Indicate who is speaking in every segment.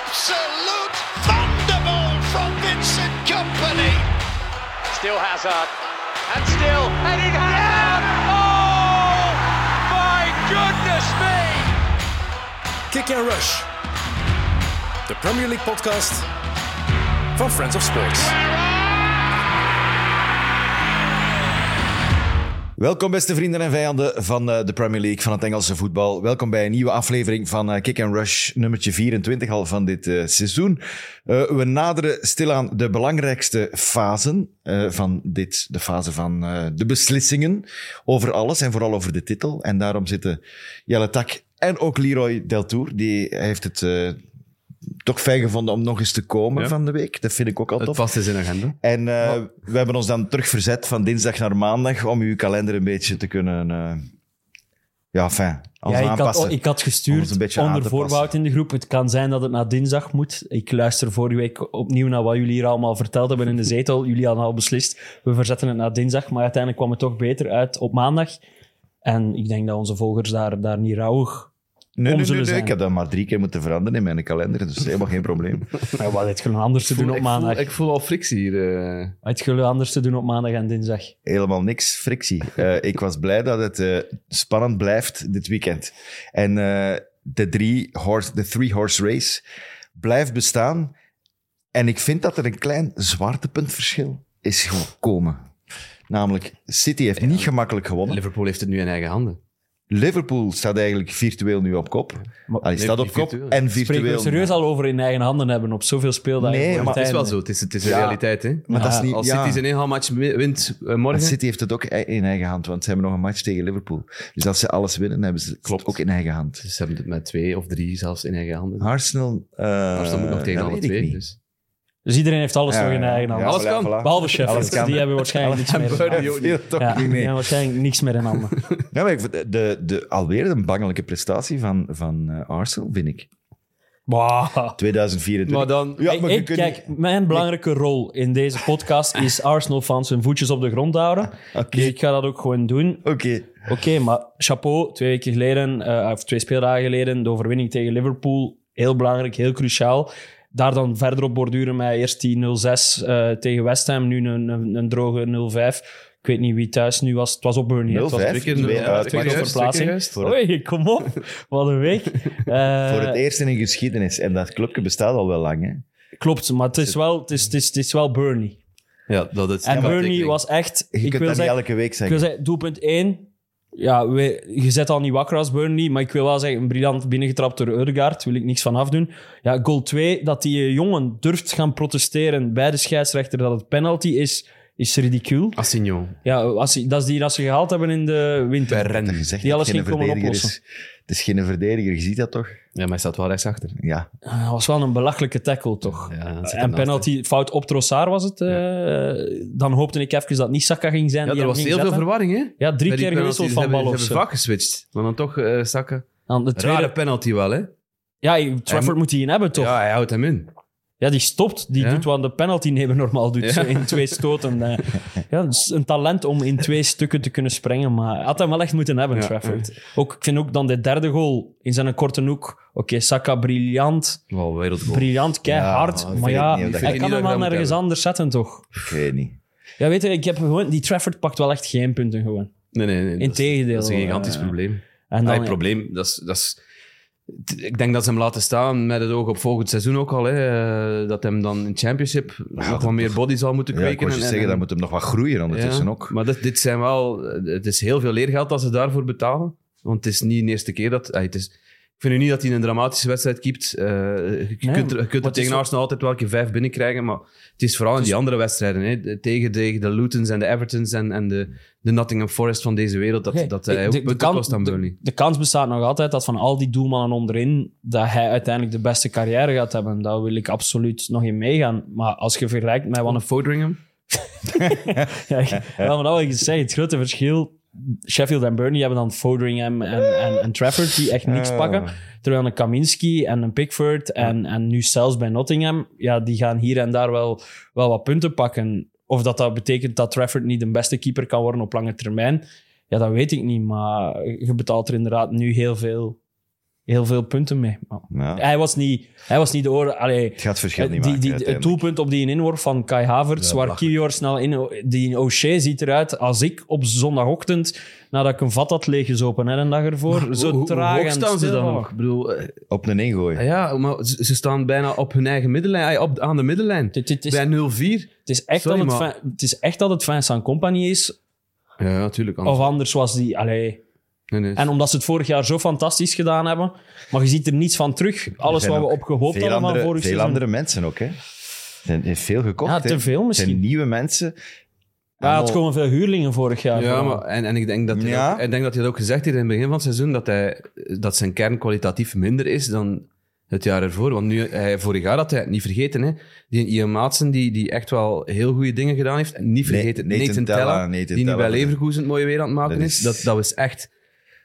Speaker 1: absolute thunderbolt from Vincent Company.
Speaker 2: Still Hazard. And still. And it Hazard! Oh! My goodness me!
Speaker 3: Kick and Rush. De Premier League podcast van Friends of Sports.
Speaker 4: Welkom beste vrienden en vijanden van eh, de Premier League, van het Engelse voetbal. Welkom bij een nieuwe aflevering van eh, Kick and Rush, nummertje 24 al van dit eh, seizoen. Eh, we naderen stilaan de belangrijkste fasen eh, van dit, de fase van eh, de beslissingen over alles en vooral over de titel. En daarom zitten Jelle Tak en ook Leroy Deltour, die heeft het... eh, toch fijn gevonden om nog eens te komen
Speaker 5: Ja.
Speaker 4: van de week. Dat vind ik ook al
Speaker 5: Het
Speaker 4: tof.
Speaker 5: past in zijn agenda.
Speaker 4: En eh, we hebben ons dan terug verzet van dinsdag naar maandag om uw kalender een beetje te kunnen. eh, ja, fijn.
Speaker 6: Ja, ik
Speaker 4: aanpassen.
Speaker 6: had, ik had
Speaker 4: Om het een
Speaker 6: gestuurd
Speaker 4: beetje aan
Speaker 6: onder
Speaker 4: te
Speaker 6: voorbehoud
Speaker 4: passen.
Speaker 6: in de groep. Het kan zijn dat het na dinsdag moet. Ik luister vorige week opnieuw naar wat jullie hier allemaal verteld hebben in de zetel. Jullie hadden al beslist, we verzetten het naar dinsdag. Maar uiteindelijk kwam het toch beter uit op maandag. En ik denk dat onze volgers daar, daar niet rauwig...
Speaker 4: nee,
Speaker 6: om
Speaker 4: nee, nee,
Speaker 6: zullen
Speaker 4: nee,
Speaker 6: zijn.
Speaker 4: ik heb dat maar drie keer moeten veranderen in mijn kalender, dus helemaal geen probleem.
Speaker 6: Maar wat heeft jullie anders te doen op
Speaker 5: ik, voel,
Speaker 6: maandag?
Speaker 5: ik voel al frictie hier. eh.
Speaker 6: Wat heeft jullie anders te doen op maandag en dinsdag?
Speaker 4: Helemaal niks frictie. Eh, ik was blij dat het eh, spannend blijft dit weekend. En eh, de, drie horse, de three horse race blijft bestaan. En ik vind dat er een klein zwaartepuntverschil is gekomen. Namelijk, City heeft niet gemakkelijk gewonnen.
Speaker 5: Liverpool heeft het nu in eigen handen.
Speaker 4: Liverpool staat eigenlijk virtueel nu op kop. Hij staat op
Speaker 5: niet
Speaker 4: kop
Speaker 5: virtueel.
Speaker 4: en
Speaker 6: Spreken we
Speaker 4: virtueel.
Speaker 6: serieus al over in eigen handen hebben op zoveel speeldagen?
Speaker 4: Nee,
Speaker 6: voor
Speaker 4: maar
Speaker 5: Het is wel
Speaker 6: einde?
Speaker 5: zo, het is, het is een
Speaker 4: Ja.
Speaker 5: realiteit. Hè?
Speaker 4: Maar dat is niet...
Speaker 5: Als
Speaker 4: ja.
Speaker 5: City zijn inhaalmatch wi- wint eh,
Speaker 4: Maar
Speaker 5: morgen,
Speaker 4: City heeft het ook e- in eigen hand, want ze hebben nog een match tegen Liverpool. Dus als ze alles winnen, hebben ze het
Speaker 5: Klopt.
Speaker 4: ook in eigen hand.
Speaker 5: dus ze hebben het met twee of drie zelfs in eigen handen.
Speaker 4: Arsenal... eh
Speaker 5: Maar ze moet nog tegen
Speaker 4: dat
Speaker 5: alle
Speaker 4: weet ik
Speaker 5: twee.
Speaker 4: niet.
Speaker 5: Dus.
Speaker 6: Dus iedereen heeft alles
Speaker 4: Ja,
Speaker 6: nog in
Speaker 4: ja,
Speaker 6: eigen
Speaker 4: ja,
Speaker 6: handen.
Speaker 5: Alles
Speaker 4: voilà,
Speaker 5: kan.
Speaker 4: voilà.
Speaker 6: Behalve
Speaker 4: Alles
Speaker 6: Sheffield,
Speaker 4: kan.
Speaker 6: die hebben waarschijnlijk niks meer. in handen.
Speaker 4: Ja, viel toch
Speaker 6: Ja,
Speaker 4: niet
Speaker 6: die
Speaker 4: mee.
Speaker 6: hebben waarschijnlijk niks meer in handen.
Speaker 4: Ja, maar ik vind de, de, alweer een bangelijke prestatie van, van eh, Arsenal, vind ik.
Speaker 6: Bah.
Speaker 4: 2024.
Speaker 5: Maar dan,
Speaker 4: Ja, maar
Speaker 6: Ik-
Speaker 4: je
Speaker 6: ik-
Speaker 4: kunt
Speaker 6: kijk,
Speaker 4: niet-
Speaker 6: mijn belangrijke rol in deze podcast is Arsenal-fans hun voetjes op de grond houden. Dus ik ga dat ook gewoon doen.
Speaker 4: Oké.
Speaker 6: Oké, maar chapeau, twee weken geleden, eh, of twee speeldagen geleden, de overwinning tegen Liverpool. Heel belangrijk, heel cruciaal. Daar dan verder op borduren met eerst die 0-6 eh, tegen West Ham, nu een, een, een droge 0-5. Ik weet niet wie thuis nu was. Het was op Burnley. hè? Het was
Speaker 4: 0-5.
Speaker 5: twee keer
Speaker 4: Twee
Speaker 5: nul-
Speaker 4: uit,
Speaker 5: ja,
Speaker 4: twee
Speaker 5: twee
Speaker 4: keer
Speaker 5: keer
Speaker 4: juist,
Speaker 6: verplaatsing.
Speaker 5: juist.
Speaker 6: Oei, kom op. Wat een week. Eh,
Speaker 4: Voor het e- eerst in hun geschiedenis. En dat clubje bestaat al wel lang, hè.
Speaker 6: Klopt, maar het is wel, het is, het is, het is wel Burnley.
Speaker 5: Ja, dat is
Speaker 6: En
Speaker 5: dat
Speaker 6: Burnley
Speaker 5: betekent-
Speaker 6: was echt...
Speaker 4: Je
Speaker 6: ik
Speaker 4: kunt
Speaker 6: wil
Speaker 4: dat niet
Speaker 6: zeggen,
Speaker 4: elke week
Speaker 6: ik wil
Speaker 4: zeggen.
Speaker 6: zeggen, doelpunt 1... Ja, we- je zet al niet wakker als Burnley, maar ik wil wel zeggen, een briljant binnengetrapt door Ødegaard, wil ik niks van afdoen. Ja, goal 2, dat die eh, jongen durft gaan protesteren bij de scheidsrechter dat het penalty is, is ridicuul.
Speaker 5: Assigno.
Speaker 6: Ja, als, dat is die dat ze gehaald hebben in de winter.
Speaker 5: Bij Rennes.
Speaker 4: Je zegt
Speaker 6: die
Speaker 4: dat
Speaker 6: alles
Speaker 4: het geen
Speaker 6: ging komen
Speaker 4: verdediger is. Het is geen verdediger, je ziet dat toch?
Speaker 5: Ja, maar hij staat wel rechtsachter.
Speaker 4: Ja.
Speaker 6: Ah, Dat was wel een belachelijke tackle, toch?
Speaker 5: Ja, dat zit
Speaker 6: en
Speaker 5: ernaast,
Speaker 6: penalty, fout op Trossard was het. eh, dan hoopte ik even dat niet Saka ging zijn.
Speaker 5: Ja,
Speaker 6: die
Speaker 5: er
Speaker 6: hem
Speaker 5: was
Speaker 6: ging
Speaker 5: heel veel
Speaker 6: zetten.
Speaker 5: verwarring. Hè?
Speaker 6: Ja, drie
Speaker 5: Bij die
Speaker 6: keer gewisseld
Speaker 5: penalties.
Speaker 6: van
Speaker 5: Ze hebben-
Speaker 6: bal
Speaker 5: Ze
Speaker 6: of zo.
Speaker 5: hebben vak geswitcht, maar dan toch eh zakken.
Speaker 6: Dan de
Speaker 5: Tweede...
Speaker 6: tweede,
Speaker 5: Rare penalty wel, hè?
Speaker 6: ja, Trafford
Speaker 5: Hij
Speaker 6: moet die in hebben, toch? Ja,
Speaker 5: Ja, hij houdt hem in.
Speaker 6: die stopt. Die
Speaker 5: Ja.
Speaker 6: doet wat de penaltynemer normaal doet.
Speaker 5: Ja.
Speaker 6: zo In twee stoten. eh. ja, dat is een talent om in twee stukken te kunnen springen. Maar hij had hem wel echt moeten hebben,
Speaker 5: Ja.
Speaker 6: Trafford. Ook, ik vind ook dan de derde goal in zijn korte hoek. Oké, Saka, briljant.
Speaker 5: Wow, wereldgoal.
Speaker 6: Briljant, keihard.
Speaker 4: Ja, ik
Speaker 6: maar
Speaker 4: vind
Speaker 6: ja,
Speaker 4: het niet, ik vind
Speaker 5: het
Speaker 6: hij kan
Speaker 5: niet
Speaker 6: hem
Speaker 5: dat
Speaker 6: wel
Speaker 5: je dat moet
Speaker 6: nergens
Speaker 5: hebben.
Speaker 6: anders zetten, toch?
Speaker 4: Ik weet niet.
Speaker 6: Ja, weet je, ik heb gewoon... Die Trafford pakt wel echt geen punten, gewoon.
Speaker 5: Nee, nee, nee. dat is-
Speaker 6: Integendeel,
Speaker 5: Dat is een gigantisch
Speaker 6: eh,
Speaker 5: probleem.
Speaker 6: En
Speaker 5: Nee,
Speaker 6: dan,
Speaker 5: probleem, dat is, dat is... t- Ik denk dat ze hem laten staan met het oog op volgend seizoen ook al. Hè. eh, Dat hem dan in championship nog wat meer body zal moeten
Speaker 4: Ja, ik
Speaker 5: kweken.
Speaker 4: wou je
Speaker 5: en-
Speaker 4: zeggen,
Speaker 5: en-
Speaker 4: dat moet hem nog wat groeien ondertussen
Speaker 5: ja,
Speaker 4: ook.
Speaker 5: Maar dit, dit zijn wel... eh, Het is heel veel leergeld dat ze daarvoor betalen. Want het is niet de eerste keer dat... eh, het is, ik vind nu niet dat hij een dramatische wedstrijd keept. Eh, je
Speaker 6: Nee,
Speaker 5: kunt er, je kunt
Speaker 6: maar
Speaker 5: er
Speaker 6: het is
Speaker 5: tegen
Speaker 6: wel-
Speaker 5: Arsenal altijd wel een keer vijf binnenkrijgen, maar het is vooral in die andere wedstrijden. Hè. De- Tegen, tegen de Lutons en de Evertons en, en de, de Nottingham Forest van deze wereld, dat,
Speaker 6: Oké,
Speaker 5: dat
Speaker 6: de-
Speaker 5: hij ook
Speaker 6: de
Speaker 5: punten
Speaker 6: kans-
Speaker 5: kost aan
Speaker 6: de-
Speaker 5: Burnley.
Speaker 6: de kans bestaat nog altijd dat van al die doelmannen onderin, dat hij uiteindelijk de beste carrière gaat hebben. Daar wil ik absoluut nog in meegaan. Maar als je vergelijkt met wat
Speaker 5: Van
Speaker 6: een...
Speaker 5: een Fodringham.
Speaker 6: Ja, ik- ja, maar dat wil ik zeggen, het grote verschil... Sheffield en Burnley hebben dan Fodringham en, en, en Trafford, die echt niks
Speaker 4: Ah.
Speaker 6: pakken. Terwijl een Kaminski en een Pickford en, en nu zelfs bij Nottingham, ja, die gaan hier en daar wel, wel wat punten pakken. Of dat dat betekent dat Trafford niet de beste keeper kan worden op lange termijn, ja, dat weet ik niet. Maar je betaalt er inderdaad nu heel veel heel veel punten mee. Maar
Speaker 4: Ja.
Speaker 6: Hij, was niet, hij was niet de oor. Allee,
Speaker 4: Het gaat verschil niet
Speaker 6: Eh, die,
Speaker 4: maken.
Speaker 6: die, het
Speaker 4: uiteindelijk.
Speaker 6: doelpunt op die inworp van Kai Havertz,
Speaker 5: Ja,
Speaker 6: waar
Speaker 5: belachelijk.
Speaker 6: Kiwior snel in... Die O'Shea ziet eruit als ik op zondagochtend, nadat ik een vat had leeggezopen hè, een dag ervoor, zo
Speaker 5: Hoe- hoe
Speaker 6: traag
Speaker 5: hoog
Speaker 6: en
Speaker 5: staan ze
Speaker 6: stil. Oh,
Speaker 5: dan ook? Ik bedoel, eh,
Speaker 4: Op een ingooi.
Speaker 5: ja, maar ze, ze staan bijna op hun eigen middenlijn, ah, op, aan de middenlijn.
Speaker 6: Het, het, is,
Speaker 5: Bij 0-4.
Speaker 6: het, is echt
Speaker 5: sorry,
Speaker 6: dat het,
Speaker 5: maar-
Speaker 6: Vin- het is echt dat het Vincent Company is,
Speaker 5: Ja, natuurlijk.
Speaker 6: of anders was die... Allee,
Speaker 5: nee, nee.
Speaker 6: En omdat ze het vorig jaar zo fantastisch gedaan hebben, maar je ziet er niets van terug. Alles
Speaker 4: Er zijn
Speaker 6: wat we
Speaker 4: ook
Speaker 6: op gehoopt
Speaker 4: veel
Speaker 6: hadden van
Speaker 4: andere,
Speaker 6: vorig
Speaker 4: Veel
Speaker 6: seizoen.
Speaker 4: andere mensen ook, hè. Er zijn er veel gekocht,
Speaker 6: Ja,
Speaker 4: hè.
Speaker 6: te veel
Speaker 4: Er zijn
Speaker 6: misschien.
Speaker 4: nieuwe mensen.
Speaker 6: Ja, het komen veel huurlingen vorig jaar.
Speaker 5: Ja, maar, en, en ik denk dat hij
Speaker 4: Ja.
Speaker 5: dat- ik denk dat hij dat ook gezegd heeft in het begin van het seizoen, dat, hij, dat zijn kern kwalitatief minder is dan het jaar ervoor. Want nu, hij, vorig jaar had hij het niet vergeten. Hè? Die Ian Maatsen, die, die echt wel heel goede dingen gedaan heeft. En niet
Speaker 4: Nee,
Speaker 5: vergeten,
Speaker 4: Nathan
Speaker 5: Nathan
Speaker 4: Tella,
Speaker 5: Tella,
Speaker 4: Nathan
Speaker 5: die nu
Speaker 4: Tella.
Speaker 5: bij Leverkusen het mooie weer aan het maken
Speaker 4: Dat
Speaker 5: is.
Speaker 4: is-
Speaker 5: Dat, dat was echt...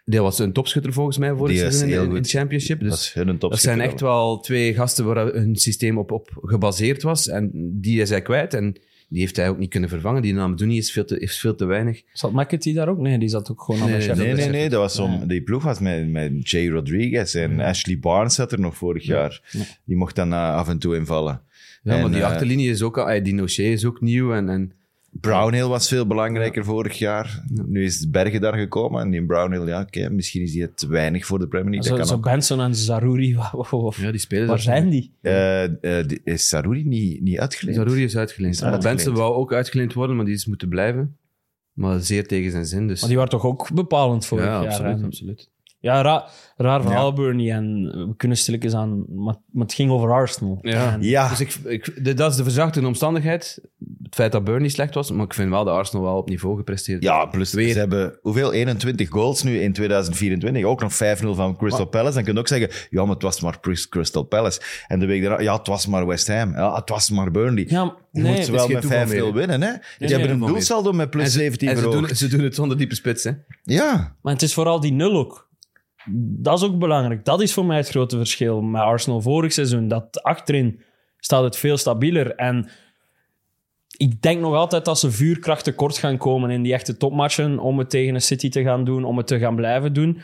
Speaker 5: Die was een topschutter volgens mij vorig
Speaker 4: Die is
Speaker 5: seizoen in,
Speaker 4: heel
Speaker 5: in
Speaker 4: goed.
Speaker 5: de championship. Dus
Speaker 4: dat is hun
Speaker 5: dat zijn
Speaker 4: topschutter
Speaker 5: echt
Speaker 4: dan.
Speaker 5: wel twee gasten waar hun systeem op, op gebaseerd was. En die is hij kwijt. En die heeft hij ook niet kunnen vervangen. Die naam Doenie is veel te, is veel te weinig.
Speaker 6: Zat Mackety daar ook? Nee, die zat ook gewoon aan
Speaker 5: Nee,
Speaker 6: de
Speaker 5: dat
Speaker 4: Nee,
Speaker 5: is
Speaker 4: nee,
Speaker 5: echt-
Speaker 4: nee. Dat was om, Die ploeg was met, met Jay Rodriguez en Ashley Barnes zat er nog vorig jaar. Die mocht dan eh, af en toe invallen.
Speaker 5: Ja,
Speaker 4: En,
Speaker 5: maar die
Speaker 4: eh,
Speaker 5: achterlinie is ook... al- eh, Die Nochet is ook nieuw. En, en
Speaker 4: Brownhill was veel belangrijker vorig jaar. Nu is Bergen daar gekomen. En die Brownhill, ja, oké, misschien is die te weinig voor de Premier League.
Speaker 6: Zo,
Speaker 4: dat
Speaker 6: zo
Speaker 4: kan ook.
Speaker 6: Benson en Zaruri. wa- wa- wa-
Speaker 5: ja, die spelers...
Speaker 6: Waar zijn die?
Speaker 4: Eh, eh, die- is Sarouri niet, niet uitgeleend?
Speaker 5: Zaruri is uitgeleend.
Speaker 4: Is
Speaker 5: Maar
Speaker 4: uitgeleend.
Speaker 5: Benson wou ook uitgeleend worden, maar die is moeten blijven. Maar zeer tegen zijn zin, dus...
Speaker 6: Maar die waren toch ook bepalend vorig
Speaker 5: ja,
Speaker 6: jaar?
Speaker 5: absoluut,
Speaker 6: hè?
Speaker 5: absoluut.
Speaker 6: Ja, ra- raar verhaal,
Speaker 4: Ja.
Speaker 6: Burnley. En eh, we kunnen stilletjes aan... Maar, maar het ging over Arsenal.
Speaker 5: Ja.
Speaker 6: En-
Speaker 4: Ja,
Speaker 5: Dus ik, ik, de- dat is de verzachte omstandigheid. Het feit dat Burnley slecht was, maar ik vind wel dat Arsenal wel op niveau gepresteerd
Speaker 4: Ja,
Speaker 5: heeft.
Speaker 4: plus
Speaker 5: Weer.
Speaker 4: ze hebben hoeveel? 21 goals nu in 2024. Ook nog 5-0 van Crystal Palace. Dan kun je ook zeggen, ja, maar het was maar Chris- Crystal Palace. En de week daarna, ja, het was maar West Ham. Ja, het was maar Burnley.
Speaker 6: Ja, maar-
Speaker 4: je
Speaker 6: nee,
Speaker 4: moet ze
Speaker 6: het
Speaker 4: wel
Speaker 5: geen
Speaker 4: met 5-0
Speaker 5: toeval meer.
Speaker 4: winnen, hè? Die hebben een
Speaker 5: toeval
Speaker 4: doelsaldo met plus
Speaker 5: En ze-
Speaker 4: 17
Speaker 5: en ze
Speaker 4: verhoogd.
Speaker 5: doen, ze doen het zonder diepe spits, hè.
Speaker 4: Ja.
Speaker 6: Maar het is vooral die nul ook. Dat is ook belangrijk. Dat is voor mij het grote verschil met Arsenal vorig seizoen. Dat achterin staat het veel stabieler. En ik denk nog altijd dat ze vuurkracht tekort gaan komen in die echte topmatchen om het tegen een City te gaan doen, om het te gaan blijven doen.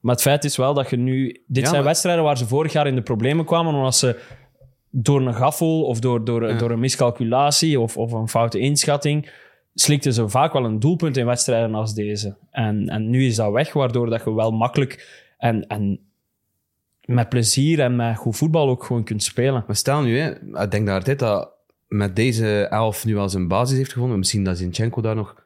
Speaker 6: Maar het feit is wel dat je nu... Dit
Speaker 5: Ja,
Speaker 6: zijn
Speaker 5: maar-
Speaker 6: wedstrijden waar ze vorig jaar in de problemen kwamen, omdat ze door een gaffel of door, door, door een miscalculatie of, of een foute inschatting slikten ze vaak wel een doelpunt in wedstrijden als deze. En, en nu is dat weg, waardoor dat je wel makkelijk en, en met plezier en met goed voetbal ook gewoon kunt spelen.
Speaker 5: Maar stel nu, hè, Ah, ik denk dat Arteta met deze elf nu wel zijn basis heeft gevonden. Misschien dat Zinchenko daar nog,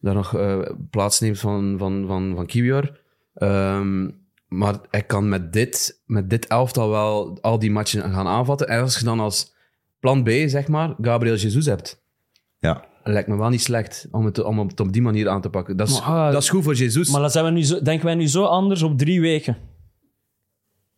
Speaker 5: daar nog eh, plaatsneemt van, van, van, van Kiwior. Ehm, maar hij kan met dit, met dit elftal wel al die matchen gaan aanvatten. En als je dan als plan B, zeg maar, Gabriel Jesus hebt.
Speaker 4: Ja.
Speaker 5: Lijkt me wel niet slecht om het, om het op die manier aan te pakken. Dat is,
Speaker 6: Maar, ah,
Speaker 5: dat is goed voor Jesus.
Speaker 6: Maar dan zijn we nu zo, denken wij nu zo anders op drie weken.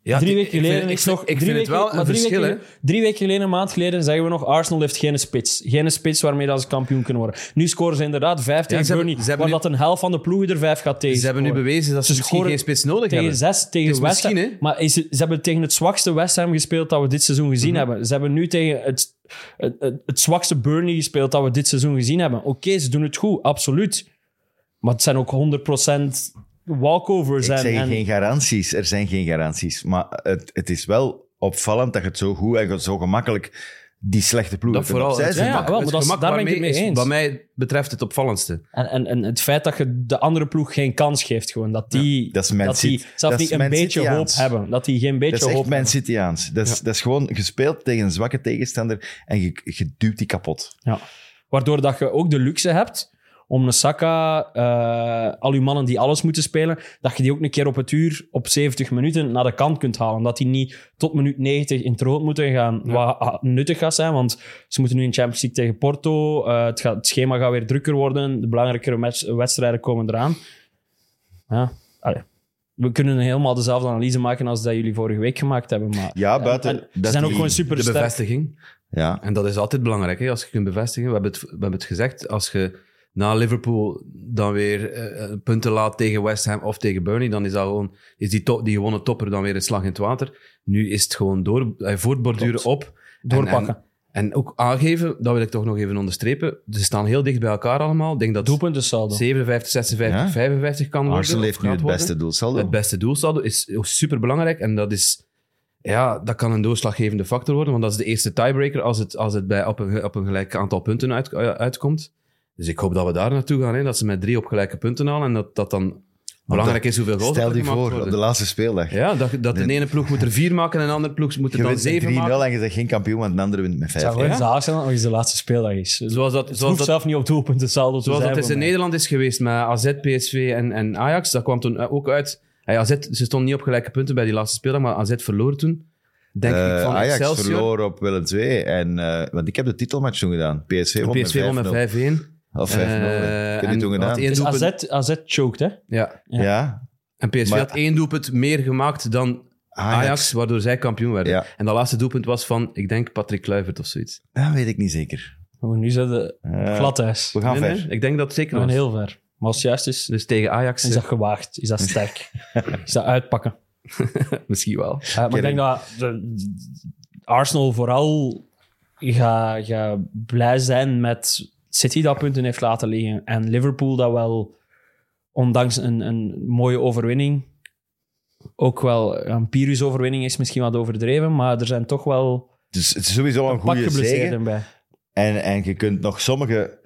Speaker 5: Ja,
Speaker 6: drie
Speaker 5: ik-
Speaker 6: weken
Speaker 5: ik
Speaker 6: geleden
Speaker 5: vind-
Speaker 6: is
Speaker 5: ik vind-
Speaker 6: nog...
Speaker 5: Ik
Speaker 6: drie
Speaker 5: vind het
Speaker 6: weken-
Speaker 5: wel een
Speaker 6: maar drie
Speaker 5: verschil, hè.
Speaker 6: weken, Drie weken geleden, een maand geleden, zeggen we nog... Arsenal heeft geen spits. Geen spits waarmee dat ze kampioen kunnen worden. Nu scoren ze inderdaad vijf tegen
Speaker 5: ze hebben-
Speaker 6: Burnley,
Speaker 5: ze hebben
Speaker 6: waar
Speaker 5: nu-
Speaker 6: dat een helft van de ploegen er vijf gaat tegen.
Speaker 5: Ze hebben nu
Speaker 6: scoren.
Speaker 5: bewezen dat ze,
Speaker 6: Ze
Speaker 5: misschien
Speaker 6: scoren
Speaker 5: geen spits nodig
Speaker 6: tegen
Speaker 5: hebben.
Speaker 6: zes, tegen
Speaker 5: Dus
Speaker 6: West Ham.
Speaker 5: misschien, hè?
Speaker 6: Maar is- ze hebben tegen het zwakste West Ham gespeeld dat we dit seizoen gezien
Speaker 5: Mhm.
Speaker 6: hebben. Ze hebben nu tegen het, het, het, het zwakste Burnley gespeeld dat we dit seizoen gezien hebben. Oké, ze doen het goed, absoluut. Maar het zijn ook 100% walkovers.
Speaker 4: Ik
Speaker 6: en,
Speaker 4: zeg
Speaker 6: en-
Speaker 4: geen garanties, er zijn geen garanties. Maar het, het is wel opvallend dat je het zo goed en zo gemakkelijk die slechte ploeg
Speaker 5: Dat vooral.
Speaker 4: opzij
Speaker 5: Het
Speaker 4: zijn.
Speaker 6: ja,
Speaker 5: gemak-
Speaker 6: wel, maar
Speaker 5: het
Speaker 6: dat is-
Speaker 5: gemak
Speaker 6: daar ben ik
Speaker 5: waarmee
Speaker 6: het mee
Speaker 5: is
Speaker 6: eens.
Speaker 5: Wat mij betreft het opvallendste.
Speaker 6: En, en, en het feit dat je de andere ploeg geen kans geeft, gewoon. Dat die,
Speaker 4: dat is Man
Speaker 6: dat die
Speaker 4: City-
Speaker 6: zelf
Speaker 4: dat is
Speaker 6: niet een
Speaker 4: Man
Speaker 6: beetje hoop
Speaker 4: Cityaans.
Speaker 6: hebben. Dat die geen beetje
Speaker 4: Dat is
Speaker 6: hoop
Speaker 4: echt Man
Speaker 6: hebben.
Speaker 4: Cityaans. Dat is, dat is gewoon gespeeld tegen een zwakke tegenstander en je, je duwt die kapot.
Speaker 6: Ja. Waardoor dat je ook de luxe hebt om een Saka, eh, al uw mannen die alles moeten spelen, dat je die ook een keer op het uur op 70 minuten naar de kant kunt halen. Dat die niet tot minuut 90 in het rood moeten gaan, wat ah, nuttig gaat zijn, want ze moeten nu in Champions League tegen Porto, eh, het, gaat, het schema gaat weer drukker worden, de belangrijkere match- wedstrijden komen eraan. Ja, allee. We kunnen helemaal dezelfde analyse maken als dat jullie vorige week gemaakt hebben. Maar
Speaker 4: Ja, buiten
Speaker 6: en- en ze
Speaker 4: dat
Speaker 6: zijn ook
Speaker 4: die-
Speaker 6: gewoon
Speaker 5: De
Speaker 6: super
Speaker 5: bevestiging.
Speaker 4: Ja.
Speaker 5: En dat is altijd belangrijk, hè, als je kunt bevestigen. We hebben het, we hebben het gezegd, als je na Liverpool dan weer eh, punten laat tegen West Ham of tegen Burnley, dan is, dat gewoon, is die, top, die gewonnen topper dan weer een slag in het water. Nu is het gewoon door, eh, voortborduren op. En-
Speaker 6: Doorpakken.
Speaker 5: En, En ook aangeven, dat wil ik toch nog even onderstrepen. Ze staan heel dicht bij elkaar allemaal. Ik denk dat
Speaker 6: Doelpunten saldo.
Speaker 5: 57, 56,
Speaker 4: Ja.
Speaker 5: 55 kan worden.
Speaker 4: Arsenal
Speaker 5: of
Speaker 4: heeft nu
Speaker 5: gaat
Speaker 4: het
Speaker 5: worden.
Speaker 4: beste doelsaldo.
Speaker 5: Het beste doelsaldo is super belangrijk. En dat is. Ja, dat kan een doorslaggevende factor worden. Want dat is de eerste tiebreaker als het, als het bij, op, een, op een gelijk aantal punten uit, eh, uitkomt. Dus ik hoop dat we daar naartoe gaan. Hè, dat ze met drie op gelijke punten halen. En dat dat dan belangrijk is hoeveel goals
Speaker 4: Stel
Speaker 5: er
Speaker 4: je
Speaker 5: gemaakt
Speaker 4: voor, op
Speaker 5: worden.
Speaker 4: de laatste speeldag.
Speaker 5: Ja, dat, dat de
Speaker 4: Nee.
Speaker 5: ene ploeg moet er vier maken en de andere ploeg moet er
Speaker 4: Je
Speaker 5: dan
Speaker 4: wint met 3-0
Speaker 5: zeven maken.
Speaker 4: en je zegt geen kampioen, want de andere wint met 5
Speaker 6: Het zou gewoon
Speaker 5: Ja?
Speaker 6: zalig zijn als het de laatste speeldag is. Het
Speaker 5: Zoals dat,
Speaker 6: hoeft
Speaker 5: zoals dat,
Speaker 6: zelf niet op doelpunten saldo te
Speaker 5: zoals
Speaker 6: zijn.
Speaker 5: dat is
Speaker 6: voor
Speaker 5: in
Speaker 6: mij.
Speaker 5: Nederland is geweest met AZ, PSV en, en Ajax. Dat kwam toen eh, ook uit. Hey, AZ, ze stonden niet op gelijke punten bij die laatste speeldag, maar AZ verloor toen. Denk ik van
Speaker 4: Eh, Ajax
Speaker 5: Excelsior.
Speaker 4: verloor op Willem II. En, eh, want ik heb de titelmatch toen gedaan. PSV won
Speaker 5: PSV won
Speaker 4: met
Speaker 5: met
Speaker 4: 5-0.
Speaker 5: Eh, 5-0.
Speaker 4: Of 5-0. hè. ik heb die toen gedaan.
Speaker 6: Dus AZ, AZ choked, hè?
Speaker 5: Ja.
Speaker 4: ja.
Speaker 5: En PSV
Speaker 4: Maar-
Speaker 5: had één doelpunt meer gemaakt dan
Speaker 4: Ajax.
Speaker 5: Ajax, waardoor zij kampioen werden.
Speaker 4: Ja.
Speaker 5: En dat laatste doelpunt was van, ik denk, Patrick Kluivert of zoiets.
Speaker 4: Dat weet ik niet zeker.
Speaker 6: Maar nu zijn de
Speaker 4: Eh,
Speaker 6: gladhuis.
Speaker 4: we gaan
Speaker 5: Nee,
Speaker 4: ver.
Speaker 5: nee, ik denk dat het zeker
Speaker 6: We zijn
Speaker 5: was.
Speaker 6: heel ver. Maar als het juist is,
Speaker 5: Dus tegen Ajax
Speaker 6: is dat
Speaker 5: eh,
Speaker 6: gewaagd. Is dat sterk. is dat uitpakken.
Speaker 5: misschien wel.
Speaker 6: Eh, maar ik denk dat de- Arsenal vooral gaat ga blij zijn met City dat punten heeft laten liggen. En Liverpool dat wel, ondanks een, een mooie overwinning, ook wel een Pyrrhus-overwinning is misschien wat overdreven, maar er zijn toch wel
Speaker 4: Dus het is sowieso een
Speaker 6: een pak
Speaker 4: goede zegen.
Speaker 6: geblesseerden bij.
Speaker 4: En, en je kunt nog sommige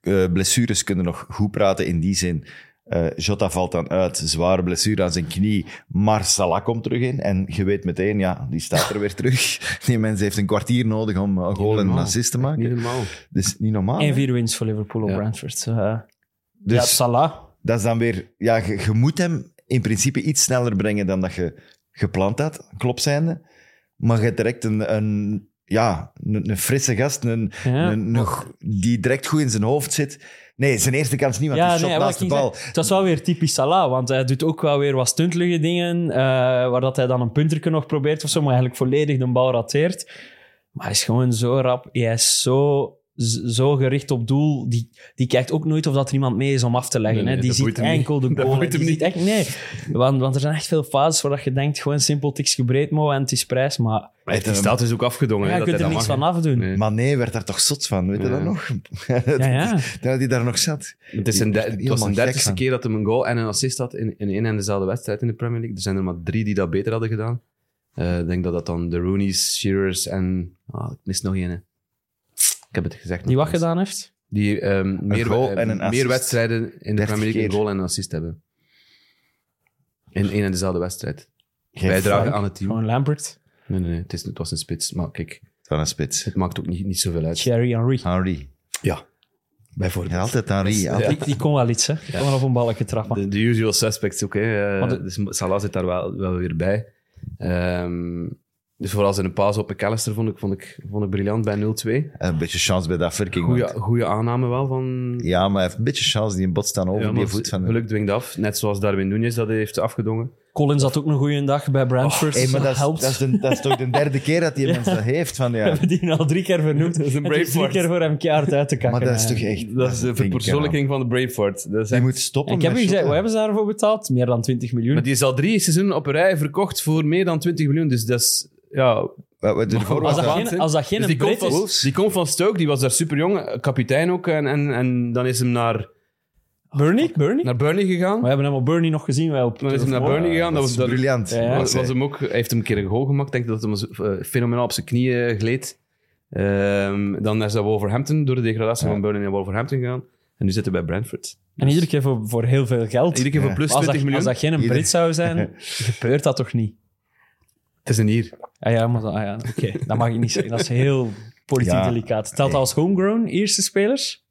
Speaker 4: eh, blessures kunnen nog goed praten in die zin. Eh, Jota valt dan uit, zware blessure aan zijn knie, maar Salah komt terug in. En je weet meteen, ja, die staat er weer terug. Die mens heeft een kwartier nodig om een goal en een
Speaker 5: normaal.
Speaker 4: assist te
Speaker 5: Niet
Speaker 4: maken.
Speaker 5: normaal.
Speaker 4: Dus niet normaal. hè?
Speaker 6: 1-4 winst voor Liverpool op
Speaker 5: Ja.
Speaker 6: Brentford. Eh,
Speaker 4: Dus
Speaker 6: ja, Salah.
Speaker 4: dat is dan weer... Ja, je, je moet hem in principe iets sneller brengen dan dat je gepland had, klopt zijnde. Maar je hebt direct een... een ja, een, een frisse gast, een,
Speaker 6: Ja.
Speaker 4: een, nog, die direct goed in zijn hoofd zit. Nee, zijn eerste kans niet, want
Speaker 6: Ja,
Speaker 4: hij shot
Speaker 6: nee,
Speaker 4: naast de
Speaker 6: wat ik
Speaker 4: bal.
Speaker 6: Het was wel weer typisch Salah, want hij doet ook wel weer wat stuntelige dingen, eh, waar dat hij dan een punterke nog probeert of zo, maar eigenlijk volledig de bal rateert. Maar hij is gewoon zo rap, hij is zo, z- zo gericht op doel, die, die kijkt ook nooit of dat er iemand mee is om af te leggen.
Speaker 5: Nee, nee,
Speaker 6: hè. Die
Speaker 5: dat
Speaker 6: ziet
Speaker 5: boeit hem niet.
Speaker 6: enkel de
Speaker 5: Dat
Speaker 6: goal. hè.
Speaker 5: boeit
Speaker 6: Die
Speaker 5: hem
Speaker 6: ziet echt, nee, want, want er zijn echt veel fases waar dat je denkt, gewoon simpel tikje breed mo en het is prijs, maar
Speaker 5: Maar die staat dus ook afgedongen.
Speaker 6: ja,
Speaker 5: hè,
Speaker 6: je
Speaker 5: dat
Speaker 6: kunt
Speaker 5: hij
Speaker 6: er
Speaker 5: dat
Speaker 6: niks
Speaker 5: mag,
Speaker 6: van afdoen.
Speaker 5: Nee.
Speaker 4: Maar nee, werd daar toch zot van, weet je
Speaker 5: Ja.
Speaker 4: dat nog?
Speaker 6: Ja, ja.
Speaker 4: Dat hij daar nog zat.
Speaker 5: Het, is een
Speaker 4: Die
Speaker 5: der-
Speaker 4: is er
Speaker 5: het was
Speaker 4: helemaal
Speaker 5: een
Speaker 4: gek
Speaker 5: dertigste
Speaker 4: van.
Speaker 5: keer dat hem een goal en een assist had in, in één en dezelfde wedstrijd in de Premier League. Er zijn er maar drie die dat beter hadden gedaan. Eh, ik denk dat dat dan de Rooney's, Shearers en... ah, ik mis nog één. hè. Ik heb het gezegd.
Speaker 6: Die wat
Speaker 5: nog eens.
Speaker 6: gedaan heeft.
Speaker 5: Die ehm, meer,
Speaker 4: goal
Speaker 5: eh,
Speaker 4: en een assist.
Speaker 5: meer wedstrijden in de
Speaker 4: 30
Speaker 5: Premier League een
Speaker 4: keer.
Speaker 5: goal en een assist hebben. In één en dezelfde wedstrijd.
Speaker 4: Geen
Speaker 5: Bijdragen
Speaker 4: fout
Speaker 5: aan het team.
Speaker 6: Gewoon Lampert,
Speaker 5: Nee, nee, nee het, is, het was een spits. Maar kijk,
Speaker 4: Van een spits.
Speaker 5: het maakt ook niet, niet zoveel uit.
Speaker 6: Thierry Henry.
Speaker 4: Henry.
Speaker 5: Bijvoorbeeld.
Speaker 4: Ja, altijd Henry. Altijd.
Speaker 6: Die, die kon wel iets, hè. Die kon wel op een balletje trappen.
Speaker 5: De, de usual suspects ook. Hè. Eh,
Speaker 6: Want het-
Speaker 5: dus Salah zit daar wel, wel weer bij. Ehm, dus vooral zijn paas op McAllister vond ik, vond ik, vond ik briljant bij 0-2.
Speaker 4: Een beetje chance bij de afwerking.
Speaker 5: Goeie,
Speaker 4: want-
Speaker 5: goeie aanname wel van...
Speaker 4: Ja, maar hij heeft een beetje chance. Die een bot staan over
Speaker 5: Ja,
Speaker 4: die
Speaker 5: maar
Speaker 4: voet van...
Speaker 5: Geluk dwingt af. Net zoals Darwin Nunez dat heeft afgedongen.
Speaker 6: Collins had ook een goede dag bij Brentford.
Speaker 4: Oh, Hey, maar dat is,
Speaker 6: helpt.
Speaker 4: dat, is de- dat is toch de derde keer dat die mens dat heeft. Van,
Speaker 6: We
Speaker 4: ja.
Speaker 6: hebben die al drie keer vernoemd.
Speaker 5: is een
Speaker 6: En het is drie
Speaker 5: Braveheart.
Speaker 6: keer voor hem keihard uit te kakken.
Speaker 4: Maar dat is toch
Speaker 6: eigenlijk.
Speaker 4: echt...
Speaker 5: Dat is de
Speaker 4: denk ik
Speaker 5: verpersoonlijking van de Braveheart. Dat is
Speaker 4: wel.
Speaker 5: echt-
Speaker 4: Die moet stoppen
Speaker 6: En ik heb
Speaker 4: met
Speaker 6: u
Speaker 4: shotten.
Speaker 6: gezegd, wat hebben ze daarvoor betaald? Meer dan 20 miljoen.
Speaker 5: Maar die is al drie seizoenen op een rij verkocht voor meer dan 20 miljoen. Dus dat is... Ja,
Speaker 4: Wat- wat-
Speaker 5: Maar
Speaker 4: ervoor
Speaker 6: als,
Speaker 4: was
Speaker 6: dat
Speaker 4: dat-
Speaker 5: waanzin.
Speaker 6: geen, als dat geen
Speaker 5: Dus die,
Speaker 6: Brit
Speaker 5: komt
Speaker 6: is...
Speaker 5: van, die komt van Stoke, die was daar super jong, kapitein ook. En, en, en dan is hem naar,
Speaker 6: Bernie? Bernie?
Speaker 5: naar Burnley gegaan.
Speaker 6: We hebben hem op Bernie nog gezien. Wij op
Speaker 5: Dan Nou. is hij naar
Speaker 6: Turf Moor.
Speaker 5: Burnley gegaan. Dat
Speaker 4: Dat
Speaker 5: was,
Speaker 4: is
Speaker 5: dat,
Speaker 4: briljant.
Speaker 6: Ja, ja.
Speaker 5: was,
Speaker 4: was hij.
Speaker 5: was hem ook, hij heeft hem een keer een goal gemaakt. Ik denk dat hij hem eh, fenomenaal op zijn knieën eh, gleed. Ehm, dan is hij Wolverhampton, door de degradatie van Burnley naar Wolverhampton gegaan. En nu zit hij bij Brentford.
Speaker 6: En iedere keer voor, voor heel veel geld.
Speaker 5: Iedere keer voor
Speaker 4: Ja.
Speaker 5: plus
Speaker 6: Maar
Speaker 5: 20
Speaker 6: als, dat,
Speaker 5: miljoen.
Speaker 6: als dat geen
Speaker 4: Ieder-
Speaker 6: Brit zou zijn, gebeurt dat toch niet?
Speaker 5: Het is een hier.
Speaker 6: Ah ja, maar dat- ah ja, oké. Dat mag ik niet zeggen. Dat is heel politiek
Speaker 4: Ja.
Speaker 6: delicaat. Telt dat als homegrown, eerste spelers?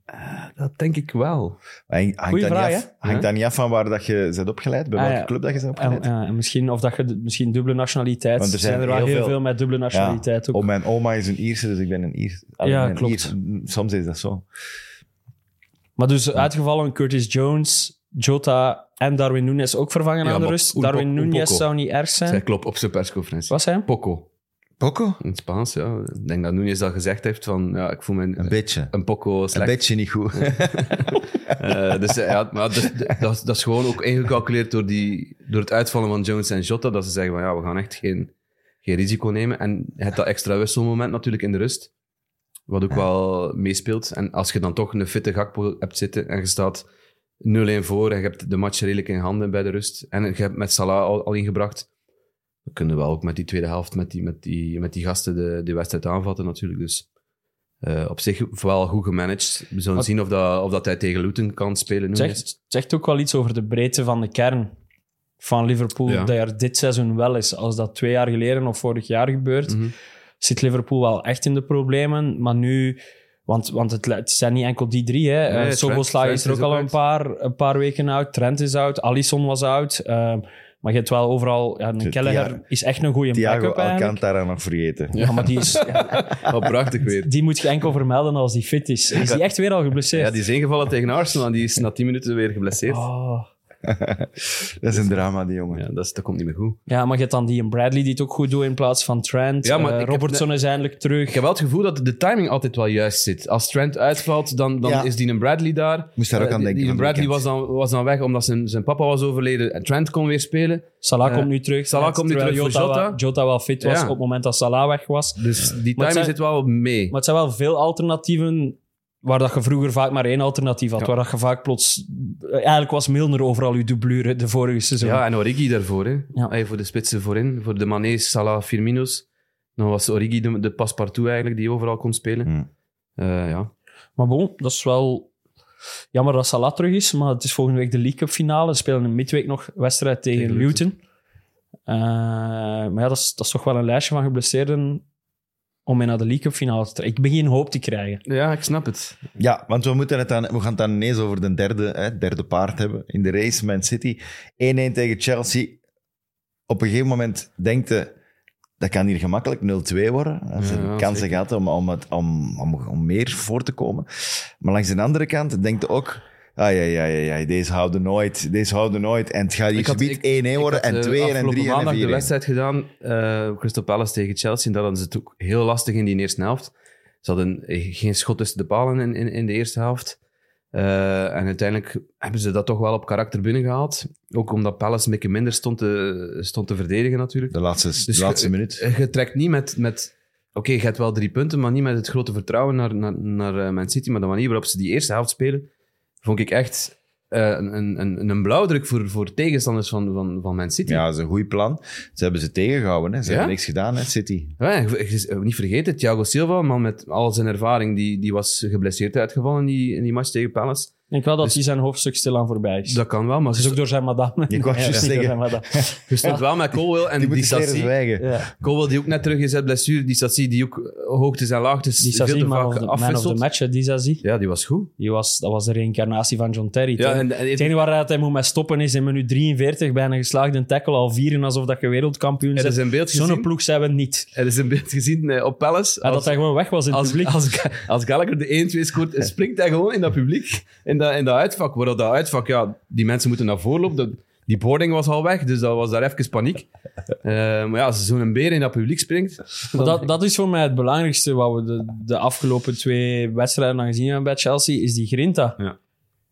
Speaker 5: Dat denk ik wel.
Speaker 4: Hangt
Speaker 6: Goeie
Speaker 4: dat niet
Speaker 6: vraag,
Speaker 4: af-
Speaker 5: Ja.
Speaker 4: Hangt dat niet af van waar dat je bent opgeleid? Bij
Speaker 6: Ah,
Speaker 4: welke
Speaker 6: ja.
Speaker 4: club dat je bent
Speaker 6: En,
Speaker 4: opgeleid?
Speaker 6: ja, en misschien, of dat je du- misschien dubbele nationaliteit.
Speaker 4: Want
Speaker 6: er zijn, er wel heel, veel, met dubbele nationaliteit ook.
Speaker 4: Oh, mijn oma is een Ierse, dus ik ben een Ier. Allee,
Speaker 6: Ja,
Speaker 4: ik ben een
Speaker 6: klopt.
Speaker 4: Ier. Mm, Soms is dat zo.
Speaker 6: Maar dus uitgevallen Curtis Jones, Jota en Darwin Nunes ook vervangen
Speaker 5: Ja,
Speaker 6: aan de
Speaker 5: maar
Speaker 6: rust.
Speaker 5: Oen-
Speaker 6: Darwin
Speaker 5: Oen-
Speaker 6: Nunes
Speaker 5: Poco.
Speaker 6: zou niet erg zijn.
Speaker 5: Zij klopt op zijn persconferentie.
Speaker 6: Wat zei hem?
Speaker 5: Poco.
Speaker 4: Poco?
Speaker 5: In het Spaans, ja. Ik denk dat Nunes dat gezegd heeft van, ja, ik voel me
Speaker 4: Een
Speaker 5: een,
Speaker 4: beetje.
Speaker 5: een poco
Speaker 4: Een
Speaker 5: slecht.
Speaker 4: beetje niet goed.
Speaker 5: Eh, dus eh, ja, maar dus, d- dat, is- dat is gewoon ook ingecalculeerd door, die, door het uitvallen van Jones en Jota. Dat ze zeggen van ja, we gaan echt geen, geen risico nemen. En je hebt dat extra wisselmoment natuurlijk in de rust, wat ook wel meespeelt. En als je dan toch een fitte Gakpo hebt zitten en je staat 0-1 voor en je hebt de match redelijk in handen bij de rust en je hebt met Salah al, al ingebracht, dan kunnen we wel ook met die tweede helft, met die, met die, met die gasten de, de wedstrijd aanvatten natuurlijk. Dus eh, op zich wel goed gemanaged. We zullen
Speaker 6: Wat-
Speaker 5: zien of dat, of dat hij tegen Luton kan spelen.
Speaker 6: Het
Speaker 5: nu.
Speaker 6: zegt, het zegt ook wel iets over de breedte van de kern van Liverpool.
Speaker 5: Ja.
Speaker 6: Dat er dit seizoen wel is. Als dat twee jaar geleden of vorig jaar gebeurt,
Speaker 5: Mhm.
Speaker 6: zit Liverpool wel echt in de problemen. Maar nu, want, want het, le- het zijn niet enkel die drie. Hè.
Speaker 5: Nee,
Speaker 6: Eh,
Speaker 5: Trent-
Speaker 6: Szoboszlai
Speaker 5: Trent
Speaker 6: is er ook
Speaker 5: is
Speaker 6: al
Speaker 5: ook
Speaker 6: een
Speaker 5: uit.
Speaker 6: paar, een paar weken uit. Trent is uit. Alisson was uit. Ehm, maar je hebt wel overal. Ja, een
Speaker 4: Thi-
Speaker 6: Kelleher is echt een goede
Speaker 4: Thiago
Speaker 6: backup. eigenlijk.
Speaker 4: Alcantara nog vergeten.
Speaker 6: Ja, maar die, is,
Speaker 5: Wel prachtig weer.
Speaker 6: die moet je enkel vermelden als die fit is. Is die echt weer al geblesseerd?
Speaker 5: Ja, die is ingevallen tegen Arsenal en die is na 10 minuten weer geblesseerd.
Speaker 6: Oh.
Speaker 4: Dat is een drama, die jongen.
Speaker 5: Ja, dat, is, dat komt niet meer goed.
Speaker 6: Ja, maar je hebt dan die en Bradley die het ook goed doet in plaats van Trent.
Speaker 5: Ja, maar
Speaker 6: Eh,
Speaker 5: ik heb
Speaker 6: Robertson is eindelijk terug.
Speaker 5: Ik heb wel het gevoel dat de timing altijd wel juist zit. Als Trent uitvalt, dan, dan
Speaker 4: Ja.
Speaker 5: is Dean Bradley daar.
Speaker 4: Moest daar ook
Speaker 5: Eh,
Speaker 4: aan denken
Speaker 5: Dean
Speaker 4: van het
Speaker 5: Bradley was
Speaker 4: weekend.
Speaker 5: dan, was dan weg omdat zijn, zijn papa was overleden. En Trent kon weer spelen.
Speaker 6: Salah
Speaker 5: Eh,
Speaker 6: komt nu terug.
Speaker 5: Salah
Speaker 6: Net
Speaker 5: komt nu
Speaker 6: terwijl
Speaker 5: terug voor
Speaker 6: Jota. wel-
Speaker 5: Jota.
Speaker 6: Jota wel fit was
Speaker 5: Ja.
Speaker 6: op het moment dat Salah weg was.
Speaker 5: Dus die
Speaker 6: Maar het
Speaker 5: timing
Speaker 6: zijn-
Speaker 5: zit wel mee.
Speaker 6: Maar het zijn wel veel alternatieven waar dat je vroeger vaak maar één alternatief had. Waar dat je vaak plots... eh, Eigenlijk was Milner overal je dublure de vorige seizoen.
Speaker 5: ja, en Origi daarvoor. Hè.
Speaker 6: Ja.
Speaker 5: Hey, voor de spitsen voorin. Voor de Manees, Salah, Firmino's. Dan was Origi de, de paspartout eigenlijk, die overal kon spelen.
Speaker 4: Hmm.
Speaker 5: Eh, ja.
Speaker 6: Maar bon, dat is wel... Jammer dat Salah terug is, maar het is volgende week de League Cup finale. Ze spelen in midweek nog wedstrijd tegen,
Speaker 5: Tegen
Speaker 6: Luton.
Speaker 5: Luton.
Speaker 6: Eh, maar ja, dat is, dat is toch wel een lijstje van geblesseerden om mee naar de League Cup finale te trekken. Ik begin hoop te krijgen.
Speaker 5: ja, ik snap het.
Speaker 4: Ja, want we, moeten het dan, we gaan het dan ineens over de derde, hè, derde paard hebben in de race, Man City. 1-1 tegen Chelsea. Op een gegeven moment denkt je, dat kan hier gemakkelijk 0-2 worden. Als er
Speaker 5: Ja, ja,
Speaker 4: kansen
Speaker 5: zeker.
Speaker 4: gaat om, om, het, om, om, om meer voor te komen. Maar langs de andere kant denkt je ook... Ai, ai, ai, ai, ai, deze houden nooit, deze houden nooit. En het gaat hier
Speaker 5: Ik had-
Speaker 4: gebied 1-1
Speaker 5: ik- Ik
Speaker 4: worden
Speaker 5: had,
Speaker 4: en
Speaker 5: eh,
Speaker 4: 2 en
Speaker 5: afgelopen
Speaker 4: 3
Speaker 5: maandag de
Speaker 4: en 4
Speaker 5: wedstrijd gedaan, eh Crystal Palace tegen Chelsea. En dat hadden ze het ook heel lastig in die eerste helft. Ze hadden eh, geen schot tussen de palen in, in, in de eerste helft. Eh, en uiteindelijk hebben ze dat toch wel op karakter binnengehaald. Ook omdat Palace een beetje minder stond te, stond te verdedigen natuurlijk.
Speaker 4: De laatste,
Speaker 5: Dus
Speaker 4: de laatste
Speaker 5: ge-
Speaker 4: minuut.
Speaker 5: Eh, Je trekt niet met... met Oké, je hebt wel drie punten, maar niet met het grote vertrouwen naar, naar, naar eh, Man City. Maar de manier waarop ze die eerste helft spelen, vond ik echt eh, een, een, een- een blauwdruk voor, voor tegenstanders van, van, van Man City.
Speaker 4: Ja, dat is een goed plan. Ze hebben ze tegengehouden. Hè. Ze
Speaker 5: Ja?
Speaker 4: hebben niks gedaan, hè, City.
Speaker 5: Ja, en Eh, je- je- niet vergeten, Thiago Silva, een man met al zijn ervaring, die, die was geblesseerd uitgevallen in die, in die match tegen Palace.
Speaker 6: Ik denk wel dat hij zijn hoofdstuk stilaan voorbij is.
Speaker 5: Dus Dat kan wel, maar
Speaker 6: Dat is
Speaker 5: ze
Speaker 6: ook door zijn madame.
Speaker 4: Ik wou
Speaker 6: Ja,
Speaker 4: juist
Speaker 6: dat is
Speaker 4: zeggen.
Speaker 6: door zijn madame.
Speaker 5: je stond wel met Colwell en die
Speaker 4: Die moeten leren
Speaker 5: Sassi.
Speaker 4: zwijgen.
Speaker 6: Ja.
Speaker 5: Colwell die ook net terug is uit blessure, die Sassi die ook hoogtes en laagtes
Speaker 6: Die
Speaker 5: veel
Speaker 6: Sazie,
Speaker 5: te
Speaker 6: man, of
Speaker 5: vaak
Speaker 6: the- man of the
Speaker 5: afwisselt.
Speaker 6: match, hè, die Sazie.
Speaker 5: Ja, die was goed.
Speaker 6: Die was, dat was de reïncarnatie van John Terry.
Speaker 5: Ja,
Speaker 6: toch?
Speaker 5: en- en-
Speaker 6: het enige waar dat hij moet mee stoppen is in minuut 43 bij een geslaagde tackle al vieren alsof dat je wereldkampioen
Speaker 5: Er is
Speaker 6: bent.
Speaker 5: een beeld
Speaker 6: Zo'n
Speaker 5: gezien,
Speaker 6: ploeg zijn we niet.
Speaker 5: er is een beeld gezien eh, op Palace.
Speaker 6: Ja, Ah, dat hij gewoon weg was in het
Speaker 5: als,
Speaker 6: publiek.
Speaker 5: als, Ga- als Gallagher de 1-2 scoort, springt hij gewoon in dat publiek, in dat, in dat uitvak. Waarop dat uitvak, ja, die mensen moeten naar voren lopen. Dat, die boarding was al weg, dus dat was daar even paniek. Eh, maar ja, als zo'n beer in dat publiek springt...
Speaker 6: Maar dat, dat is voor mij het belangrijkste wat we de, de afgelopen twee wedstrijden dan gezien hebben bij Chelsea, is die grinta.
Speaker 5: Ja.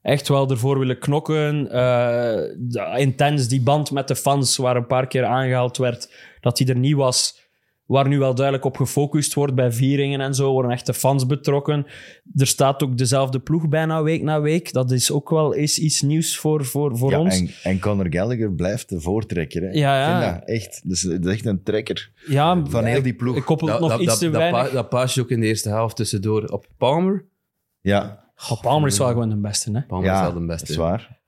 Speaker 6: Echt wel ervoor willen knokken. eh, de- intens die band met de fans, waar een paar keer aangehaald werd dat die er niet was. Waar nu wel duidelijk op gefocust wordt bij vieringen en zo, worden echt de fans betrokken. Er staat ook dezelfde ploeg bijna week na week. Dat is ook wel eens iets nieuws voor, voor, voor
Speaker 4: ja,
Speaker 6: ons.
Speaker 4: En, en Conor Gallagher blijft de voortrekker. Hè.
Speaker 6: Ja, ja.
Speaker 4: Ik vind dat echt, dat is, dat is echt een trekker
Speaker 6: ja,
Speaker 4: van heel die ploeg.
Speaker 6: ik koppel het
Speaker 5: dat,
Speaker 6: nog
Speaker 5: dat,
Speaker 6: iets
Speaker 5: dat,
Speaker 6: te
Speaker 5: dat
Speaker 6: weinig.
Speaker 5: pa- dat paasje ook in de eerste helft tussendoor op Palmer.
Speaker 4: Ja,
Speaker 6: Goh, Palmer is wel gewoon de beste, hè?
Speaker 5: Palmer is
Speaker 4: ja
Speaker 5: wel de beste.
Speaker 4: dat is waar.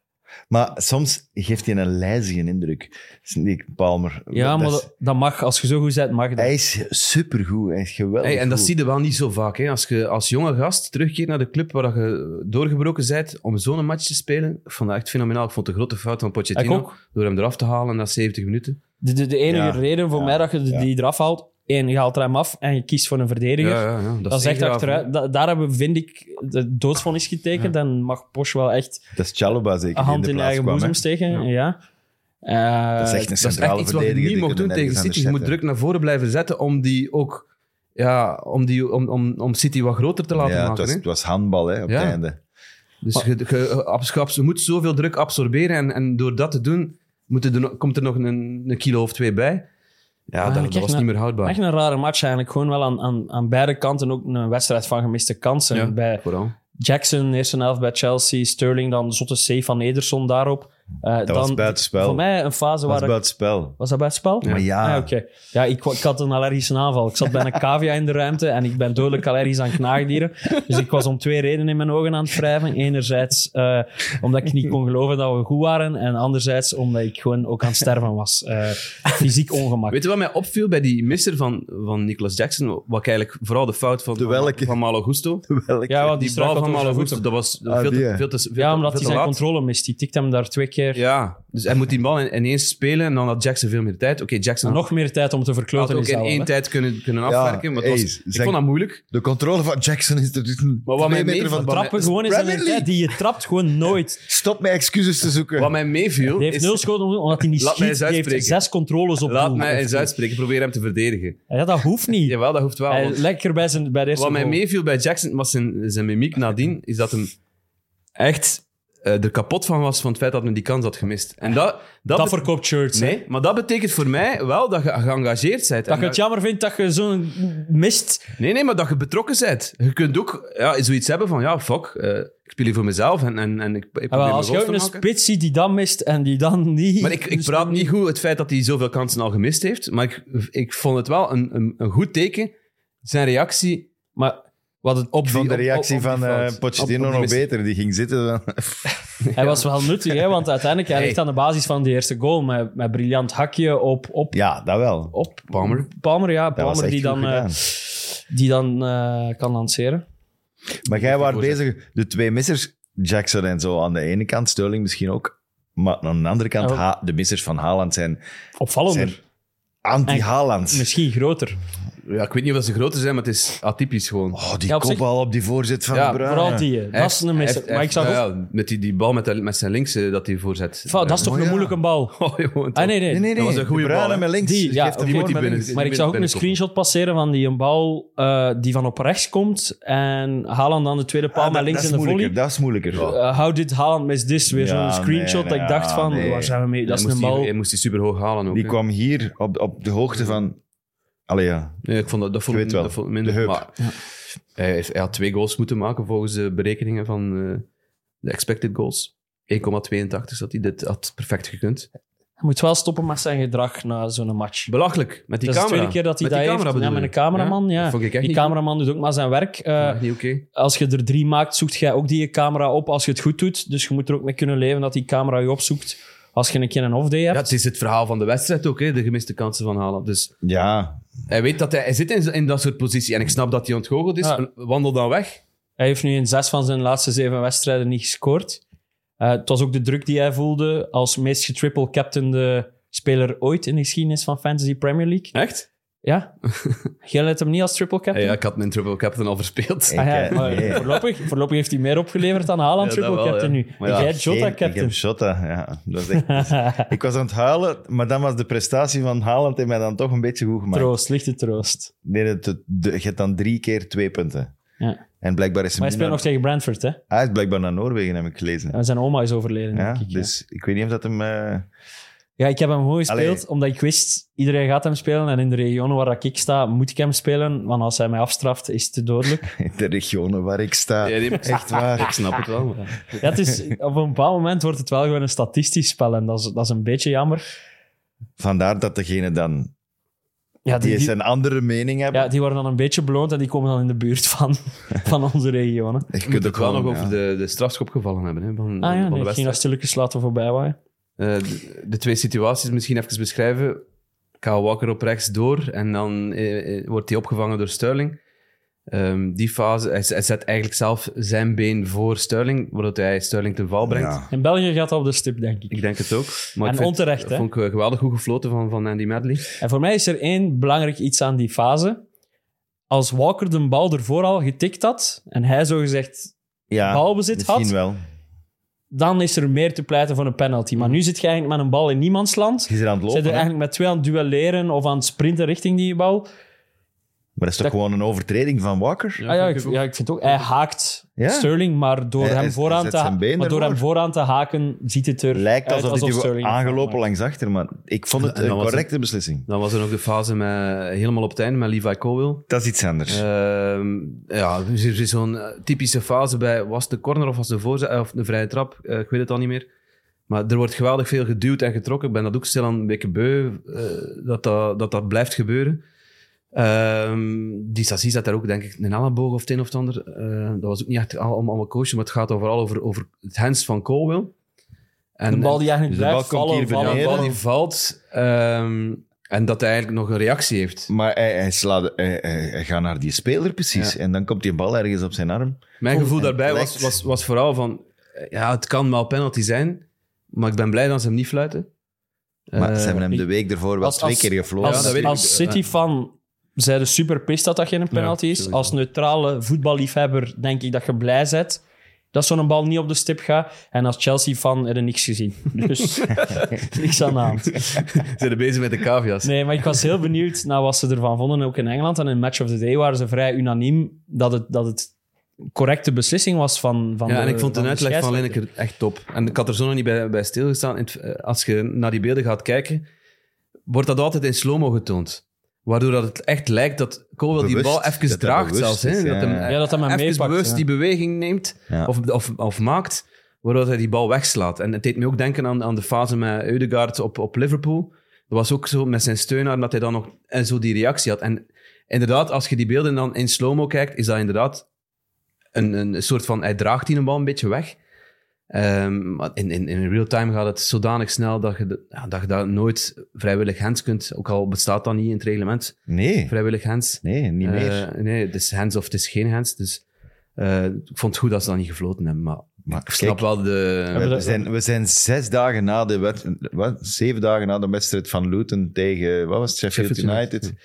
Speaker 4: Maar soms geeft hij een lijzige indruk. Sneak Palmer.
Speaker 6: Ja,
Speaker 4: Dat
Speaker 6: maar
Speaker 4: is-
Speaker 6: dat, dat mag. Als je zo goed bent, mag dat.
Speaker 4: hij is supergoed. Hij is geweldig
Speaker 5: Hey, en dat
Speaker 4: goed.
Speaker 5: zie je wel niet zo vaak. Hè? Als je als jonge gast terugkeert naar de club waar dat je doorgebroken bent om zo'n match te spelen, ik vond dat echt fenomenaal. Ik vond de grote fout van
Speaker 6: Ik
Speaker 5: Pochettino
Speaker 6: ook.
Speaker 5: door hem eraf te halen na 70 minuten.
Speaker 6: De, de, de enige
Speaker 4: Ja,
Speaker 6: reden voor mij dat je de-
Speaker 4: ja.
Speaker 6: die eraf haalt, één, je haalt er hem af en je kiest voor een verdediger.
Speaker 5: ja, ja.
Speaker 6: Dat is echt
Speaker 5: graaf,
Speaker 6: achteruit.
Speaker 5: hè.
Speaker 6: Da- daar hebben, vind ik, de doodvonnis getekend. En mag Porsche wel echt
Speaker 4: Dat is Chalobah zeker.
Speaker 6: een
Speaker 4: die
Speaker 6: hand
Speaker 4: de
Speaker 6: in
Speaker 4: plaats
Speaker 6: eigen
Speaker 4: kwam,
Speaker 6: boezem
Speaker 4: hè.
Speaker 6: steken. Ja. Eh,
Speaker 4: Dat is echt een
Speaker 5: Dat is echt
Speaker 4: centrale
Speaker 5: iets wat je
Speaker 4: verdediger.
Speaker 5: niet
Speaker 4: die
Speaker 5: mag
Speaker 4: kunnen
Speaker 5: doen tegen
Speaker 4: nergens
Speaker 5: City. Je moet
Speaker 4: anders
Speaker 5: druk naar voren blijven zetten om die ook... Ja, om, die, om, om, om City wat groter te
Speaker 4: zetten.
Speaker 5: laten
Speaker 4: Ja, het
Speaker 5: maken.
Speaker 4: was,
Speaker 5: hè.
Speaker 4: het was handbal hè, op
Speaker 5: Ja.
Speaker 4: het einde.
Speaker 5: Dus je, je- abs- je abs- je moet zoveel druk absorberen. En, en door dat te doen, moet er, nog- komt er nog een, een kilo of twee bij. Ah, Ja, dat, dat
Speaker 6: echt
Speaker 5: was
Speaker 6: een-
Speaker 5: niet meer houdbaar.
Speaker 6: Echt een rare match eigenlijk. Gewoon wel aan, aan, aan beide kanten ook een wedstrijd van gemiste kansen.
Speaker 5: Ja.
Speaker 6: Bij
Speaker 5: Vooral.
Speaker 6: Jackson, eerste helft bij Chelsea. Sterling, dan de zotte save van Ederson daarop. Eh,
Speaker 4: Dat was
Speaker 6: dan-
Speaker 4: buitenspel.
Speaker 6: Voor mij een
Speaker 4: Dat
Speaker 6: fase
Speaker 4: was
Speaker 6: waar... ik-
Speaker 4: buitenspel.
Speaker 6: Was dat bij het spel?
Speaker 4: Maar ja.
Speaker 6: Ah, oké. ja ik, ik had een allergische aanval. Ik zat bij een cavia in de ruimte en ik ben dodelijk allergisch aan knaagdieren. Dus ik was om twee redenen in mijn ogen aan het wrijven. Enerzijds eh, omdat ik niet kon geloven dat we goed waren. En anderzijds omdat ik gewoon ook aan het sterven was. Eh, fysiek ongemak.
Speaker 5: Weet je wat mij opviel bij die misser van, van Nicolas Jackson? Wat ik eigenlijk vooral de fout van,
Speaker 4: De welke?
Speaker 5: van Malo Gusto.
Speaker 4: Welke-
Speaker 6: ja, want die,
Speaker 5: Die bal van
Speaker 6: struikelde
Speaker 5: Malo
Speaker 6: over zijn
Speaker 5: Gusto, dat was
Speaker 4: Ah,
Speaker 5: veel,
Speaker 4: die,
Speaker 5: te,
Speaker 4: hè?
Speaker 5: veel te veel te-
Speaker 6: voet. Ja, omdat
Speaker 5: veel
Speaker 6: hij
Speaker 5: te
Speaker 6: zijn
Speaker 5: laat.
Speaker 6: controle mist. Die tikt hem daar twee keer.
Speaker 5: Ja, dus hij moet die bal in- ineens spelen en dan had Jackson veel meer tijd. Oké, Jackson had-
Speaker 6: Nog meer tijd om te
Speaker 5: had
Speaker 6: verkloten.
Speaker 5: ook
Speaker 6: is
Speaker 5: in
Speaker 6: dat wel,
Speaker 5: één
Speaker 6: hè?
Speaker 5: tijd kunnen, kunnen afwerken. maar het was-
Speaker 4: hey,
Speaker 5: ik
Speaker 4: zeg-
Speaker 5: vond dat moeilijk.
Speaker 4: De controle van Jackson is er dus
Speaker 5: Maar wat mij
Speaker 4: twee meter
Speaker 5: mee-
Speaker 4: van...
Speaker 5: wat-
Speaker 6: Trappen gewoon is een
Speaker 4: Premier
Speaker 6: tijd die je trapt gewoon nooit.
Speaker 4: Stop met excuses te zoeken.
Speaker 5: Wat mij meeviel
Speaker 6: Die heeft
Speaker 5: is...
Speaker 6: nul schoten op doel, omdat hij niet
Speaker 5: Laat mij
Speaker 6: schiet.
Speaker 5: eens
Speaker 6: Die heeft
Speaker 5: uitspreken.
Speaker 6: zes controles op
Speaker 5: Laat
Speaker 6: doel.
Speaker 5: mij
Speaker 6: Of
Speaker 5: eens
Speaker 6: niet?
Speaker 5: uitspreken. Probeer hem te verdedigen.
Speaker 6: Ja, dat hoeft niet.
Speaker 5: Jawel, dat hoeft wel.
Speaker 6: Hij-
Speaker 5: want
Speaker 6: lekker bij, zijn, bij de eerste
Speaker 5: wat mij
Speaker 6: goal.
Speaker 5: meeviel bij Jackson was zijn, zijn mimiek nadien, is dat hem echt eh, er kapot van was van het feit dat men die kans had gemist. En dat...
Speaker 6: Dat,
Speaker 5: bet-
Speaker 6: verkoopt shirts. hè.
Speaker 5: Nee, maar dat betekent voor mij wel dat je geëngageerd bent.
Speaker 6: Dat
Speaker 5: En
Speaker 6: je het jammer vindt dat je zo'n mist...
Speaker 5: Nee, nee, maar dat je betrokken bent. Je kunt ook ja, zoiets hebben van, ja, fuck, eh, ik speel hier voor mezelf en, en, en ik, ik probeer
Speaker 6: Ah, wel,
Speaker 5: mijn
Speaker 6: als je
Speaker 5: goals
Speaker 6: ook
Speaker 5: te
Speaker 6: een
Speaker 5: maken.
Speaker 6: spits ziet die dan mist en die dan niet...
Speaker 5: Maar ik, ik
Speaker 6: dus-
Speaker 5: praat niet goed het feit dat hij zoveel kansen al gemist heeft, maar ik, ik vond het wel een, een, een goed teken. Zijn reactie
Speaker 6: Maar wat het op...
Speaker 4: Ik vond de
Speaker 5: op- op-
Speaker 4: reactie
Speaker 5: op die
Speaker 4: van
Speaker 5: fout.
Speaker 4: eh, Pochettino
Speaker 5: Op- op die
Speaker 4: nog
Speaker 5: mis-
Speaker 4: beter. Die ging zitten.
Speaker 6: Hij was wel nuttig, hè, want uiteindelijk hij
Speaker 5: Hey.
Speaker 6: ligt aan de basis van die eerste goal met, met briljant hakje op... op
Speaker 4: Ja, dat wel.
Speaker 6: op
Speaker 5: Palmer.
Speaker 6: Palmer, ja.
Speaker 4: was
Speaker 6: Palmer
Speaker 4: echt
Speaker 6: die
Speaker 4: goed
Speaker 6: dan, eh,
Speaker 4: gedaan.
Speaker 6: die dan eh, kan lanceren.
Speaker 4: Maar jij was
Speaker 5: voorzet.
Speaker 4: bezig, de twee missers, Jackson en zo aan de ene kant, Sterling misschien ook. Maar aan de andere kant,
Speaker 6: Ja.
Speaker 4: Ha- de missers van Haaland zijn,
Speaker 6: Opvallender.
Speaker 4: zijn anti-Haaland.
Speaker 6: Misschien groter.
Speaker 5: Ja, ik weet niet of dat ze groter zijn, maar het is atypisch gewoon.
Speaker 4: Oh, die
Speaker 6: Ja, op zich-
Speaker 4: kopbal op die voorzet van
Speaker 5: Ja,
Speaker 4: de Bruyne.
Speaker 6: Vooral die. eh,
Speaker 5: Hij
Speaker 6: Dat is
Speaker 5: heeft-
Speaker 6: een
Speaker 5: hij
Speaker 6: mis.
Speaker 5: heeft-
Speaker 6: Maar
Speaker 5: hij
Speaker 6: ik zag ook...
Speaker 5: heeft- ja, ja, met die, die bal met, de- met zijn links eh, dat hij voorzet.
Speaker 6: Van, dat is toch
Speaker 4: Oh,
Speaker 6: een
Speaker 4: ja.
Speaker 6: moeilijke bal.
Speaker 5: Oh, gewoon.
Speaker 6: Ah, nee, nee.
Speaker 4: Nee, nee, nee.
Speaker 5: Dat was een goede
Speaker 4: de Bruyne
Speaker 5: bal, hè.
Speaker 4: met links.
Speaker 6: Die,
Speaker 4: Dus
Speaker 6: ja,
Speaker 4: geeft hem
Speaker 6: oké.
Speaker 4: gewoon
Speaker 5: Die moet
Speaker 4: met
Speaker 5: die
Speaker 4: links.
Speaker 5: binnen-
Speaker 6: Maar ik zag ook een
Speaker 5: binnenkomen.
Speaker 6: screenshot passeren van die een bal eh, die van op rechts komt. En Haaland dan de tweede paal
Speaker 4: Ah,
Speaker 6: met
Speaker 4: dat-
Speaker 6: links
Speaker 4: dat
Speaker 6: in
Speaker 4: is
Speaker 6: de volley.
Speaker 4: moeilijker, Dat is moeilijker.
Speaker 6: Eh, How did Haaland miss this? Weer
Speaker 4: Ja,
Speaker 6: zo'n screenshot
Speaker 4: nee,
Speaker 6: dat ik dacht
Speaker 4: nee,
Speaker 6: van,
Speaker 4: nee.
Speaker 6: waar zijn we mee? Dat is
Speaker 5: Hij moest
Speaker 6: een
Speaker 5: die-
Speaker 6: bal.
Speaker 5: Hij moest die super hoog halen ook.
Speaker 4: Die
Speaker 5: hè.
Speaker 4: kwam hier op, op de hoogte van... Allee, ja.
Speaker 5: Nee, ik vond dat, dat vond
Speaker 4: Ik
Speaker 5: ik
Speaker 4: weet wel.
Speaker 5: dat vond ik minder.
Speaker 4: De heup.
Speaker 5: Maar hij, heeft- hij had twee goals moeten maken volgens de berekeningen van eh, de expected goals. 1,82 zat hij. Dit had perfect gekund.
Speaker 6: Hij moet wel stoppen met zijn gedrag na zo'n match.
Speaker 5: Belachelijk. Met die
Speaker 6: dat is
Speaker 5: camera.
Speaker 6: de tweede keer dat hij
Speaker 5: met
Speaker 6: dat
Speaker 5: die
Speaker 6: heeft.
Speaker 5: camera
Speaker 6: ja,
Speaker 5: bedoel
Speaker 6: met
Speaker 5: je?
Speaker 6: een cameraman, ja.
Speaker 5: Dat vond ik echt
Speaker 6: Die
Speaker 5: niet
Speaker 6: cameraman doet ook maar zijn werk. Eh,
Speaker 5: goed. Echt niet oké.
Speaker 6: als je er drie maakt, zoekt jij ook die camera op als je het goed doet. Dus je moet er ook mee kunnen leven dat die camera je opzoekt als je een keer een off-day hebt.
Speaker 5: Ja, het is het verhaal van de wedstrijd ook, hè, de gemiste kansen van Haaland. Dus
Speaker 4: Ja,
Speaker 5: hij weet dat hij, hij zit in, in dat soort positie. En ik snap dat hij ontgoocheld is.
Speaker 6: Ja.
Speaker 5: Wandel dan weg.
Speaker 6: Hij heeft nu in zes van zijn laatste zeven wedstrijden niet gescoord. Eh, het was ook de druk die hij voelde als meest getriple captainde speler ooit in de geschiedenis van Fantasy Premier League.
Speaker 5: Echt?
Speaker 6: Ja? Jij let hem niet als triple captain?
Speaker 5: Ja, ik had mijn triple captain al verspeeld.
Speaker 4: Ja,
Speaker 6: Ah ja,
Speaker 4: ik, eh,
Speaker 6: maar
Speaker 4: nee.
Speaker 6: voorlopig, voorlopig heeft hij meer opgeleverd dan Haaland
Speaker 5: Ja, dat
Speaker 6: triple
Speaker 5: wel,
Speaker 6: captain
Speaker 5: ja.
Speaker 6: nu.
Speaker 5: Maar
Speaker 6: En
Speaker 5: ja,
Speaker 6: jij Jota
Speaker 4: Geen- Ik
Speaker 6: captain.
Speaker 4: heb Jota, ja. Dat is echt- ik was aan het huilen, maar dan was de prestatie van Haaland in mij dan toch een beetje goed gemaakt.
Speaker 6: Troost, lichte troost.
Speaker 4: Nee, het- het- de- je hebt dan drie keer twee punten.
Speaker 6: Ja.
Speaker 4: En blijkbaar is
Speaker 6: Maar
Speaker 4: hij...
Speaker 6: hij speelt nog tegen Brentford, hè?
Speaker 4: Hij is blijkbaar naar Noorwegen, heb ik gelezen. Ja,
Speaker 6: En zijn oma is overleden, denk ik. ja.
Speaker 4: dus ik weet niet of dat hem... eh,
Speaker 6: Ja, ik heb hem gewoon gespeeld,
Speaker 4: Allee.
Speaker 6: omdat ik wist, iedereen gaat hem spelen. En in de regionen waar ik sta, moet ik hem spelen. Want als hij mij afstraft, is het te dodelijk.
Speaker 4: in de regionen waar ik sta...
Speaker 5: Ja, nee, maar-
Speaker 4: Echt waar.
Speaker 5: Ik snap het wel. maar-
Speaker 6: Ja, het is, op een bepaald moment wordt het wel gewoon een statistisch spel. En dat is, dat is een beetje jammer.
Speaker 4: Vandaar dat degene dan...
Speaker 6: Ja,
Speaker 4: die
Speaker 6: die, die,
Speaker 4: een andere mening hebben.
Speaker 6: ja, die worden dan een beetje beloond en die komen dan in de buurt van, van onze regionen.
Speaker 4: je
Speaker 5: Ik
Speaker 4: kunt
Speaker 5: moet
Speaker 4: ook
Speaker 5: ook wel nog
Speaker 4: gewoon,
Speaker 5: over
Speaker 4: ja.
Speaker 5: de, de strafschop gevallen hebben. Hè, van,
Speaker 6: Ah ja,
Speaker 5: van de,
Speaker 6: nee, ik ging dat
Speaker 5: wedstrijd.
Speaker 6: stilletjes laten voorbij waaien.
Speaker 5: Eh, de, de twee situaties misschien even beschrijven. Kyle Walker op rechts door en dan eh, eh, wordt hij opgevangen door Sterling. Ehm, die fase, hij, z- hij zet eigenlijk zelf zijn been voor Sterling, waardoor hij Sterling ten val brengt.
Speaker 4: Ja.
Speaker 6: In België gaat dat op de stip, denk ik.
Speaker 5: Ik denk het ook. Maar
Speaker 6: En
Speaker 5: ik vind-
Speaker 6: onterecht, hè?
Speaker 5: vond ik eh, geweldig goed gefloten van, van Andy Medley.
Speaker 6: En voor mij is er één belangrijk iets aan die fase. Als Walker de bal ervoor al getikt had, en hij zogezegd
Speaker 4: Ja,
Speaker 6: balbezit
Speaker 4: misschien
Speaker 6: had,
Speaker 4: wel.
Speaker 6: dan is er meer te pleiten voor een penalty. Maar nu zit je eigenlijk met een bal in niemands land.
Speaker 4: Je is er aan het
Speaker 6: Zit
Speaker 4: lopen.
Speaker 6: je
Speaker 4: hè?
Speaker 6: eigenlijk met twee aan het duelleren of aan het sprinten richting die bal.
Speaker 4: Maar dat is toch
Speaker 6: Dat-
Speaker 4: gewoon een overtreding van Walker?
Speaker 6: Ah, ja, ik, ja, ik vind ook. Hij haakt
Speaker 4: Ja.
Speaker 6: Sterling, maar door,
Speaker 4: Hij- hij
Speaker 6: hem,
Speaker 4: zet
Speaker 6: vooraan te,
Speaker 4: zijn
Speaker 6: ha-
Speaker 4: been
Speaker 6: maar door hem
Speaker 4: ervoor.
Speaker 6: vooraan te haken, ziet het er
Speaker 4: Lijkt
Speaker 6: uit
Speaker 4: alsof,
Speaker 6: alsof
Speaker 4: hij
Speaker 6: Sterling
Speaker 4: aangelopen langs achter, maar ik vond het
Speaker 5: En dan
Speaker 4: een
Speaker 5: was het-
Speaker 4: correcte beslissing.
Speaker 5: Dan was er ook de fase met, helemaal op het einde met Levi Colwill.
Speaker 4: Dat is iets anders.
Speaker 5: Ehm, ja, dus er is zo'n eh, typische fase bij, was het de corner of was het de voorzet eh, of de vrije trap? Eh, ik weet het al niet meer. Maar er wordt geweldig veel geduwd en getrokken. Ik ben dat ook stilaan een beetje beu, eh, dat, dat, dat dat blijft gebeuren. Ehm die Sassi zat daar ook, denk ik, een elleboog of het een of het ander. Eh, dat was ook niet echt al- om allemaal coachen, maar het gaat vooral over, over het hands van Colwill. En,
Speaker 6: De bal die
Speaker 4: Dus
Speaker 6: eigenlijk
Speaker 4: de bal
Speaker 6: blijft
Speaker 4: komt
Speaker 6: vallen,
Speaker 4: hier
Speaker 5: ja,
Speaker 6: vallen,
Speaker 5: de
Speaker 4: beneden.
Speaker 5: bal die
Speaker 6: vallen.
Speaker 5: valt ehm, en dat hij eigenlijk nog een reactie heeft.
Speaker 4: Maar hij, hij, slaat, hij, hij- hij gaat naar die speler precies.
Speaker 5: Ja.
Speaker 4: En dan komt die bal ergens op zijn arm.
Speaker 5: Mijn gevoel
Speaker 4: en
Speaker 5: daarbij
Speaker 4: lijkt-
Speaker 5: was, was, was vooral van... eh, Ja, het kan wel penalty zijn, maar ik ben blij dat ze hem niet fluiten.
Speaker 4: Maar
Speaker 5: Eh,
Speaker 4: ze hebben hem
Speaker 6: ik-
Speaker 4: de week ervoor wel
Speaker 6: als-
Speaker 4: twee
Speaker 6: als-
Speaker 4: keer gefloten.
Speaker 5: Ja, dat weet
Speaker 6: Als,
Speaker 5: ik.
Speaker 6: als City-fan zijn de super pissed dat dat geen penalty is.
Speaker 5: sowieso.
Speaker 6: Als neutrale voetballiefhebber denk ik dat je blij bent dat zo'n bal niet op de stip gaat. En als Chelsea-fan heb je niks gezien. Dus niks aan de hand.
Speaker 5: Ze zijn bezig met de cavia's.
Speaker 6: Nee, maar ik was heel benieuwd naar wat ze ervan vonden, ook in Engeland. En in Match of the Day waren ze vrij unaniem dat het, dat het correcte beslissing was van, van
Speaker 5: ja,
Speaker 6: de
Speaker 5: en ik vond
Speaker 6: van
Speaker 5: de
Speaker 6: de
Speaker 5: uitleg van
Speaker 6: scheidsrechter.
Speaker 5: Lineker echt top. En ik had er zo nog niet bij, bij stilgestaan. In het- eh, Als je naar die beelden gaat kijken, wordt dat altijd in slow-mo getoond. Waardoor dat het echt lijkt dat Colwell die
Speaker 4: Bewust,
Speaker 5: bal even
Speaker 4: dat dat
Speaker 5: draagt
Speaker 4: bewust
Speaker 5: zelfs. hè.
Speaker 4: is, ja.
Speaker 5: Dat hem eh,
Speaker 6: Ja, dat hij hem
Speaker 5: even
Speaker 6: meepakt,
Speaker 5: bewust
Speaker 6: ja.
Speaker 5: die beweging neemt
Speaker 4: Ja.
Speaker 5: of, of, of maakt, waardoor hij die bal wegslaat. En het deed me ook denken aan, aan de fase met Eudegaard op, op Liverpool. Dat was ook zo met zijn steunaar, dat hij dan nog en zo die reactie had. En inderdaad, als je die beelden dan in slow-mo kijkt, is dat inderdaad een, een soort van... Hij draagt die een bal een beetje weg. Ehm, maar in, in, in real time gaat het zodanig snel dat je, de- ja, dat je daar nooit vrijwillig hands kunt. Ook al bestaat dat niet in het reglement,
Speaker 4: Nee,
Speaker 5: vrijwillig hands.
Speaker 4: nee, niet meer.
Speaker 5: Eh, nee, het is hands of het is geen hands. Dus eh, ik vond het goed dat ze dat niet gefloten hebben. Maar
Speaker 4: maar
Speaker 5: ik snap
Speaker 4: kijk,
Speaker 5: wel de...
Speaker 4: we, zijn, we zijn zes dagen na de wet, wat, zeven dagen na de wedstrijd van Luton tegen wat was het, Sheffield
Speaker 5: Sheffield
Speaker 4: United.
Speaker 5: United.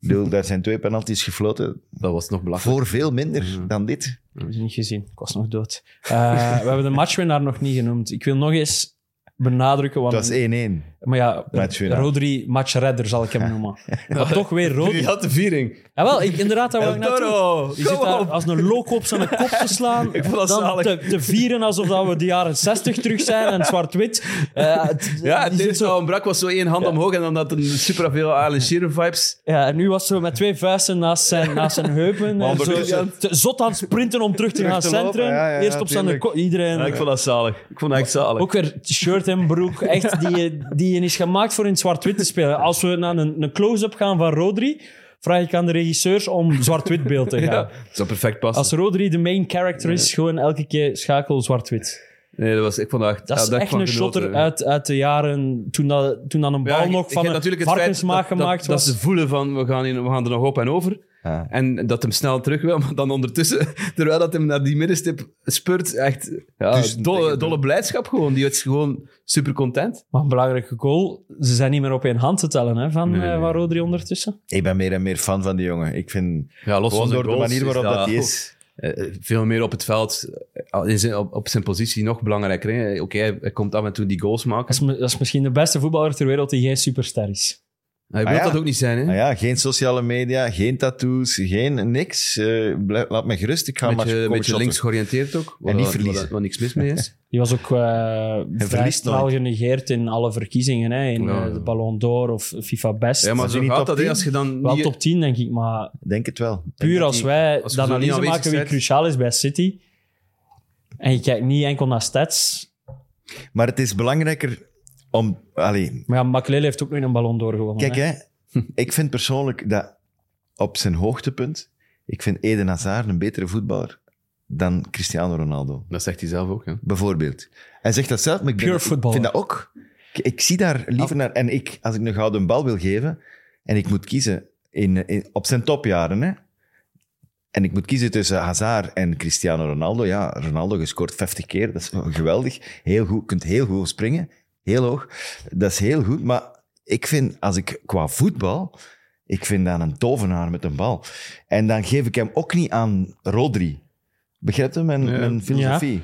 Speaker 4: Ik bedoel, daar zijn twee penalties gefloten.
Speaker 5: Dat was nog belachelijk.
Speaker 4: Voor veel minder dan dit.
Speaker 6: Ik heb ze niet gezien. Ik was nog dood. Eh, we hebben de matchwinnaar nog niet genoemd. Ik wil nog eens benadrukken, want...
Speaker 4: Het was 1-1.
Speaker 6: Maar ja,
Speaker 4: Matchwinnaar.
Speaker 6: Rodri, matchredder zal ik hem noemen. Maar toch weer Rodri.
Speaker 5: had de viering.
Speaker 6: Ja, wel, ik, inderdaad, daar wil ik naartoe.
Speaker 5: Toro!
Speaker 6: Je zit daar als een loco op zijn kop te slaan.
Speaker 5: vond dat
Speaker 6: dan
Speaker 5: zalig.
Speaker 6: te, te vieren alsof dat we de jaren 60 terug zijn en zwart-wit. Eh, het-
Speaker 5: Ja,
Speaker 6: die
Speaker 5: het
Speaker 6: zit
Speaker 5: eerste
Speaker 6: zo,
Speaker 5: wat brak was zo één hand omhoog en dan had een super veel Alan Shearer vibes.
Speaker 6: ja, en nu was ze met twee vuisten naast zijn, naast zijn heupen. En zo,
Speaker 4: ondertussen-
Speaker 6: te- zot aan het sprinten om terug te gaan
Speaker 4: te lopen,
Speaker 6: centrum.
Speaker 4: ja, ja,
Speaker 6: Eerst op zijn
Speaker 4: tuurlijk.
Speaker 6: kop. Iedereen. eh,
Speaker 5: Ja, ik vond dat zalig. Ik vond dat echt zalig.
Speaker 6: Ook weer shirt en broek, echt, die, je- die je is gemaakt voor in zwart-wit te spelen. Als we naar een, een close-up gaan van Rodri, vraag ik aan de regisseurs om zwart-wit beeld te gaan.
Speaker 5: ja. Dat zou perfect passen.
Speaker 6: Als Rodri de main character is, gewoon elke keer schakel zwart-wit.
Speaker 5: Nee, dat was, ik vond dat echt...
Speaker 6: Dat
Speaker 5: ja,
Speaker 6: is
Speaker 5: daar
Speaker 6: echt
Speaker 5: kwam
Speaker 6: een
Speaker 5: genoten.
Speaker 6: shotter uit, uit de jaren toen, dat, toen dan een
Speaker 5: Ja,
Speaker 6: bal
Speaker 5: ik-
Speaker 6: nog
Speaker 5: ik
Speaker 6: van
Speaker 5: heb
Speaker 6: een
Speaker 5: natuurlijk het feit
Speaker 6: varkensmaag
Speaker 5: dat-
Speaker 6: gemaakt
Speaker 5: dat,
Speaker 6: was.
Speaker 5: Dat ze voelen van, we gaan, hier, we gaan er nog op en over.
Speaker 4: Ja.
Speaker 5: En dat hem snel terug wil, maar dan ondertussen, terwijl dat hem naar die middenstip spurt, echt ja,
Speaker 4: Dus
Speaker 5: dolle, dolle blijdschap gewoon. Die is gewoon super content.
Speaker 6: Maar een belangrijke goal, ze zijn niet meer op één hand te tellen hè, van,
Speaker 5: Nee,
Speaker 6: eh,
Speaker 5: nee.
Speaker 6: van Rodri ondertussen.
Speaker 4: Ik ben meer en meer fan van die jongen. Ik vind,
Speaker 5: Ja, los
Speaker 4: gewoon door de manier waarop dat hij is.
Speaker 5: Eh, veel meer op het veld, eh, in zijn- op, op zijn positie nog belangrijker. hè. Eh, Oké, hij- hij komt af en toe die goals
Speaker 6: Dat
Speaker 5: maken.
Speaker 6: is, mi- dat is misschien de beste voetballer ter wereld die geen superster is.
Speaker 5: Hij wil
Speaker 4: Ah, ja.
Speaker 5: dat ook niet zijn, hè?
Speaker 4: Nou ja, geen sociale media, geen tattoos, geen niks. Eh, blij- laat me gerust, ik ga
Speaker 5: Een
Speaker 4: maar
Speaker 5: beetje,
Speaker 4: komen
Speaker 5: beetje
Speaker 4: shotten.
Speaker 5: links georiënteerd ook. waar-
Speaker 4: niet
Speaker 5: waar-
Speaker 4: verliezen.
Speaker 5: Waar, waar niks mis mee is.
Speaker 6: Die was ook eh vrij
Speaker 4: verliest
Speaker 6: snel
Speaker 4: nooit.
Speaker 6: genegeerd in alle verkiezingen. Hè, in
Speaker 5: Ja,
Speaker 6: eh,
Speaker 5: ja.
Speaker 6: de Ballon d'Or of FIFA Best.
Speaker 5: Ja, maar
Speaker 4: Als je
Speaker 5: zo
Speaker 4: niet
Speaker 5: gaat
Speaker 4: top
Speaker 5: dat, hè,
Speaker 4: 10?
Speaker 5: Als je dan
Speaker 6: Wel
Speaker 5: niet-
Speaker 6: top 10, denk ik. Maar
Speaker 4: Denk het wel. Denk
Speaker 6: puur
Speaker 4: dat
Speaker 6: als
Speaker 4: die-
Speaker 6: wij
Speaker 5: als
Speaker 6: de
Speaker 5: je zo niet
Speaker 6: analyse
Speaker 5: aanwezig
Speaker 6: maken wie
Speaker 5: bent.
Speaker 6: cruciaal is bij City. En je kijkt niet enkel naar stats.
Speaker 4: Maar het is belangrijker om... Allee,
Speaker 6: Maar ja, Makelele heeft ook nog een ballon doorgewonnen.
Speaker 4: kijk,
Speaker 6: hè.
Speaker 4: hè. ik vind persoonlijk dat op zijn hoogtepunt... Ik vind Eden Hazard een betere voetballer dan Cristiano Ronaldo,
Speaker 5: Dat zegt hij zelf ook, hè.
Speaker 4: bijvoorbeeld. Hij zegt dat zelf, maar ik ben-
Speaker 6: Pure
Speaker 4: ik
Speaker 6: voetballer. Ah.
Speaker 4: vind dat ook. Ik, ik zie daar liever naar... En ik, als ik een gouden bal wil geven en ik moet kiezen in, in- op zijn topjaren, hè, en ik moet kiezen tussen Hazard en Cristiano Ronaldo. Ja, Ronaldo gescoord 50 keer. Dat is geweldig. Heel goed. Je kunt heel goed springen. Heel hoog. Dat is heel goed. Maar ik vind, als ik qua voetbal... Ik vind dan een tovenaar met een bal. En dan geef ik hem ook niet aan Rodri. Begrijpt u mijn,
Speaker 5: Ja.
Speaker 4: mijn filosofie?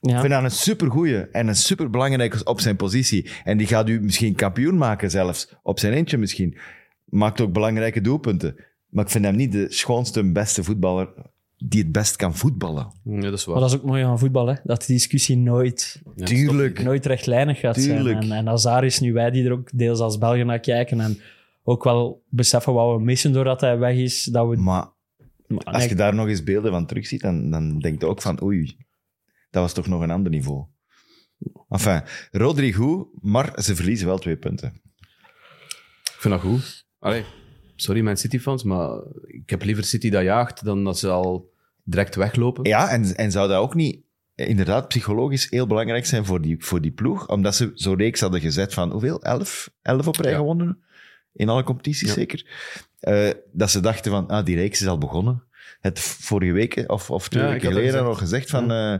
Speaker 6: Ja.
Speaker 4: Ik vind dat een supergoeie en een superbelangrijke op zijn positie. En die gaat u misschien kampioen maken zelfs. Op zijn eentje misschien. Maakt ook belangrijke doelpunten. Maar ik vind hem niet de schoonste, beste voetballer die het best kan voetballen.
Speaker 5: Ja, dat is waar.
Speaker 6: Maar dat is ook mooi aan voetbal, hè? dat die discussie nooit,
Speaker 5: Ja,
Speaker 4: Tuurlijk.
Speaker 6: nooit rechtlijnig gaat
Speaker 4: Eh, Tuurlijk.
Speaker 6: zijn. En, en Azar is nu wij die er ook deels als Belgen naar kijken. En ook wel beseffen wat we missen doordat hij weg is. Dat we,
Speaker 4: Maar
Speaker 6: Maar
Speaker 4: als
Speaker 6: Ah, nee,
Speaker 4: je daar nog eens beelden van terugziet, dan, dan denk je ook van oei, dat was toch nog een ander niveau. Enfin, Rodri goed, maar ze verliezen wel twee punten.
Speaker 5: Ik vind dat goed. Allee, sorry mijn City-fans, maar ik heb liever City dat jaagt dan dat ze al direct weglopen.
Speaker 4: Ja, en, en zou dat ook niet inderdaad psychologisch heel belangrijk zijn voor die, voor die ploeg? Omdat ze zo'n reeks hadden gezet van hoeveel? Elf? Elf op rij
Speaker 5: Ja.
Speaker 4: gewonnen? In alle competities
Speaker 5: Ja.
Speaker 4: zeker? Eh, dat ze dachten van, ah, die reeks is al begonnen. Het vorige week eh, of, of twee
Speaker 5: Ja, ik
Speaker 4: weken
Speaker 5: had dat
Speaker 4: geleden
Speaker 5: gezegd.
Speaker 4: nog gezegd van, eh,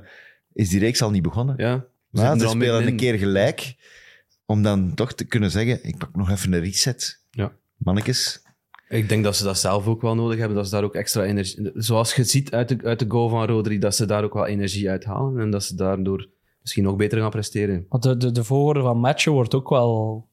Speaker 4: is die reeks al niet begonnen?
Speaker 5: Ja. We zitten
Speaker 4: Ja,
Speaker 5: er
Speaker 4: ze
Speaker 5: al
Speaker 4: spelen
Speaker 5: middenin.
Speaker 4: een keer gelijk. Om dan toch te kunnen zeggen, ik pak nog even een reset.
Speaker 5: Ja.
Speaker 4: Mannekes.
Speaker 5: Ik denk dat ze dat zelf ook wel nodig hebben, dat ze daar ook extra energie... Zoals je ziet uit de, uit de goal van Rodri, dat ze daar ook wel energie uithalen en dat ze daardoor misschien nog beter gaan presteren.
Speaker 6: want de, de, de volgorde van matchen wordt ook wel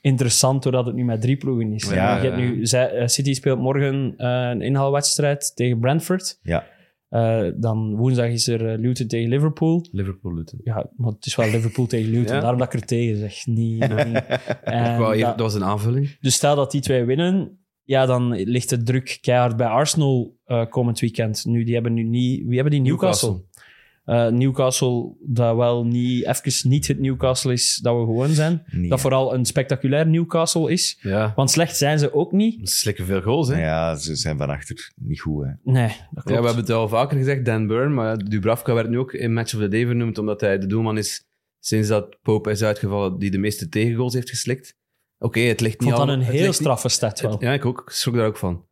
Speaker 6: interessant doordat het nu met drie ploegen is.
Speaker 5: Ja,
Speaker 6: Ja, je hebt
Speaker 5: ja.
Speaker 6: nu, zij- eh, City speelt morgen eh, een inhaalwedstrijd tegen Brentford.
Speaker 4: Ja.
Speaker 6: Eh, dan woensdag is er eh, Luton tegen Liverpool.
Speaker 5: Liverpool Luton.
Speaker 6: Ja, maar het is wel Liverpool tegen Luton.
Speaker 5: Ja.
Speaker 6: Daarom dat ik er tegen zeg. Niet, niet. En
Speaker 5: Ik wou even-
Speaker 6: dat-
Speaker 5: dat was een aanvulling.
Speaker 6: Dus stel dat die twee winnen, ja, dan ligt de druk keihard bij Arsenal eh, komend weekend. Nu, die hebben nu niet... Wie hebben die? Newcastle. Eh, Newcastle, dat wel niet, even niet het Newcastle is dat we gewoon zijn.
Speaker 4: Nee.
Speaker 6: Dat vooral een spectaculair Newcastle is.
Speaker 5: Ja.
Speaker 6: Want slecht zijn ze ook niet.
Speaker 5: Ze slikken veel goals, hè? Ja.
Speaker 4: Ja, ze zijn van achter niet goed. Hè.
Speaker 6: Nee, dat
Speaker 5: we
Speaker 6: klopt.
Speaker 5: hebben het al vaker gezegd, Dan Burn, maar Dubravka werd nu ook in Match of the Day vernoemd, omdat hij de doelman is sinds dat Pope is uitgevallen, die de meeste tegengoals heeft geslikt. Oké, het ligt
Speaker 6: ik
Speaker 5: niet
Speaker 6: vond dat
Speaker 5: allemaal-
Speaker 6: een
Speaker 5: het
Speaker 6: heel
Speaker 5: ligt niet-
Speaker 6: straffe stat wel.
Speaker 5: Ja, ik ook. Ik schrok daar ook van.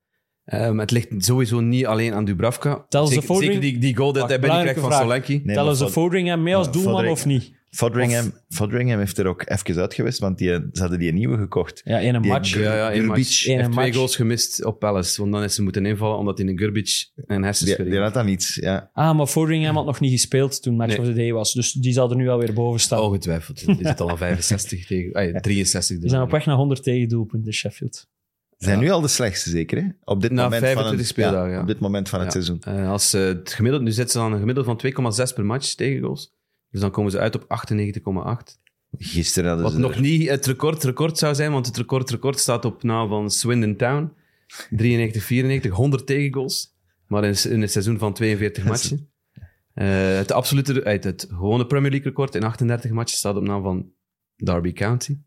Speaker 5: Ehm, het ligt sowieso niet alleen aan Dubravka.
Speaker 6: Tel ze
Speaker 5: zeker,
Speaker 6: vordering?
Speaker 5: zeker die, die goal dat
Speaker 6: Wacht,
Speaker 5: hij binnenkrijgt van
Speaker 6: belangrijke
Speaker 5: Solanki.
Speaker 4: Nee, maar
Speaker 6: Tellen ze
Speaker 4: Fod-
Speaker 6: Fodringham mee als
Speaker 4: Ja,
Speaker 6: doelman
Speaker 4: Fodering-
Speaker 6: of niet?
Speaker 4: Fodringham, Fodringham heeft er ook even uit geweest, want die, ze hadden die een nieuwe gekocht.
Speaker 6: Ja, in een
Speaker 4: Die
Speaker 6: match.
Speaker 4: Gur-
Speaker 5: Ja, ja, één match.
Speaker 4: Gurbic.
Speaker 5: Hij
Speaker 6: Eén
Speaker 5: heeft twee
Speaker 6: match.
Speaker 5: goals gemist op Palace, want dan is ze moeten invallen omdat hij een Gurbic en
Speaker 4: Die,
Speaker 5: hersenschudding
Speaker 4: die had dan iets. Ja.
Speaker 6: Ah, maar Fodringham had nog niet gespeeld toen Match
Speaker 5: Nee. Oh,
Speaker 6: of the Day was. Dus die zal er nu alweer boven staan.
Speaker 5: Ongetwijfeld. Die zit al aan 65 tegen... ah, 63.
Speaker 6: Die zijn op weg naar 100 tegendoelpunten, Sheffield.
Speaker 4: Ze zijn nu al de slechtste, zeker? Hè? Op dit
Speaker 5: Na
Speaker 4: moment
Speaker 5: 25
Speaker 4: van het,
Speaker 5: speeldagen, ja.
Speaker 4: Op dit moment van het
Speaker 5: Ja.
Speaker 4: seizoen.
Speaker 5: Eh, als ze het gemiddeld, nu zitten ze aan een gemiddelde van 2,6 per match tegen goals. Dus dan komen ze uit op 98,8.
Speaker 4: Gisteren hadden
Speaker 5: Wat
Speaker 4: ze...
Speaker 5: nog niet het record record zou zijn, want het record record staat op naam van Swindon Town. 93, 94, 100 tegengoals. Maar in, in een seizoen van 42 matchen. Eh, het absolute, uit het gewone Premier League record in 38 matchen staat op naam van Derby County.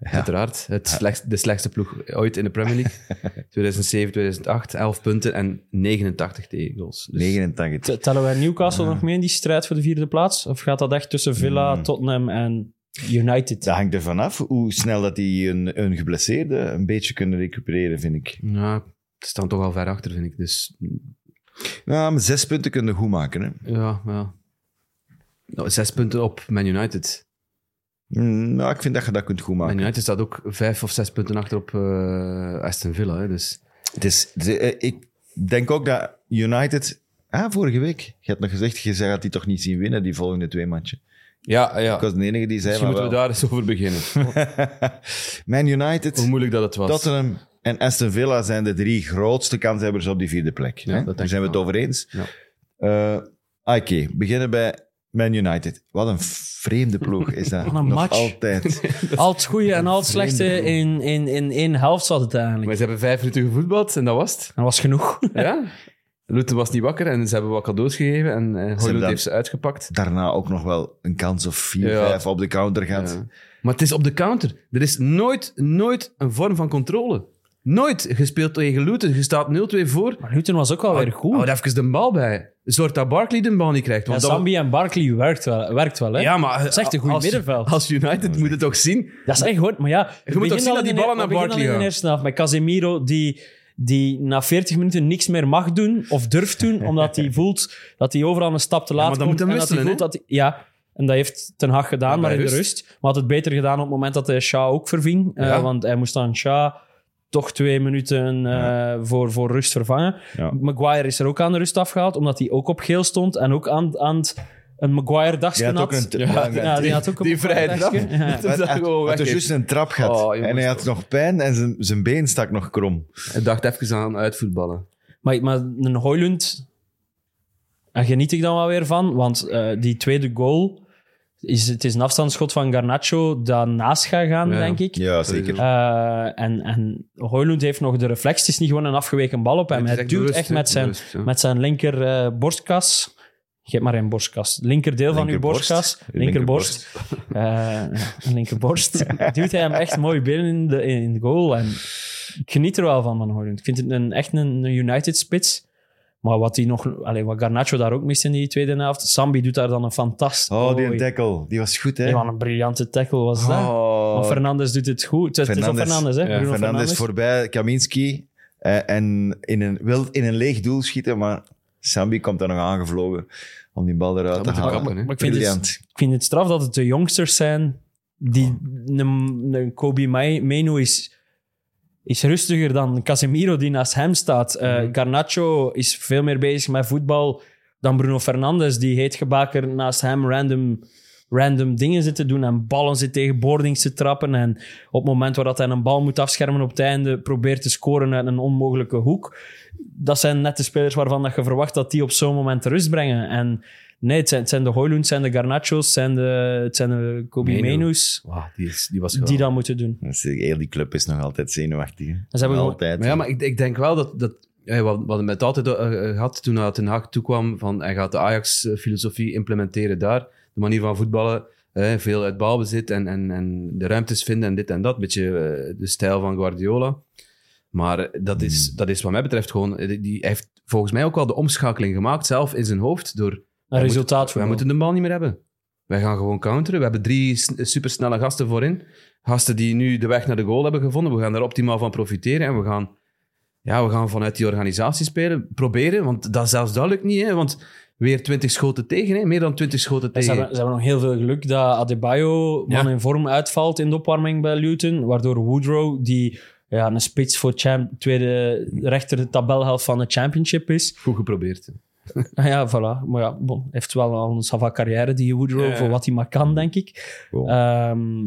Speaker 5: Uiteraard. Het slechtst- de slechtste ploeg ooit in de Premier League. 2007, 2008, 11 punten en 89 tegengoals. Dus
Speaker 4: 89.
Speaker 6: T- Tellen wij Newcastle nog mee in die strijd voor de vierde plaats? Of gaat dat echt tussen Villa, Tottenham en United?
Speaker 4: Dat hangt er vanaf hoe snel dat die een, een geblesseerde een beetje kunnen recupereren, vind ik.
Speaker 5: Ja, ze staan toch al ver achter, vind ik. Dus
Speaker 4: Nou, maar zes punten kunnen goed maken. Hè.
Speaker 5: ja, ja. Nou, zes punten op Man United.
Speaker 4: Mm, Nou, ik vind dat je dat kunt goed maken.
Speaker 5: Man United staat ook vijf of zes punten achter op eh, Aston Villa. Hè, dus
Speaker 4: Het is, de- eh, ik denk ook dat United... Ah, vorige week. Je had nog gezegd, je zei dat die toch niet zien winnen, die volgende twee matchen.
Speaker 5: ja, ja.
Speaker 4: Ik was de enige die zei
Speaker 5: Misschien
Speaker 4: van
Speaker 5: moeten we
Speaker 4: wel.
Speaker 5: daar eens over beginnen.
Speaker 4: Man
Speaker 5: Hoe
Speaker 4: United,
Speaker 5: moeilijk dat het was.
Speaker 4: Tottenham en Aston Villa zijn de drie grootste kanshebbers op die vierde plek.
Speaker 5: Ja,
Speaker 4: hè?
Speaker 5: dat denk
Speaker 4: Daar
Speaker 5: ik
Speaker 4: zijn we het
Speaker 5: wel.
Speaker 4: over eens.
Speaker 5: Ja.
Speaker 4: Eh, Oké, beginnen bij Man United. Wat een vreemde ploeg is dat.
Speaker 6: Wat een
Speaker 4: Nog
Speaker 6: match.
Speaker 4: altijd.
Speaker 6: Al het goede en al het slechte in, in, in één helft zat het eigenlijk.
Speaker 5: Maar ze hebben vijf minuten gevoetbald en dat was het.
Speaker 6: Dat was genoeg.
Speaker 5: Ja? Luton was niet wakker en ze hebben wat cadeaus gegeven en eh Hoylund
Speaker 4: dan-
Speaker 5: heeft ze uitgepakt.
Speaker 4: Daarna ook nog wel een kans of vier,
Speaker 5: Ja.
Speaker 4: vijf op de counter gaat.
Speaker 5: Ja. Maar het is op de counter. Er is nooit, nooit een vorm van controle. Nooit gespeeld tegen Luton. Je staat 0-2 voor.
Speaker 6: Maar Luton was ook wel weer Oh, goed.
Speaker 5: Oh, Houd even de bal bij. Zorg dat Barkley de bal niet krijgt.
Speaker 6: ja,
Speaker 5: Want dat-
Speaker 6: Sambi en Barkley werkt wel, werkt wel hè?
Speaker 5: ja, maar, eh,
Speaker 6: is echt een goed
Speaker 5: als-
Speaker 6: middenveld.
Speaker 5: Als United moet het toch zien.
Speaker 6: Dat is echt goed, maar ja... we
Speaker 5: moet toch
Speaker 6: beginnen
Speaker 5: zien
Speaker 6: al
Speaker 5: dat die
Speaker 6: in de-
Speaker 5: ballen
Speaker 6: we
Speaker 5: naar
Speaker 6: beginnen
Speaker 5: Barkley
Speaker 6: al in
Speaker 5: gaan.
Speaker 6: de eerste helft met Casemiro, die, die na 40 minuten niks meer mag doen of durft doen, omdat hij voelt dat hij overal een stap te laat
Speaker 5: maar dan
Speaker 6: komt.
Speaker 5: moet hij
Speaker 6: en dat hij
Speaker 5: wisselen,
Speaker 6: voelt dat hij- Ja, en dat heeft Ten Hag gedaan,
Speaker 5: Ja,
Speaker 6: maar
Speaker 5: bij
Speaker 6: in de
Speaker 5: rust.
Speaker 6: rust. Maar had het beter gedaan op het moment dat hij Shaw ook verving. eh,
Speaker 5: Ja.
Speaker 6: want hij moest aan Shaw toch twee minuten eh, voor, voor rust vervangen.
Speaker 4: Ja.
Speaker 6: Maguire is er ook aan de rust afgehaald, omdat hij ook op geel stond en ook aan, aan het een Maguire-dagje
Speaker 4: Die had ook
Speaker 6: had.
Speaker 4: een...
Speaker 6: ja, ja, die had ook een
Speaker 5: die vrije trap.
Speaker 6: Maguire-dagje. Ja.
Speaker 5: is
Speaker 4: Hij
Speaker 5: dat
Speaker 4: had-
Speaker 5: gewoon
Speaker 4: had
Speaker 5: weg
Speaker 4: dus
Speaker 5: is.
Speaker 4: juist een trap gehad.
Speaker 5: Oh, jongens,
Speaker 4: en hij had
Speaker 5: toch.
Speaker 4: nog pijn en zijn, zijn been stak nog krom.
Speaker 5: Ik dacht even aan uitvoetballen.
Speaker 6: Maar, maar een Hoylund, daar geniet ik dan wel weer van. Want eh, die tweede goal, is, het is een afstandsschot van Garnacho dat naast gaat gaan,
Speaker 5: Ja.
Speaker 6: denk ik.
Speaker 4: Ja, zeker.
Speaker 6: Eh, en, en Hoylund heeft nog de reflex. Het is niet gewoon een afgeweken bal op hem.
Speaker 5: Het is
Speaker 6: Hij duwt
Speaker 5: bewust,
Speaker 6: echt
Speaker 5: hè,
Speaker 6: met zijn,
Speaker 5: bewust, ja.
Speaker 6: met zijn linker eh, borstkas. Je hebt maar één borstkas. Linkerdeel van uw
Speaker 4: Linkerborst.
Speaker 6: borstkas. Linkerborst. Eh, ja, linkerborst. Duwt hij hem echt mooi binnen in de, in de goal. En ik geniet er wel van, van Hoylund. Ik vind het een, echt een United-spits. Maar wat, die nog, allee, wat Garnacho daar ook mist in die tweede helft. Sambi doet daar dan een fantastisch...
Speaker 4: Oh, die
Speaker 6: Oei.
Speaker 4: tackle. Die was goed, hè?
Speaker 6: Ja, wat een briljante tackle was dat.
Speaker 4: Oh,
Speaker 6: Maar Fernandes doet het goed. Het is- Het is op
Speaker 4: Fernandes.
Speaker 6: Fernandes, hè?
Speaker 5: Ja,
Speaker 6: Bruno
Speaker 4: Fernandes
Speaker 6: Fernandes.
Speaker 4: voorbij, Kaminski. eh, en in een, wil in een leeg doel schieten, maar Sambi komt daar nog aangevlogen om die bal eruit te
Speaker 5: moet hij
Speaker 4: halen.
Speaker 5: kappen, hè.
Speaker 6: Ah, Maar ik vind, dus- het,
Speaker 4: Briljant.
Speaker 6: ik vind het straf dat het de jongsters zijn. Die, een, een Kobe Mai- Menu is, is rustiger dan Casemiro die naast hem staat. Eh, Garnacho is veel meer bezig met voetbal dan Bruno Fernandes. Die heet gebaker naast hem random, random dingen zit te doen. En ballen zit tegen boardings te trappen. En op het moment waar dat hij een bal moet afschermen op het einde, probeert te scoren uit een onmogelijke hoek. Dat zijn net de spelers waarvan dat je verwacht dat die op zo'n moment de rust brengen. En nee, het zijn, het zijn de Hoylunds, het zijn de Garnacho's, het zijn de, het zijn de Kobe
Speaker 5: Menu.
Speaker 6: Menus
Speaker 5: Wauw, die, is, die was
Speaker 6: die
Speaker 5: geweldig.
Speaker 6: dat moeten doen.
Speaker 4: Dat is- Dus, eh, Heel die club is nog altijd zenuwachtig. hè.
Speaker 6: Ze hebben gewoon-
Speaker 4: altijd.
Speaker 5: Maar ja, maar ik, ik denk wel dat... dat ja, we hadden met altijd eh, gehad toen hij uit Den Haag toekwam, van hij gaat de Ajax-filosofie implementeren daar. De manier van voetballen, eh, veel uit balbezit en, en, en de ruimtes vinden en dit en dat. beetje eh, de stijl van Guardiola. Maar eh, dat is, dat is wat mij betreft gewoon... eh, Die, die heeft volgens mij ook wel de omschakeling gemaakt, zelf in zijn hoofd, door
Speaker 6: Een
Speaker 5: Wij
Speaker 6: resultaat
Speaker 5: moeten-
Speaker 6: voor
Speaker 5: Wij moeten de bal niet meer hebben. Wij gaan gewoon counteren. We hebben drie s- supersnelle gasten voorin. Gasten die nu de weg naar de goal hebben gevonden. We gaan daar optimaal van profiteren. En we gaan, ja, we gaan vanuit die organisatie spelen. Proberen, want dat, zelfs dat lukt niet. Hè, want weer 20 schoten tegen. Hè, meer dan 20 schoten
Speaker 6: Ze
Speaker 5: tegen.
Speaker 6: hebben, ze hebben nog heel veel geluk dat Adebayo man
Speaker 5: Ja.
Speaker 6: in vorm uitvalt in de opwarming bij Luton. Waardoor Woodrow, die ja, een spits voor champ, tweede rechter tabelhelft van de championship is.
Speaker 5: Goed geprobeerd. hè.
Speaker 6: Ah Ja, voilà. Maar ja, bon, hij heeft wel al een sava carrière, die Woodrow,
Speaker 5: Ja, ja.
Speaker 6: voor wat hij maar kan, denk ik.
Speaker 4: Wow.
Speaker 6: Ehm,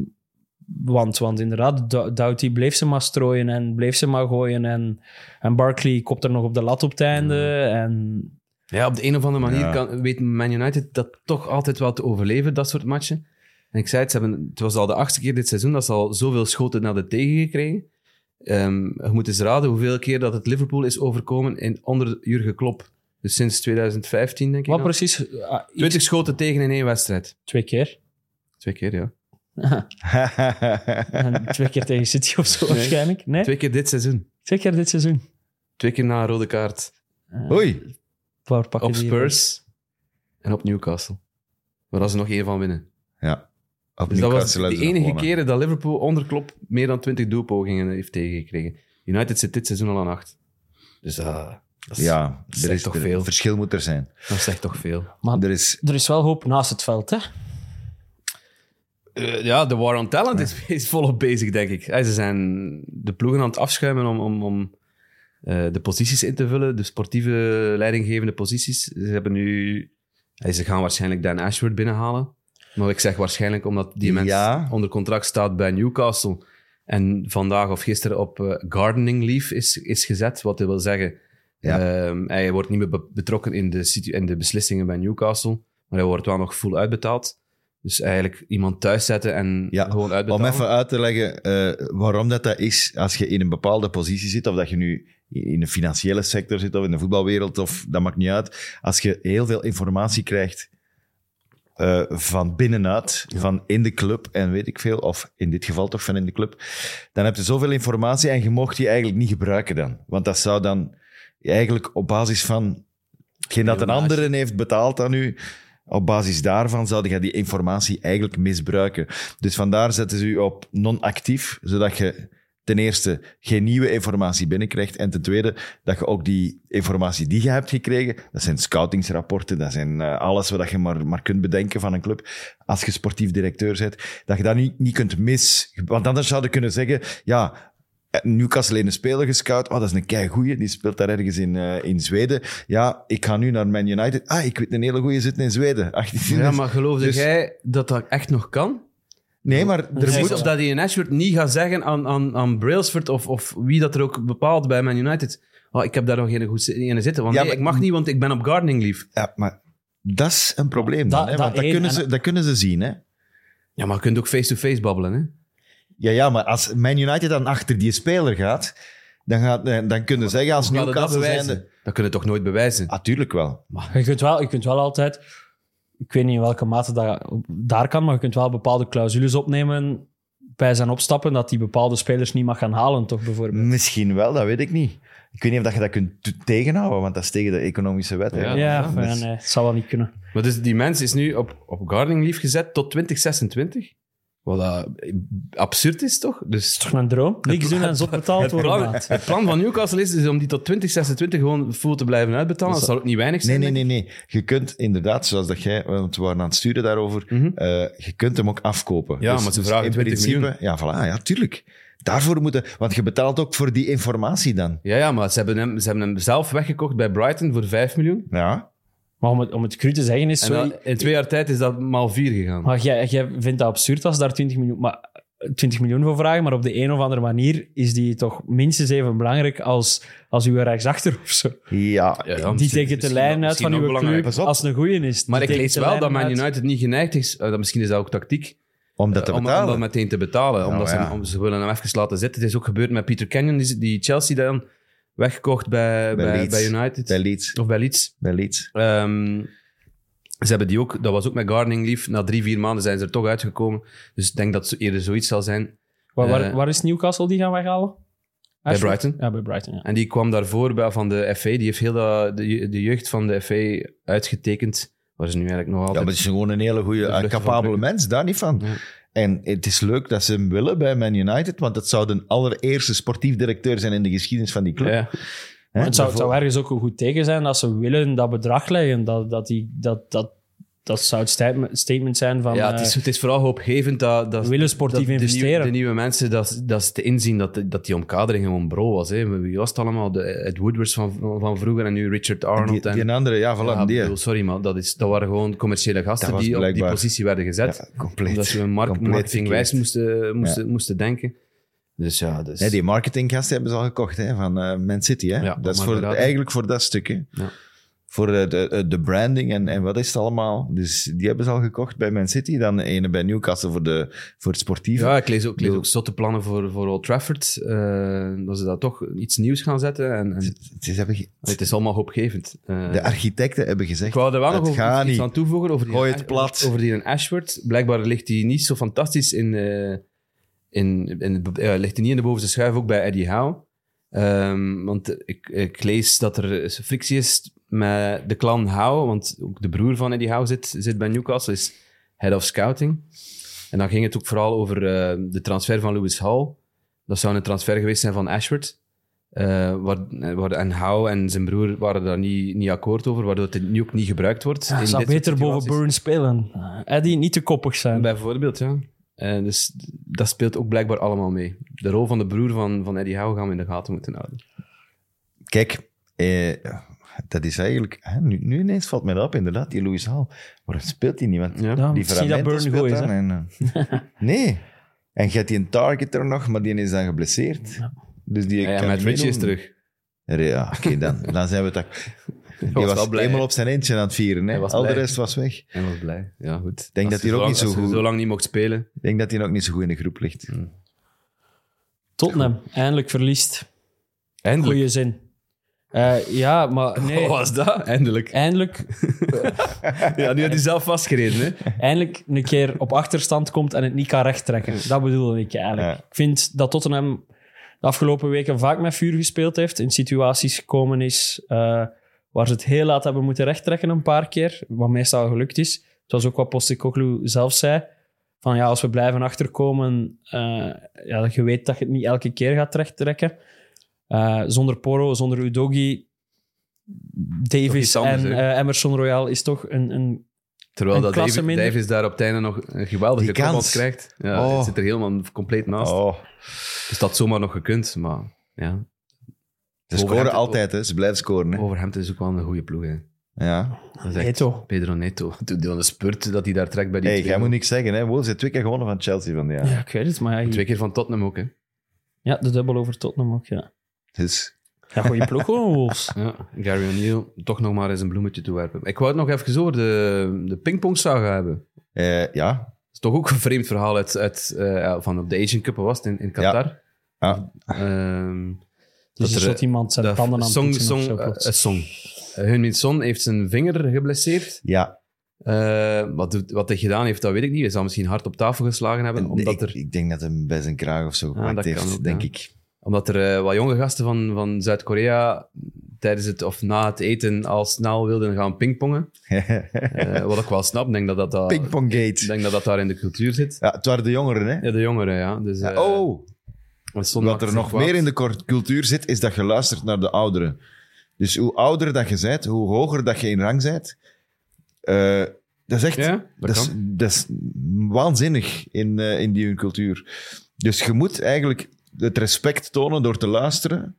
Speaker 6: want, want inderdaad, Dou- Doughty bleef ze maar strooien en bleef ze maar gooien. En, en Barkley kopt er nog op de lat op het einde. En
Speaker 5: Ja, op de een of andere manier
Speaker 4: Ja.
Speaker 5: kan, weet Man United dat toch altijd wel te overleven, dat soort matchen. En ik zei het, ze hebben, het was al de achtste keer dit seizoen dat ze al zoveel schoten naar de tegen gekregen. Ehm, je moet eens raden hoeveel keer dat het Liverpool is overkomen in onder Jurgen Klopp. Dus sinds 2015, denk ik.
Speaker 6: wat
Speaker 5: dan.
Speaker 6: precies? Ah, iets-
Speaker 5: 20 schoten tegen in één wedstrijd.
Speaker 6: twee keer.
Speaker 5: Twee keer, ja.
Speaker 6: Eh, En twee keer tegen City of zo
Speaker 5: Nee.
Speaker 6: waarschijnlijk. Nee,
Speaker 5: Twee keer dit seizoen.
Speaker 6: twee keer dit seizoen.
Speaker 5: Twee keer na een rode kaart.
Speaker 4: Oei.
Speaker 6: Waar pakken
Speaker 5: Op
Speaker 6: die-
Speaker 5: Spurs en op Newcastle. Waar dat ze nog één van winnen.
Speaker 4: Ja. Op
Speaker 5: Dus dat was
Speaker 4: Newcastle
Speaker 5: de
Speaker 4: hebben ze
Speaker 5: enige
Speaker 4: nog gewonnen.
Speaker 5: keren dat Liverpool onder Klopp meer dan 20 doelpogingen heeft tegengekregen. United zit dit seizoen al aan 8. Dus ah, dat, is-
Speaker 4: Ja,
Speaker 5: Dat
Speaker 4: er
Speaker 5: zegt
Speaker 4: is
Speaker 5: toch
Speaker 4: er-
Speaker 5: veel.
Speaker 4: verschil moet er zijn.
Speaker 5: dat zegt toch veel.
Speaker 6: Ah.
Speaker 4: Er is
Speaker 6: Er is wel hoop naast het veld, hè?
Speaker 5: Eh, ja, de war on talent is, is volop bezig, denk ik. Eh, ze zijn de ploegen aan het afschuimen om, om, om eh, de posities in te vullen. De sportieve leidinggevende posities. Ze hebben nu... eh, ze gaan waarschijnlijk Dan Ashford binnenhalen. Maar ik zeg waarschijnlijk omdat die mens
Speaker 4: Ja.
Speaker 5: onder contract staat bij Newcastle. En vandaag of gisteren op eh, gardening leave is, is gezet. Wat wil zeggen,
Speaker 4: Ja.
Speaker 5: ehm, hij wordt niet meer be- betrokken in de, situ- in de beslissingen bij Newcastle. Maar hij wordt wel nog full uitbetaald. Dus eigenlijk iemand thuis zetten en
Speaker 4: Ja,
Speaker 5: gewoon uitbetalen.
Speaker 4: Om even uit te leggen eh, waarom dat, dat is als je in een bepaalde positie zit, of dat je nu in de financiële sector zit, of in de voetbalwereld, of dat maakt niet uit. Als je heel veel informatie krijgt eh, van binnenuit, van in de club en weet ik veel, of in dit geval toch van in de club, dan heb je zoveel informatie en je mocht die eigenlijk niet gebruiken dan. Want dat zou dan eigenlijk op basis van hetgeen dat een
Speaker 5: Spionage.
Speaker 4: andere heeft betaald aan u, op basis daarvan zou je die informatie eigenlijk misbruiken. Dus vandaar zetten ze u op non-actief, zodat je ten eerste geen nieuwe informatie binnenkrijgt en ten tweede dat je ook die informatie die je hebt gekregen, dat zijn scoutingsrapporten, dat zijn eh, alles wat je maar, maar kunt bedenken van een club, als je sportief directeur bent, dat je dat niet, niet kunt mis... Want anders zouden kunnen zeggen, ja, eh, Newcastle heeft een speler gescout. Oh, dat is een kei goeie. Die speelt daar ergens in, eh, in Zweden. Ja, ik ga nu naar Man United. Ah, ik weet een hele goeie zitten in Zweden. 18
Speaker 5: Ja, maar geloofde
Speaker 4: Dus-
Speaker 5: jij dat dat echt nog kan?
Speaker 4: Nee, maar er
Speaker 5: Dus
Speaker 4: moet...
Speaker 5: of dat hij in Ashford niet gaat zeggen aan, aan, aan Brailsford of, of wie dat er ook bepaalt bij Man United. Oh, ik heb daar nog geen goed zi- ene zitten. Want
Speaker 4: Ja,
Speaker 5: nee,
Speaker 4: maar-
Speaker 5: ik mag niet, want ik ben op gardening lief.
Speaker 4: Ja, maar dat is een probleem
Speaker 6: Dat-
Speaker 4: dan, hè?
Speaker 6: dat
Speaker 4: Want dat
Speaker 6: één
Speaker 4: kunnen,
Speaker 6: en-
Speaker 4: ze, dat kunnen ze zien, hè.
Speaker 5: Ja, maar je kunt ook face-to-face babbelen. Hè?
Speaker 4: Ja, ja, maar als Man United dan achter die speler gaat, dan, gaat, eh, dan kunnen ze zeggen als
Speaker 5: Hoe gaat dat
Speaker 4: Newcastle
Speaker 5: bewijzen?
Speaker 4: zijnde...
Speaker 5: Dat kun je toch nooit bewijzen?
Speaker 4: Natuurlijk wel.
Speaker 6: Je kunt wel, je kunt wel altijd, ik weet niet in welke mate dat daar kan, maar je kunt wel bepaalde clausules opnemen bij zijn opstappen dat hij bepaalde spelers niet mag gaan halen, toch bijvoorbeeld.
Speaker 4: Misschien wel, dat weet ik niet. Ik weet niet of dat je dat kunt t- tegenhouden, want dat is tegen de economische wet. hè.
Speaker 5: Ja,
Speaker 6: Ja, eh,
Speaker 4: Dus-
Speaker 6: maar ja, nee, het zou wel niet kunnen.
Speaker 5: Maar dus die mens is nu op, op gardening lief gezet tot 2026. Wat eh, absurd is, toch? Dus
Speaker 6: Toch een droom? Niks doen en zot betaald
Speaker 5: het,
Speaker 6: worden.
Speaker 5: plan,
Speaker 6: maat.
Speaker 5: het plan van Newcastle is, is om die tot 2026 gewoon full te blijven uitbetalen. Dat, zal ook niet weinig
Speaker 4: Nee,
Speaker 5: zijn.
Speaker 4: nee,
Speaker 5: denk
Speaker 4: nee, nee. Je kunt inderdaad, zoals dat jij, want we waren aan het sturen daarover,
Speaker 5: Mhm.
Speaker 4: eh, je kunt hem ook afkopen. Dus
Speaker 5: Ja, maar ze vragen
Speaker 4: in
Speaker 5: 20 miljoen.
Speaker 4: Ja, voilà, ja, tuurlijk. Daarvoor moeten, want je betaalt ook voor die informatie dan.
Speaker 5: ik. Ja, ja, maar ze hebben, hem, ze hebben hem zelf weggekocht bij Brighton voor 5 miljoen.
Speaker 4: Ja,
Speaker 6: Maar om het, om het cru te zeggen is,
Speaker 5: En
Speaker 6: sorry, Ah,
Speaker 5: dan- in twee jaar tijd is dat maal 4 gegaan.
Speaker 6: maar jij, jij vindt dat absurd als ze daar 20 miljoen, maar, 20 miljoen voor vragen, maar op de een of andere manier is die toch minstens even belangrijk als, als uw rechtsachter of zo.
Speaker 4: ja.
Speaker 5: Ja, ja,
Speaker 6: die
Speaker 5: misschien-
Speaker 6: tegen de
Speaker 5: misschien-
Speaker 6: lijn uit
Speaker 5: misschien
Speaker 6: van
Speaker 5: ook
Speaker 6: uw
Speaker 5: belangrijk.
Speaker 6: club
Speaker 4: Pas op.
Speaker 6: als een goeie is. Die
Speaker 5: Maar ik
Speaker 6: tegen
Speaker 5: lees
Speaker 6: de
Speaker 5: wel
Speaker 6: lijn
Speaker 5: dat Man
Speaker 6: uit-
Speaker 5: United niet geneigd is, eh, dat misschien is dat ook tactiek,
Speaker 4: om dat te
Speaker 5: Eh, om, om
Speaker 4: betalen.
Speaker 5: dat meteen te betalen. omdat ze,
Speaker 4: ja.
Speaker 5: om- ze willen hem even laten zitten. Het is ook gebeurd met Peter Canyon, die, die Chelsea dan weggekocht bij,
Speaker 4: Bij
Speaker 5: bij, bij,
Speaker 4: Leeds.
Speaker 5: United.
Speaker 4: Bij Leeds.
Speaker 5: Of bij Leeds.
Speaker 4: Bij Leeds.
Speaker 5: Ehm, ze hebben die ook, dat was ook met Gardening Leaf. Na drie, vier maanden zijn ze er toch uitgekomen. Dus ik denk dat het eerder zoiets zal zijn.
Speaker 6: Waar, waar,
Speaker 5: Eh,
Speaker 6: waar is Newcastle die gaan weghalen? Ashford?
Speaker 5: Brighton.
Speaker 6: Ja, bij Brighton, ja.
Speaker 5: En die kwam daarvoor bij, van de FA. Die heeft heel dat- de, je- de jeugd van de FA uitgetekend. Waar ze nu eigenlijk nog
Speaker 4: Ja,
Speaker 5: altijd...
Speaker 4: maar het is gewoon een hele goede,
Speaker 5: De vlucht
Speaker 4: eh,
Speaker 5: van
Speaker 4: capabele
Speaker 5: Brugge.
Speaker 4: mens, daar niet van.
Speaker 5: Ja.
Speaker 4: En het is leuk dat ze hem willen bij Man United, want dat zou de allereerste sportief directeur zijn in de geschiedenis van die club.
Speaker 5: Ja.
Speaker 4: Hè?
Speaker 6: het, zou, het zou ergens ook een goed teken zijn dat ze willen dat bedrag leggen. Dat, dat, die, dat, dat, dat zou het statement- statement zijn van...
Speaker 5: Ja, het is,
Speaker 6: eh,
Speaker 5: het is vooral hoopgevend dat... dat
Speaker 6: we willen sportief
Speaker 5: dat de nieuw-
Speaker 6: investeren.
Speaker 5: De, nieuwe mensen, dat, dat ze te inzien dat, dat die omkadering gewoon bro was. Hè. Wie was het allemaal? De, eh, Ed Woodwards van, van, van vroeger en nu Richard
Speaker 4: Die,
Speaker 5: Arnold. en,
Speaker 4: die een andere, ja, voilà,
Speaker 5: Ja,
Speaker 4: die.
Speaker 5: bedoel, sorry, maar dat, is, dat waren gewoon commerciële gasten
Speaker 4: Dat was
Speaker 5: die op die
Speaker 4: blijkbaar-
Speaker 5: positie werden gezet.
Speaker 4: Ja, compleet.
Speaker 5: omdat we mark
Speaker 4: compleet
Speaker 5: marketingwijs
Speaker 4: verkeerd.
Speaker 5: moesten, moesten, moesten denken. Dus ja, dus,
Speaker 4: Nee, die marketinggast hebben ze al gekocht hè, van eh, Man City. Hè?
Speaker 5: Ja,
Speaker 4: dat is
Speaker 5: maar
Speaker 4: voor,
Speaker 5: inderdaad.
Speaker 4: eigenlijk voor dat stuk. Hè?
Speaker 5: Ja.
Speaker 4: Voor eh, de, eh, de branding en, en wat is het allemaal. Dus die hebben ze al gekocht bij Man City. Dan de ene bij Newcastle voor, de, voor het sportieve.
Speaker 5: ja, ik lees ook, ik lees
Speaker 4: bedoel-
Speaker 5: ook zotte plannen voor, voor Old Trafford. eh, dat ze daar toch iets nieuws gaan zetten. En, en,
Speaker 4: Het is, hebben ge-
Speaker 5: het is allemaal hoopgevend. Eh,
Speaker 4: de architecten hebben gezegd...
Speaker 5: ik wou er wel
Speaker 4: het
Speaker 5: nog over-
Speaker 4: gaat
Speaker 5: iets
Speaker 4: niet.
Speaker 5: aan toevoegen. Over die,
Speaker 4: Gooi het plat.
Speaker 5: Over die in Ashford. Blijkbaar ligt die niet zo fantastisch in... eh, in, in het be- ja, ligt hij niet in de bovenste schuif, ook bij Eddie Howe. Ehm, want ik, ik lees dat er frictie is met de clan Howe, want ook de broer van Eddie Howe zit, zit bij Newcastle, is head of scouting. En dan ging het ook vooral over eh, de transfer van Lewis Hall. Dat zou een transfer geweest zijn van Ashford. Eh, waar, eh, waar, en Howe en zijn broer waren daar niet, niet akkoord over, waardoor het nu ook niet gebruikt wordt.
Speaker 6: ja,
Speaker 5: in
Speaker 6: eh, zou
Speaker 5: dit soort
Speaker 6: beter boven
Speaker 5: situaties.
Speaker 6: Burn spelen. Eh, Eddie, niet te koppig zijn.
Speaker 5: Bijvoorbeeld, ja. En dus d- dat speelt ook blijkbaar allemaal mee. De rol van de broer van, van Eddie Howe gaan we in de gaten moeten houden.
Speaker 4: Kijk, eh, dat is eigenlijk... Hè, nu, nu ineens valt mij dat op, inderdaad, die Louis Hall. Waarom speelt hij niet? Want
Speaker 5: Ja.
Speaker 6: Ja,
Speaker 4: die
Speaker 6: misschien dat
Speaker 4: Ferramentos
Speaker 6: Burn
Speaker 4: speelt
Speaker 6: goed is.
Speaker 4: dan
Speaker 6: hè.
Speaker 4: en, eh, nee. En je hebt die een target er nog, maar die is dan geblesseerd. Dus die
Speaker 5: Ja, ja,
Speaker 4: kan
Speaker 5: met
Speaker 4: niet
Speaker 5: Richie is
Speaker 4: meedoen.
Speaker 5: terug.
Speaker 4: Er- Ja, oké, dan, dan zijn we het. ak- Die
Speaker 5: was
Speaker 4: was,
Speaker 5: wel blij,
Speaker 4: helemaal
Speaker 5: hè?
Speaker 4: op zijn eentje aan het vieren. Hè?
Speaker 5: Hij was
Speaker 4: Al de
Speaker 5: blij.
Speaker 4: rest was weg.
Speaker 5: En was blij. Ja, goed. Ik
Speaker 4: denk dat hij er ook niet zo goed-
Speaker 5: zo lang niet mocht spelen.
Speaker 4: Ik denk dat hij nog niet zo goed in de groep ligt.
Speaker 5: Mm.
Speaker 6: Tottenham, eindelijk verliest.
Speaker 5: Eindelijk. Oh,
Speaker 6: Goeie zin. Eh, ja, maar nee.
Speaker 5: Wat was dat? Eindelijk.
Speaker 6: Eindelijk
Speaker 5: Ja, nu had hij zelf vastgereden. Hè?
Speaker 6: eindelijk een keer op achterstand komt en het niet kan rechttrekken. Dat bedoelde ik eigenlijk.
Speaker 4: Ja.
Speaker 6: Ik vind dat Tottenham de afgelopen weken vaak met vuur gespeeld heeft. In situaties gekomen is eh, waar ze het heel laat hebben moeten rechttrekken een paar keer. Wat meestal gelukt is. Zoals ook wat Postecoglou zelf zei. Van ja, als we blijven achterkomen, eh, ja, dat je weet dat je het niet elke keer gaat rechttrekken. Eh, zonder Poro, zonder Udogi,
Speaker 5: Toch
Speaker 6: Davis
Speaker 5: iets anders,
Speaker 6: en
Speaker 5: hè?
Speaker 6: eh, Emerson Royal is toch een, een
Speaker 5: Terwijl
Speaker 6: Een
Speaker 5: dat
Speaker 6: klasse
Speaker 5: Dave,
Speaker 6: minder.
Speaker 5: Dave is daar op het einde nog een geweldige
Speaker 4: Die kans.
Speaker 5: kans krijgt. Ja,
Speaker 4: Oh.
Speaker 5: Het zit er helemaal compleet naast.
Speaker 4: Oh,
Speaker 5: Dus dat had zomaar nog gekund, maar ja.
Speaker 4: ze
Speaker 5: Overhemd-
Speaker 4: scoren altijd, hè. Ze blijven scoren, hè.
Speaker 5: Overhampton is ook wel een goede ploeg. Hè.
Speaker 4: Ja.
Speaker 5: Dat is echt
Speaker 6: Neto.
Speaker 5: Pedro Neto. Toen die een spurt dat hij daar trekt bij die
Speaker 4: Hey,
Speaker 5: twee-
Speaker 4: jij moet niks zeggen, hè. Wolves heeft twee keer gewonnen van Chelsea van ja.
Speaker 6: Ja, ik weet het, maar ja,
Speaker 5: Twee keer van Tottenham ook, hè.
Speaker 6: ja, de dubbel over Tottenham ook, ja.
Speaker 4: Dus,
Speaker 6: Ja, goeie ploeg gewoon, Wolves.
Speaker 5: Ja, Gary O'Neill, toch nog maar eens een bloemetje toewerpen. Ik wou het nog even over de, de pingpongzaga hebben.
Speaker 4: eh, ja.
Speaker 5: Dat is toch ook een vreemd verhaal uit, uit, eh, van op de Asian Cup was het in, in Qatar.
Speaker 4: Ja.
Speaker 5: Ehm,
Speaker 6: Dus
Speaker 5: Dat
Speaker 6: er
Speaker 5: er,
Speaker 6: zat iemand zijn
Speaker 5: dat
Speaker 6: tanden aan het
Speaker 5: Song,
Speaker 6: poetsen of
Speaker 5: song,
Speaker 6: zo,
Speaker 5: eh,
Speaker 6: plots.
Speaker 5: eh, song. Eh, Heung-min Son heeft zijn vinger geblesseerd.
Speaker 4: Ja.
Speaker 5: Eh, wat, doet- wat hij gedaan heeft, dat weet ik niet. Hij zal misschien hard op tafel geslagen hebben, omdat
Speaker 4: ik,
Speaker 5: er...
Speaker 4: ik denk dat hem bij zijn kraag of zo gepakt
Speaker 5: Ah, dat kan
Speaker 4: heeft,
Speaker 5: ook,
Speaker 4: denk
Speaker 5: ja.
Speaker 4: ik.
Speaker 5: Omdat er eh, wat jonge gasten van, van Zuid-Korea tijdens het of na het eten al snel wilden gaan pingpongen. Eh, wat ik wel snap, Ik denk dat dat, dat, ik
Speaker 4: Pingponggate.
Speaker 5: denk dat dat daar in de cultuur zit.
Speaker 4: Ja, het waren de jongeren, hè.
Speaker 5: Ja, de jongeren, ja. Dus, eh,
Speaker 4: oh,
Speaker 5: want Son
Speaker 4: wat
Speaker 5: maakt
Speaker 4: er
Speaker 5: zich
Speaker 4: nog
Speaker 5: kwaad.
Speaker 4: meer in de cor- cultuur zit, is dat je luistert naar de ouderen. Dus hoe ouder dat je bent, hoe hoger dat je in rang bent, eh, dat is echt...
Speaker 5: Ja, dat,
Speaker 4: Dat,
Speaker 5: kan.
Speaker 4: is, dat is waanzinnig in, eh, in die cultuur. Dus je moet eigenlijk het respect tonen door te luisteren.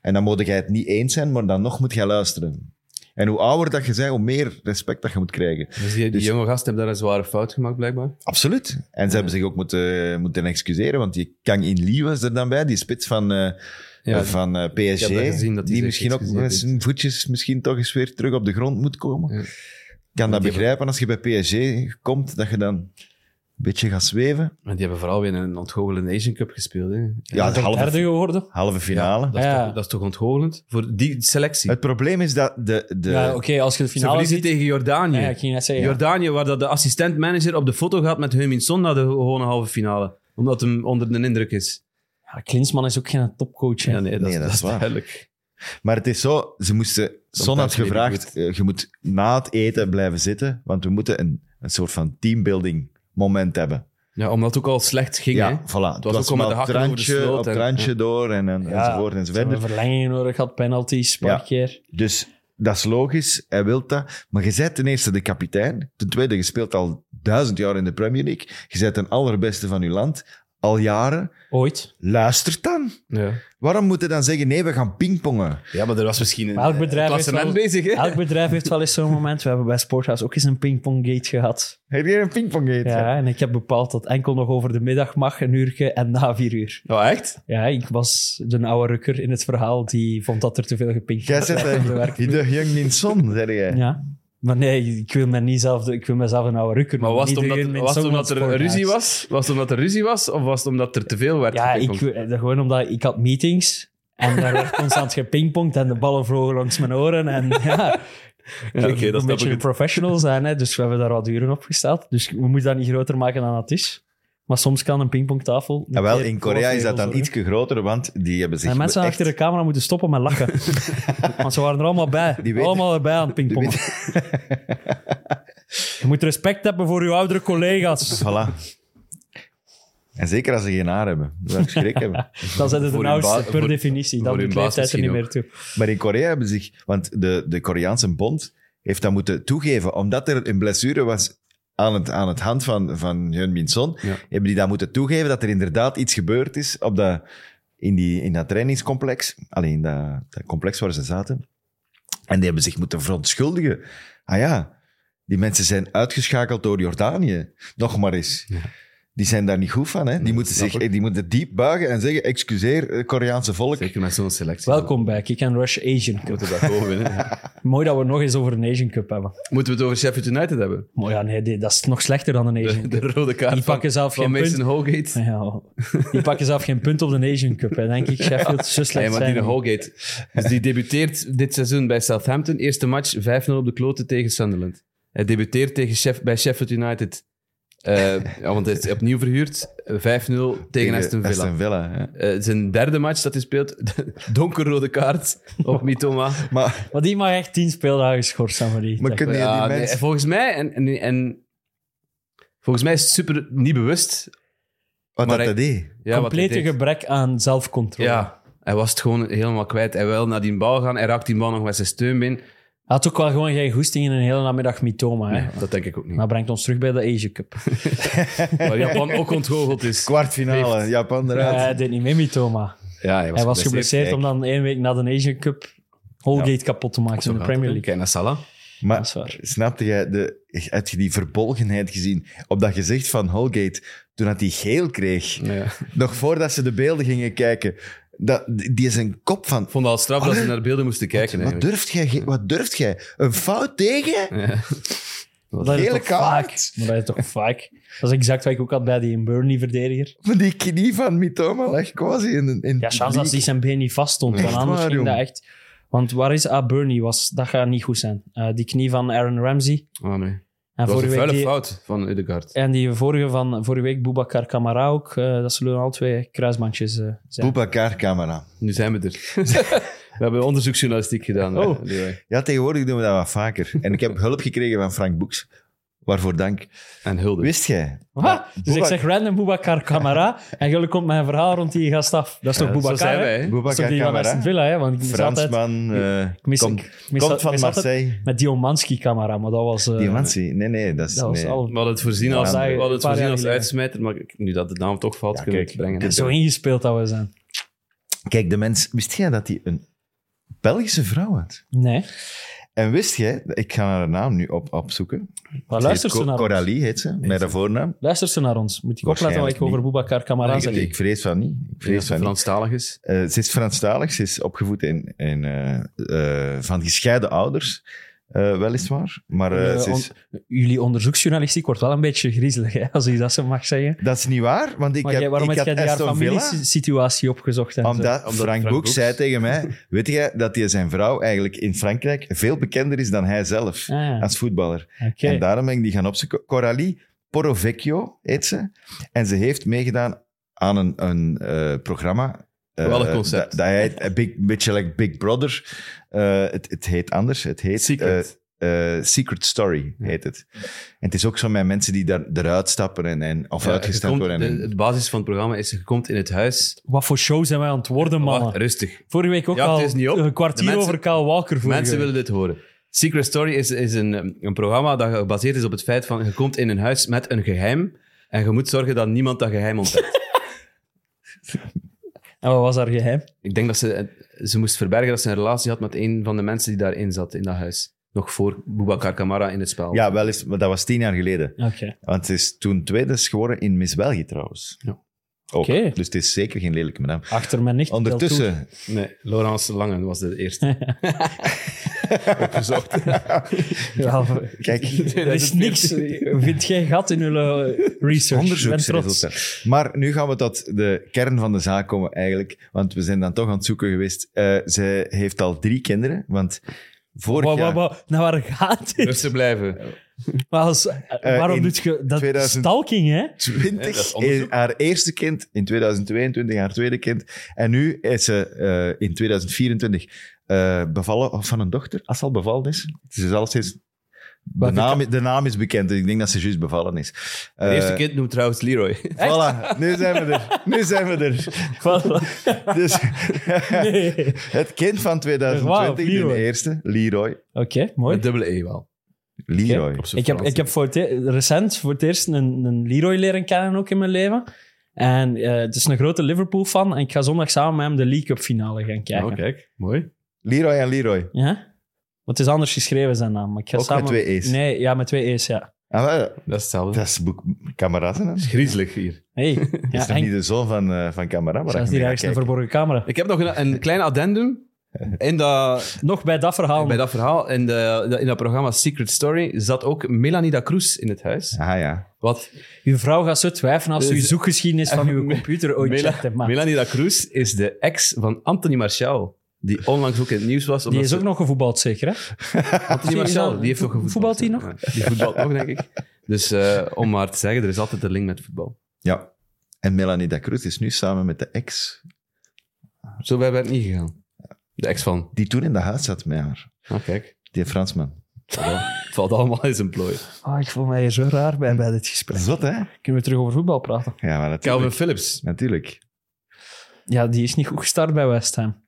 Speaker 4: En dan moet jij het niet eens zijn, maar dan nog moet jij luisteren. En hoe ouder dat je bent, hoe meer respect dat je moet krijgen.
Speaker 5: Dus die, die
Speaker 4: Dus-
Speaker 5: jonge gasten hebben daar een zware fout gemaakt, blijkbaar.
Speaker 4: Absoluut. En ze hebben zich ook moeten, moeten excuseren, want die Kang In Lee was er dan bij, die spits van, eh,
Speaker 5: Ja,
Speaker 4: eh, van eh, PSG.
Speaker 5: heb dat gezien, dat die zich
Speaker 4: die misschien ook met
Speaker 5: excuseert
Speaker 4: zijn voetjes misschien toch eens weer terug op de grond moet komen.
Speaker 5: Ja.
Speaker 4: Kan dat
Speaker 5: die-
Speaker 4: begrijpen als je bij PSG komt, dat je dan een beetje gaat zweven.
Speaker 5: Maar die hebben vooral weer een ontgoochelende Asian Cup gespeeld. Hè.
Speaker 4: Ja, de halve,
Speaker 6: Derde geworden.
Speaker 4: halve finale.
Speaker 5: Dat, is
Speaker 6: Ja.
Speaker 5: toch, dat is toch ontgoochelend? Voor die selectie.
Speaker 4: het probleem is dat de... de
Speaker 6: Ja, oké, als je de
Speaker 5: Eh, Ze
Speaker 6: finale
Speaker 5: verliezen
Speaker 6: ziet...
Speaker 5: tegen Jordanië.
Speaker 6: Ja, ik ging net zeggen. ja.
Speaker 5: Jordanië, waar dat de assistent-manager op de foto gaat met Heumin Son naar de gewone halve finale. Omdat hem onder de indruk is.
Speaker 6: Ja, Klinsman is ook geen topcoach. hè.
Speaker 5: Ja, nee, dat,
Speaker 4: Nee,
Speaker 5: is-
Speaker 4: dat
Speaker 5: dat
Speaker 4: is
Speaker 5: is
Speaker 4: waar.
Speaker 5: duidelijk.
Speaker 4: Maar het is zo, ze moesten... Son had
Speaker 5: weet ik
Speaker 4: gevraagd, eh, je moet na het eten blijven zitten, want we moeten een, een soort van teambuilding moment hebben.
Speaker 5: Ja, omdat het ook al slecht ging.
Speaker 4: ja,
Speaker 5: hè.
Speaker 4: voilà.
Speaker 5: ook
Speaker 4: Het was,
Speaker 5: al met
Speaker 4: maar
Speaker 5: de hakken
Speaker 4: op het
Speaker 5: over de
Speaker 4: randje,
Speaker 5: sloot
Speaker 4: op
Speaker 5: en-
Speaker 4: het randje door en, en,
Speaker 6: Ja,
Speaker 4: enzovoort
Speaker 6: Ze hebben
Speaker 4: enzovoort.
Speaker 6: verlengingen nodig gehad, penalties, een paar
Speaker 4: Ja.
Speaker 6: keer.
Speaker 4: Dus dat is logisch, hij wil dat. Maar je bent ten eerste de kapitein, ten tweede, je speelt al duizend jaar in de Premier League, je bent de allerbeste van je land, al jaren.
Speaker 6: Ooit.
Speaker 4: Luister dan.
Speaker 5: Ja.
Speaker 4: Waarom moet je dan zeggen, nee, we gaan pingpongen?
Speaker 5: ja, maar er was misschien een,
Speaker 6: Maar elk bedrijf heeft
Speaker 5: klassement
Speaker 6: wel-
Speaker 5: bezig. Hè?
Speaker 6: Elk bedrijf heeft wel eens zo'n moment. We hebben bij Sporthouse ook eens een pingponggate gehad.
Speaker 4: Heb je een pingpong gegeten?
Speaker 6: Ja, en ik heb bepaald dat enkel nog over de middag mag, een uurtje en na vier uur.
Speaker 5: Oh, echt?
Speaker 6: Ja, ik was de oude rukker in het verhaal die vond dat er te veel gepinkt
Speaker 4: Jij zit eigenlijk in de Young Min Son, zeg jij.
Speaker 6: Ja. Maar nee, ik wil, me niet zelf, ik wil mezelf een oude rukker
Speaker 5: Maar was het
Speaker 6: noemen, niet
Speaker 5: omdat,
Speaker 6: degene
Speaker 5: was
Speaker 6: met
Speaker 5: het omdat
Speaker 6: zo'n
Speaker 5: er ruzie was?
Speaker 6: sporthuis.
Speaker 5: Was het omdat er ruzie was? Of was het omdat er te veel werd?
Speaker 6: Ja, ik,
Speaker 5: gepingpongd?
Speaker 6: eh, gewoon omdat ik had meetings en daar werd constant gepingpongd en de ballen vlogen langs mijn oren. En ja,
Speaker 5: oké, dat
Speaker 6: ik moet
Speaker 5: snap
Speaker 6: een beetje
Speaker 5: ik
Speaker 6: een
Speaker 5: het.
Speaker 6: professional zijn, hè, dus we hebben daar wat uren op gesteld. Dus we moeten dat niet groter maken dan het is. Maar soms kan een pingpongtafel... een
Speaker 4: Ja, Ah, wel,
Speaker 6: keer
Speaker 4: in
Speaker 6: voor
Speaker 4: Korea is dat
Speaker 6: regels
Speaker 4: dan
Speaker 6: zorgen.
Speaker 4: ietsje groter, want die hebben zich
Speaker 6: En mensen
Speaker 4: echt...
Speaker 6: achter de camera moeten stoppen met lachen. Want ze waren er allemaal bij.
Speaker 4: Die weten-
Speaker 6: allemaal erbij aan het pingpongen. Je moet respect hebben voor je oudere collega's.
Speaker 4: Voilà. En zeker als ze geen haar hebben. Dat zou ik schrik hebben.
Speaker 6: Dan zijn het de
Speaker 5: Voor hun
Speaker 6: oudste,
Speaker 5: baas-
Speaker 6: per
Speaker 5: voor-
Speaker 6: definitie. Dan
Speaker 5: voor
Speaker 6: doet
Speaker 5: hun baas
Speaker 6: leeftijd er niet meer
Speaker 5: misschien
Speaker 6: toe.
Speaker 4: Maar in Korea hebben zich... Want de, de Koreaanse bond heeft dat moeten toegeven. Omdat er een blessure was aan het, aan het hand van, van Hyun Min Son,
Speaker 5: Ja.
Speaker 4: hebben die dat moeten toegeven dat er inderdaad iets gebeurd is op dat, in, die, in dat trainingscomplex. Alleen in dat, dat complex waar ze zaten. En die hebben zich moeten verontschuldigen. Ah ja, die mensen zijn uitgeschakeld door Jordanië. Nog maar eens. Die zijn daar niet goed van. Hè? Die, moeten
Speaker 5: snap
Speaker 4: zich,
Speaker 5: ik.
Speaker 4: die moeten diep buigen en zeggen: excuseer, eh, Koreaanse volk.
Speaker 5: Zeker met zo'n selectie.
Speaker 6: Welkom bij Kick and Rush Asian Cup.
Speaker 5: Moeten we dat gewoon winnen.
Speaker 6: Mooi dat we nog eens over een Asian Cup hebben.
Speaker 5: Moeten we het over Sheffield United hebben?
Speaker 6: Maar ja, nee, die- dat is nog slechter dan een Asian
Speaker 5: De, de
Speaker 6: Cup.
Speaker 5: rode kaart
Speaker 6: Die
Speaker 5: van-
Speaker 6: pakken zelf
Speaker 5: van
Speaker 6: geen
Speaker 5: Mason
Speaker 6: punt.
Speaker 5: Holgate.
Speaker 6: Ja, oh. die pakken zelf geen punt op de Asian Cup. Hè. Denk ik, Sheffield, zo
Speaker 5: Nee,
Speaker 6: slecht
Speaker 5: maar
Speaker 6: zijn.
Speaker 5: die
Speaker 6: die.
Speaker 5: Holgate. Dus die debuteert dit seizoen bij Southampton. Eerste match 5-0 op de kloten tegen Sunderland. Hij debuteert tegen Sheff- bij Sheffield United. Eh, ja, want hij is opnieuw verhuurd. 5-0 tegen Aston Villa.
Speaker 4: ja.
Speaker 5: Eh, zijn derde match dat hij speelt, donkerrode kaart op Mitoma.
Speaker 4: Maar,
Speaker 6: Maar die mag echt tien speeldagen schorsen, maar die.
Speaker 4: maar kunnen jullie
Speaker 5: Ja,
Speaker 4: die
Speaker 5: nee,
Speaker 4: mensen...
Speaker 5: volgens mij, en, en, en volgens mij is het super niet bewust.
Speaker 4: wat
Speaker 5: maar
Speaker 4: dat
Speaker 5: ik-
Speaker 4: dat deed.
Speaker 5: Ja, wat hij
Speaker 6: Complete
Speaker 5: deed.
Speaker 6: gebrek aan zelfcontrole.
Speaker 5: Ja, hij was het gewoon helemaal kwijt. Hij wil naar die bal gaan, hij raakt die bal nog met zijn steunbeen.
Speaker 6: Hij had ook wel gewoon geen goesting in een hele namiddag Mitoma. Hè?
Speaker 5: Dat denk ik ook niet.
Speaker 6: Dat brengt ons terug bij de Asia Cup.
Speaker 5: Waar Japan ook ontgoocheld is.
Speaker 4: Kwartfinale, Japan
Speaker 6: Ja,
Speaker 4: eruit.
Speaker 6: hij deed niet mee, Mitoma.
Speaker 5: Ja, hij was,
Speaker 6: Hij was
Speaker 5: geblesseerd.
Speaker 6: geblesseerd
Speaker 4: Kijk.
Speaker 6: om dan één week na de Asian Cup Holgate kapot te maken
Speaker 5: Zo
Speaker 6: in de
Speaker 5: gaat het,
Speaker 6: Premier
Speaker 5: hè.
Speaker 6: League.
Speaker 5: Kijk naar Salah.
Speaker 4: maar
Speaker 6: Dat is waar.
Speaker 4: snapte jij, de, heb je die verbolgenheid gezien op dat gezicht van Holgate toen dat hij geel kreeg?
Speaker 5: Ja.
Speaker 4: Nog voordat ze de beelden gingen kijken. Dat, die is een kop van...
Speaker 5: Ik vond het al straf dat ze naar de beelden moesten kijken.
Speaker 4: Wat
Speaker 5: eigenlijk.
Speaker 4: durft, jij, ge- wat durft jij? Een fout tegen?
Speaker 6: Dat is
Speaker 4: Gele
Speaker 6: toch
Speaker 4: kaart.
Speaker 6: vaak. Maar dat is toch vaak. Dat is exact wat ik ook had bij die Burnley-verdediger.
Speaker 4: Maar die knie van Mitoma lag quasi in... in- in
Speaker 6: Ja, chance dat
Speaker 4: publiek.
Speaker 6: die zijn been niet vast stond.
Speaker 4: Echt
Speaker 6: Want anders
Speaker 4: waar,
Speaker 6: ging dat
Speaker 4: jongen.
Speaker 6: echt... Want waar is Ah Burnley was, dat gaat niet goed zijn. Eh, die knie van Aaron Ramsey.
Speaker 5: Ah, nee.
Speaker 6: En
Speaker 5: Dat was een
Speaker 6: vorige week
Speaker 5: vuile
Speaker 6: die,
Speaker 5: fout van Udegaard.
Speaker 6: en die vorige van vorige week, Boubacar Kamara ook. eh, dat zullen al twee kruisbandjes eh, zijn.
Speaker 4: Boubacar camera.
Speaker 5: Nu zijn we er. we hebben onderzoeksjournalistiek gedaan.
Speaker 6: Oh.
Speaker 5: eh, Leroy.
Speaker 4: Ja, tegenwoordig doen we dat wat vaker. En ik heb hulp gekregen van Frank Boeks. Waarvoor dank.
Speaker 5: En Hulde.
Speaker 4: Wist jij?
Speaker 6: Wat? Dus ik
Speaker 4: Boubac-
Speaker 6: zeg random Boubacar Kamara en jullie komt mijn verhaal rond die gast af. Dat is toch
Speaker 5: Ja,
Speaker 6: Boubacar?
Speaker 5: Zo zijn
Speaker 6: hè?
Speaker 5: wij. hè.
Speaker 6: Dat is toch
Speaker 4: Boubacar
Speaker 6: die van Aston
Speaker 4: camera.
Speaker 6: Villa, hè? Want ik mis altijd...
Speaker 4: Fransman. eh
Speaker 6: Ik mis,
Speaker 4: komt-
Speaker 6: ik mis
Speaker 4: komt
Speaker 6: dat-
Speaker 4: van
Speaker 6: mis altijd
Speaker 4: Marseille.
Speaker 6: Met Diomanski camera, maar dat was... eh,
Speaker 4: Diamantie. Nee, nee, dat is...
Speaker 6: dat was
Speaker 4: nee.
Speaker 6: al-
Speaker 5: We hadden het voorzien als, we
Speaker 6: Ja,
Speaker 5: hadden het
Speaker 6: een paar
Speaker 5: voorzien
Speaker 6: jaar
Speaker 5: als
Speaker 6: geleden.
Speaker 5: uitsmijter, maar ik- nu dat de naam toch valt,
Speaker 4: Ja,
Speaker 5: kunnen we
Speaker 4: kijk,
Speaker 5: het brengen.
Speaker 4: dit is
Speaker 6: Zo ingespeeld dat we zijn.
Speaker 4: Kijk, de mens... Wist jij dat hij een Belgische vrouw had?
Speaker 6: Nee.
Speaker 4: En wist jij... Ik ga haar naam nu op, opzoeken.
Speaker 6: Maar
Speaker 4: Ze
Speaker 6: luister
Speaker 4: heet
Speaker 6: ze
Speaker 4: Co-
Speaker 6: naar ons.
Speaker 4: Coralie heet ze, met haar voornaam.
Speaker 6: Luister ze naar ons. Moet ik opletten wat
Speaker 4: Waarschijnlijk
Speaker 6: ik over Boubacar Kamara
Speaker 4: Ik,
Speaker 6: zeg.
Speaker 4: ik vrees van niet. Ik
Speaker 5: Ik denk
Speaker 4: vrees
Speaker 5: dat het
Speaker 4: van niet.
Speaker 5: Franstalig is.
Speaker 4: Eh, ze is Franstalig, ze is opgevoed in, in, eh, eh, van gescheiden ouders, eh, weliswaar. Maar eh,
Speaker 6: Eh,
Speaker 4: ze is,
Speaker 6: on- jullie onderzoeksjournalistiek wordt wel een beetje griezelig, hè, als ik dat zo mag zeggen.
Speaker 4: dat is niet waar, want ik
Speaker 6: Maar
Speaker 4: heb,
Speaker 6: jij, waarom
Speaker 4: ik
Speaker 6: heb jij
Speaker 4: had
Speaker 6: die haar
Speaker 4: Aston Villa...
Speaker 6: familiesituatie opgezocht? En zo?
Speaker 4: Omdat,
Speaker 5: Omdat
Speaker 4: Frank,
Speaker 5: Frank
Speaker 4: Boek
Speaker 5: Boeks-
Speaker 4: zei tegen mij, weet jij dat hij zijn vrouw eigenlijk in Frankrijk veel bekender is dan hij zelf
Speaker 6: Ah, ja.
Speaker 4: als voetballer.
Speaker 6: Oké.
Speaker 4: En daarom ben ik die gaan opzoeken. Coralie Porovecchio heet ze. En ze heeft meegedaan aan een, een eh, programma. eh,
Speaker 5: Wel een concept.
Speaker 4: Dat, dat heet een big, beetje like Big Brother. Eh, het, het heet anders. Het heet
Speaker 5: Secret.
Speaker 4: eh, eh, Secret Story heet het. En het is ook zo met mensen die daar, eruit stappen en, en, of
Speaker 5: Ja,
Speaker 4: uitgestapt
Speaker 5: je komt-
Speaker 4: worden.
Speaker 5: de, het basis van het programma is, je komt in het huis.
Speaker 6: Wat voor show zijn wij aan het worden, mannen?
Speaker 5: Wacht, rustig.
Speaker 6: Vorige week ook
Speaker 5: Ja, het
Speaker 6: al
Speaker 5: is niet op.
Speaker 6: een kwartier
Speaker 5: De mensen-
Speaker 6: over Kyle Walker. vorige
Speaker 5: Mensen
Speaker 6: week.
Speaker 5: willen dit horen. Secret Story is, is een, een programma dat gebaseerd is op het feit van, je komt in een huis met een geheim en je moet zorgen dat niemand dat geheim ontdekt.
Speaker 6: En wat was haar geheim?
Speaker 5: Ik denk dat ze, ze moest verbergen dat ze een relatie had met een van de mensen die daarin zat, in dat huis. Nog voor Boubacar Kamara in het spel.
Speaker 4: Ja, wel eens, maar dat was tien jaar geleden.
Speaker 6: Oké.
Speaker 4: Want het is toen tweede is geworden in Miss België trouwens.
Speaker 5: Ja.
Speaker 4: Ook.
Speaker 6: Oké.
Speaker 4: Dus het is zeker geen lelijke naam.
Speaker 6: Achter mijn nicht.
Speaker 4: Ondertussen,
Speaker 5: Nee, Laurence Langen was de eerste. Opgezocht.
Speaker 6: Ja,
Speaker 4: kijk,
Speaker 6: er is niks. Vind jij gat in jullie research? Ik ben trots.
Speaker 4: onderzoeksresultaat. Maar nu gaan we tot de kern van de zaak komen eigenlijk. Want we zijn dan toch aan het zoeken geweest. Eh ze heeft al drie kinderen, want vorig
Speaker 6: Wow,
Speaker 4: jaar...
Speaker 6: wow, wow. Naar waar gaat dit?
Speaker 5: Rustig
Speaker 6: Eh,
Speaker 5: blijven.
Speaker 6: Maar als-
Speaker 5: Eh,
Speaker 6: waarom
Speaker 4: in
Speaker 6: doet je dat?
Speaker 4: 2000
Speaker 6: Stalking, hè?
Speaker 4: 20,
Speaker 5: Nee, dat is
Speaker 4: is
Speaker 5: onderzoek.
Speaker 4: eh, haar eerste kind, in 2022 haar tweede kind. En nu is ze eh, in 2024 eh, bevallen van een dochter, als ze al bevallen is. Ze is al steeds... De
Speaker 6: Welke
Speaker 4: naam, de naam is bekend, dus ik denk dat ze juist bevallen is.
Speaker 5: De
Speaker 4: Eh,
Speaker 5: eerste kind noemt trouwens Leroy.
Speaker 4: Voilà, nu zijn we er. Nu zijn we er. Dus,
Speaker 6: Nee.
Speaker 4: het kind van 2020,
Speaker 6: Wauw, Leroy.
Speaker 4: de eerste, Leroy.
Speaker 6: Oké, mooi.
Speaker 5: Met dubbele E wel.
Speaker 4: Leroy.
Speaker 5: Op zijn
Speaker 6: Ik heb,
Speaker 5: Frans.
Speaker 6: ik heb voor het, e- recent voor het eerst een, een Leroy leren kennen ook in mijn leven. En eh, het is een grote Liverpool-fan. En ik ga zondag samen met hem de League Cup finale gaan kijken.
Speaker 5: Oh, kijk. Mooi.
Speaker 4: Leroy en Leroy.
Speaker 6: Ja? Want het is anders geschreven zijn naam. Maar ik ga
Speaker 4: Ook
Speaker 6: samen...
Speaker 4: met twee E's.
Speaker 6: Nee, ja, met twee E's, ja.
Speaker 4: Ah, wel,
Speaker 5: Dat is hetzelfde.
Speaker 4: dat is boek Camarasa. hè? Dat
Speaker 5: is griezelig hier.
Speaker 6: Hey,
Speaker 4: is
Speaker 6: ja,
Speaker 4: toch niet
Speaker 6: en
Speaker 4: de zoon van, eh van Camara? Maar
Speaker 6: zelfs
Speaker 4: dat je
Speaker 6: die
Speaker 4: mee
Speaker 6: ergens een
Speaker 4: gaat kijken.
Speaker 6: verborgen camera.
Speaker 5: Ik heb nog een, een klein addendum. In dat,
Speaker 6: Nog bij dat verhaal.
Speaker 5: bij dat verhaal, in, de, in dat programma Secret Story, zat ook Melanie da Cruz in het huis.
Speaker 4: Ah ja.
Speaker 5: Wat
Speaker 6: Uw vrouw gaat zo twijfelen als ze uw
Speaker 5: Dus-
Speaker 6: zoekgeschiedenis van uw
Speaker 5: Me-
Speaker 6: computer ooit
Speaker 5: Mela-
Speaker 6: checkt. hè, maar
Speaker 5: Melanie da Cruz is de ex van Anthony Martial. Die onlangs ook in het nieuws was.
Speaker 6: Die
Speaker 5: omdat
Speaker 6: is
Speaker 5: ze-
Speaker 6: ook nog gevoetbald, zeker, hè?
Speaker 5: Anthony
Speaker 6: Zie je
Speaker 5: Martial,
Speaker 6: dat?
Speaker 5: die heeft nog gevoetbald.
Speaker 6: Voetbalt hij nog?
Speaker 5: Ja, die voetbalt nog, denk ik. Dus eh, om maar te zeggen, er is altijd een link met voetbal.
Speaker 4: ja. En Melanie da Cruz is nu samen met de ex
Speaker 5: Zo wij het niet gegaan. De ex van.
Speaker 4: die toen in de huis zat met haar.
Speaker 5: Nou, kijk.
Speaker 4: Die Fransman.
Speaker 5: Het valt allemaal in zijn plooi.
Speaker 6: Oh, ik voel mij hier zo raar bij, bij dit gesprek.
Speaker 4: Zot, hè?
Speaker 6: Kunnen we terug over voetbal praten?
Speaker 4: Ja, maar natuurlijk.
Speaker 5: Calvin Phillips.
Speaker 4: Natuurlijk.
Speaker 6: Ja, die is niet goed gestart bij West Ham.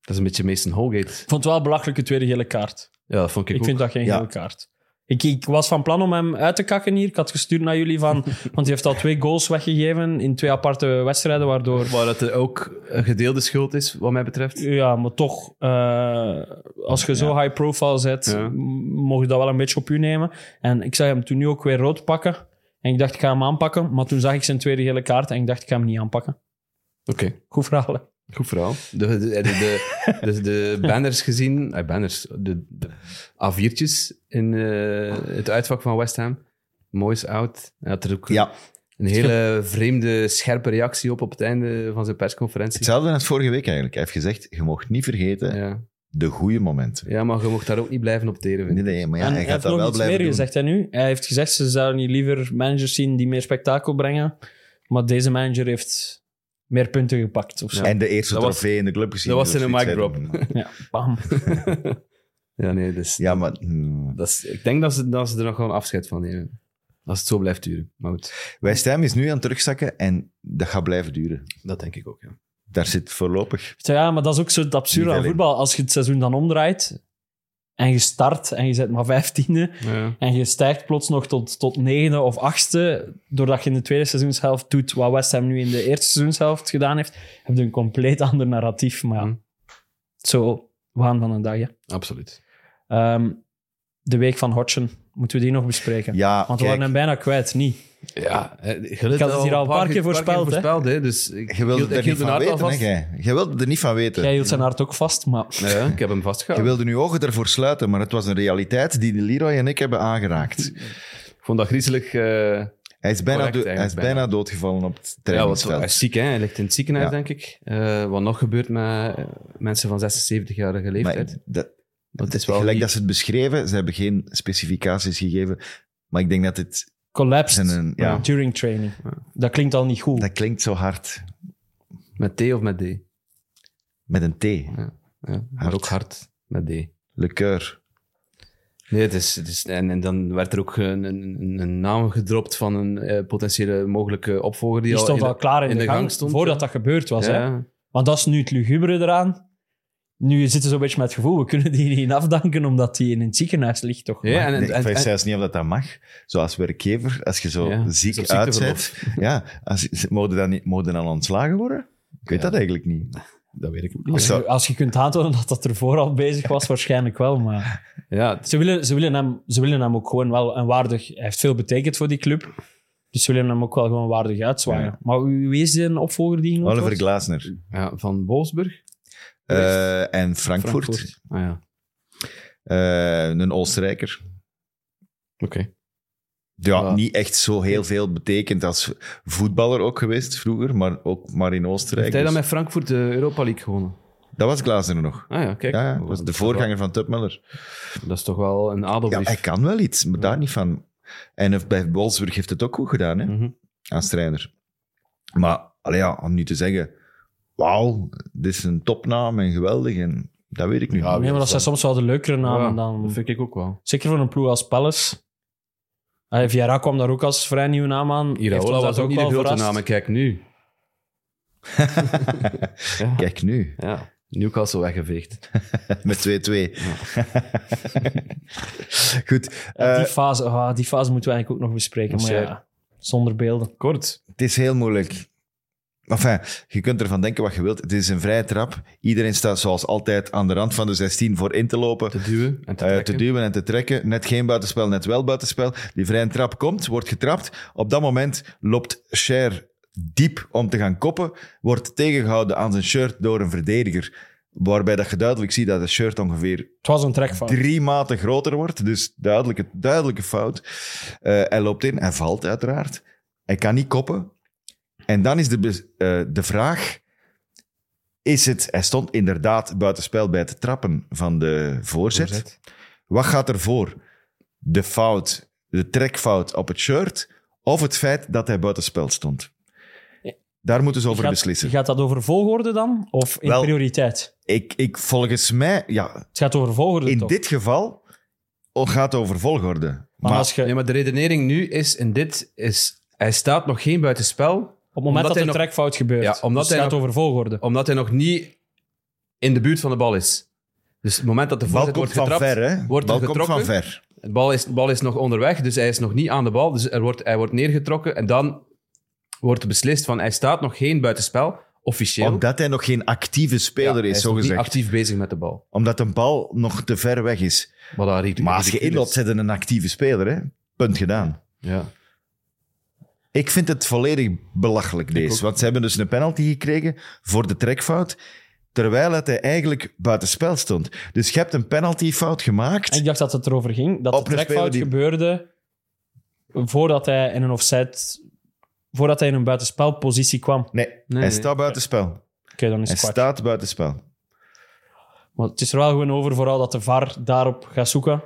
Speaker 5: Dat is een beetje Mason Holgate.
Speaker 6: Ik vond het wel belachelijke tweede gele kaart.
Speaker 5: Ja, dat vond ik,
Speaker 6: Ik
Speaker 5: ook.
Speaker 6: vind dat geen
Speaker 4: Ja.
Speaker 6: gele kaart. Ik, ik was van plan om hem uit te kakken hier. Ik had gestuurd naar jullie van... Want hij heeft al twee goals weggegeven in twee aparte wedstrijden, waardoor...
Speaker 5: Maar dat er ook een gedeelde schuld is, wat mij betreft.
Speaker 6: Ja, maar toch, eh, als je zo high profile zet,
Speaker 5: Ja.
Speaker 6: m- mocht je dat wel een beetje op u nemen. En ik zag hem toen nu ook weer rood pakken. En ik dacht, ik ga hem aanpakken. Maar toen zag ik zijn tweede gele kaart en ik dacht, ik ga hem niet aanpakken.
Speaker 5: Oké.
Speaker 6: Goed verhaal, hè?
Speaker 5: Goed verhaal. De, de, de, de, de- de banners gezien, eh, banners, de, de A4'tjes in eh, het uitvak van West Ham. Mooi is out. Hij had er ook
Speaker 4: Ja,
Speaker 5: een hele vreemde, scherpe reactie op op het einde van zijn persconferentie.
Speaker 4: hetzelfde als vorige week eigenlijk. Hij heeft gezegd, je mocht niet vergeten
Speaker 5: Ja.
Speaker 4: de goede momenten.
Speaker 5: ja, maar je mocht daar ook niet blijven op deren, vind
Speaker 4: Nee,
Speaker 5: ik.
Speaker 4: nee, maar ja,
Speaker 6: en
Speaker 4: hij
Speaker 6: hij
Speaker 4: gaat
Speaker 6: heeft
Speaker 4: dat
Speaker 6: nog
Speaker 4: wel
Speaker 6: iets meer
Speaker 4: blijven doen.
Speaker 6: gezegd hè, nu. Hij heeft gezegd, ze zouden niet liever managers zien die meer spektakel brengen. Maar deze manager heeft meer punten gepakt of zo.
Speaker 4: En de eerste
Speaker 5: Dat was-
Speaker 4: trofee in de club gezien.
Speaker 5: dat was
Speaker 4: dus
Speaker 5: in een
Speaker 4: zoiets,
Speaker 5: mic
Speaker 4: hè.
Speaker 6: Ja, bam.
Speaker 5: Ja, nee, dus,
Speaker 4: Ja, maar... hmm.
Speaker 5: dat is, ik denk dat ze, dat ze er nog gewoon afscheid van nemen. Als het zo blijft duren. Maar goed,
Speaker 4: West Ham is nu aan het terugzakken en dat gaat blijven duren.
Speaker 5: dat denk ik ook, ja.
Speaker 4: Daar zit voorlopig...
Speaker 6: Ja, maar dat is ook zo het absurde
Speaker 4: Niet
Speaker 6: aan
Speaker 4: alleen.
Speaker 6: voetbal. Als je het seizoen dan omdraait en je start en je zet maar vijftiende
Speaker 5: ja.
Speaker 6: en je stijgt plots nog tot, tot negende of achtste, doordat je in de tweede seizoenshelft doet wat West Ham nu in de eerste seizoenshelft gedaan heeft, heb je een compleet ander narratief. Maar ja,
Speaker 5: Hm.
Speaker 6: zo waan van een dag. Hè.
Speaker 5: Absoluut.
Speaker 6: Ehm, de week van Hodgson, moeten we die nog bespreken?
Speaker 4: Ja,
Speaker 6: Want we
Speaker 4: kijk,
Speaker 6: waren hem bijna kwijt, niet?
Speaker 5: Ja, eh, je
Speaker 6: Ik had het hier al een paar keer voorspeld, hè.
Speaker 5: hè, dus ik,
Speaker 4: je wilt
Speaker 5: hield-
Speaker 4: er
Speaker 5: ik
Speaker 4: niet
Speaker 5: hield
Speaker 4: van
Speaker 5: mijn hart
Speaker 4: weten,
Speaker 5: al
Speaker 4: hè,
Speaker 5: vast.
Speaker 4: jij. Jij wilde er niet van weten.
Speaker 6: Jij hield zijn hart ook vast, maar
Speaker 5: Ja, ik heb hem
Speaker 4: Je
Speaker 5: vastgehouden.
Speaker 4: wilde nu ogen ervoor sluiten, maar het was een realiteit die de Leroy en ik hebben aangeraakt.
Speaker 5: Ik vond dat griezelig. eh
Speaker 4: Hij
Speaker 5: Correct,
Speaker 4: is bijna, dood- hij is
Speaker 5: eigenlijk,
Speaker 4: bijna doodgevallen op het
Speaker 5: ja, wat, hij
Speaker 4: trainingsveld.
Speaker 5: is ziek, hè? Hij ligt in het ziekenhuis,
Speaker 4: Ja.
Speaker 5: denk ik. Eh, wat nog gebeurt met eh, mensen van 76-jarige
Speaker 4: Maar
Speaker 5: leeftijd.
Speaker 4: dat,
Speaker 5: dat is wel
Speaker 4: gelijk
Speaker 5: niet-
Speaker 4: dat ze het beschreven, ze hebben geen specificaties gegeven. Maar ik denk dat dit...
Speaker 6: collapsed
Speaker 4: Zijn een, ja,
Speaker 6: during training. Dat klinkt al niet goed.
Speaker 4: Dat klinkt zo hard.
Speaker 5: Met T of met D?
Speaker 4: Met een T.
Speaker 5: Ja, maar
Speaker 4: Hard.
Speaker 5: ook hard met D.
Speaker 4: Le Coeur.
Speaker 5: Nee, het is, het is, en, en dan werd er ook een, een, een naam gedropt van een eh, potentiële mogelijke opvolger. Die,
Speaker 6: Die stond
Speaker 5: in
Speaker 6: al klaar in, de, gang,
Speaker 5: stond,
Speaker 6: voordat
Speaker 5: ja.
Speaker 6: dat gebeurd was. Hè?
Speaker 5: Ja,
Speaker 6: Want dat is nu het lugubere eraan. Nu zitten ze een beetje met het gevoel, we kunnen die niet afdanken omdat die in het ziekenhuis ligt, toch?
Speaker 5: ja
Speaker 6: Maar-
Speaker 5: en,
Speaker 4: Nee, ik
Speaker 5: en,
Speaker 4: weet
Speaker 5: en,
Speaker 4: zelfs niet of dat, dat mag. Zoals werkgever, als je zo
Speaker 5: Ja,
Speaker 4: ziek
Speaker 5: is op
Speaker 4: uit
Speaker 5: ziekteverlof.
Speaker 4: bent. Ja, als, ze- mogen dan, niet- mogen dan ontslagen worden? Ik weet
Speaker 5: Ja.
Speaker 4: dat eigenlijk niet.
Speaker 5: dat weet ik ook
Speaker 4: Of
Speaker 5: niet.
Speaker 4: zo-
Speaker 6: Als je kunt aantonen dat dat ervoor al bezig was, waarschijnlijk wel. Maar
Speaker 5: Ja, het-
Speaker 6: ze willen, ze, willen hem, ze willen hem ook gewoon wel een waardig... Hij heeft veel betekend voor die club. Dus ze willen hem ook wel gewoon waardig uitzwaaien.
Speaker 4: Ja.
Speaker 6: Maar wie wie is die een opvolger die genoemd
Speaker 4: Oliver
Speaker 6: wordt?
Speaker 4: Glasner.
Speaker 5: ja, van Wolfsburg.
Speaker 4: Eh, en Frankfurt.
Speaker 5: Ah ja,
Speaker 4: Eh, een Oostenrijker.
Speaker 5: oké.
Speaker 4: Ja,
Speaker 5: Ja.
Speaker 4: niet echt zo heel veel betekent als voetballer ook geweest vroeger, maar ook maar in Oostenrijk.
Speaker 5: Heeft hij dan
Speaker 4: Dus
Speaker 5: met Frankfurt de Europa League gewonnen?
Speaker 4: Dat was Glasner nog.
Speaker 5: Ah ja, kijk.
Speaker 4: Ja, ja, dat was de voorganger van Tupmeller.
Speaker 5: Dat is toch wel een
Speaker 4: Ja,
Speaker 5: adelbrief.
Speaker 4: hij kan wel iets, maar daar niet van. En bij Wolfsburg heeft het ook goed gedaan, hè,
Speaker 5: Mhm.
Speaker 4: als trainer. Maar allee, ja, om nu te zeggen, wauw, dit is een topnaam en geweldig, en dat weet ik nu
Speaker 5: Ja,
Speaker 4: niet.
Speaker 6: Nee, maar dat zijn soms wel de leukere namen
Speaker 4: Ah,
Speaker 5: Ja,
Speaker 6: dan...
Speaker 5: Dat vind ik ook wel.
Speaker 6: Zeker voor een ploeg als Palace. Allee, Vieira kwam daar ook als vrij nieuwe naam aan. Heeft ons
Speaker 5: Iraola
Speaker 6: dat
Speaker 5: was ook niet de
Speaker 6: wel
Speaker 5: grote
Speaker 6: verrast.
Speaker 5: naam. en Kijk nu. Ja.
Speaker 4: Kijk nu,
Speaker 5: Ja. Newcastle weggeveegd.
Speaker 4: met 2-2. goed,
Speaker 6: Ja,
Speaker 4: eh,
Speaker 6: die, fase, ah, die fase moeten we eigenlijk ook nog bespreken. Maar
Speaker 5: Zeker.
Speaker 6: ja, zonder beelden.
Speaker 5: Kort.
Speaker 4: het is heel moeilijk. Enfin, je kunt ervan denken wat je wilt. Het is een vrije trap. Iedereen staat zoals altijd aan de rand van de 16 voor in te lopen.
Speaker 5: Te duwen en te
Speaker 4: Eh,
Speaker 5: trekken.
Speaker 4: te duwen en te trekken. Net geen buitenspel, net wel buitenspel. Die vrije trap komt, wordt getrapt. Op dat moment loopt Cher diep om te gaan koppen. Wordt tegengehouden aan zijn shirt door een verdediger. Waarbij dat je duidelijk ziet dat het shirt ongeveer
Speaker 6: Het was een trekfout.
Speaker 4: drie maten groter wordt. Dus duidelijke, duidelijke fout. Eh, hij loopt in, hij valt uiteraard. Hij kan niet koppen. En dan is de, bes- eh, de vraag... Is het, hij stond inderdaad buitenspel bij het trappen van de voorzet.
Speaker 5: Voorzet.
Speaker 4: Wat gaat er voor? De fout, de trekfout op het shirt of het feit dat hij buitenspel stond? Daar moeten ze over
Speaker 6: Gaat-
Speaker 4: beslissen.
Speaker 6: Gaat dat over volgorde dan? Of in
Speaker 4: Wel-
Speaker 6: prioriteit?
Speaker 4: Ik, ik, volgens mij, ja,
Speaker 6: Het gaat over volgorde
Speaker 4: in
Speaker 6: toch?
Speaker 4: dit geval gaat het over volgorde.
Speaker 6: maar,
Speaker 4: Maar-
Speaker 6: als je,
Speaker 5: Nee, maar de redenering nu is in dit is... Hij staat nog geen buitenspel,
Speaker 6: op het moment dat
Speaker 5: hij
Speaker 6: er
Speaker 5: nog-
Speaker 6: trekfout gebeurt,
Speaker 5: Ja, omdat
Speaker 6: dus het
Speaker 5: hij
Speaker 6: gaat
Speaker 5: nog-
Speaker 6: over volgorde.
Speaker 5: omdat hij nog niet in de buurt van de bal is. Dus het moment dat de
Speaker 4: Bal
Speaker 5: voorzet
Speaker 4: komt
Speaker 5: wordt
Speaker 4: van
Speaker 5: getrapt,
Speaker 4: ver, hè?
Speaker 5: wordt er
Speaker 4: Bal komt
Speaker 5: getrokken.
Speaker 4: van ver.
Speaker 5: De bal is, de bal is nog onderweg, dus hij is nog niet aan de bal. Dus er wordt, hij wordt neergetrokken en dan wordt beslist van hij staat nog geen buitenspel, officieel.
Speaker 4: Omdat hij nog geen actieve
Speaker 5: Ja,
Speaker 4: speler
Speaker 5: hij
Speaker 4: is,
Speaker 5: nog
Speaker 4: zo
Speaker 5: niet
Speaker 4: gezegd.
Speaker 5: actief bezig met de bal.
Speaker 4: Omdat een bal nog te ver weg is.
Speaker 5: Wat daar ridic-
Speaker 4: Maar als je
Speaker 5: ridicuul
Speaker 4: inloopt,
Speaker 5: is.
Speaker 4: zet je een actieve speler, hè? Punt gedaan.
Speaker 5: Ja.
Speaker 4: Ik vind het volledig belachelijk, deze.
Speaker 5: ook.
Speaker 4: Want ze hebben dus een penalty gekregen voor de trekfout, terwijl het hij eigenlijk buitenspel stond. Dus je hebt een penaltyfout gemaakt.
Speaker 6: En ik dacht dat het erover ging. Dat
Speaker 4: Op
Speaker 6: de
Speaker 4: een
Speaker 6: trekfout
Speaker 4: speler die-
Speaker 6: gebeurde voordat hij in een offside... Voordat hij in een buitenspelpositie kwam. Oké,
Speaker 4: Nee, hij
Speaker 5: nee.
Speaker 4: staat buitenspel.
Speaker 6: dan is
Speaker 4: Hij
Speaker 6: het kwart.
Speaker 4: staat buitenspel.
Speaker 6: Maar het is er wel gewoon over vooral dat de VAR daarop gaat zoeken.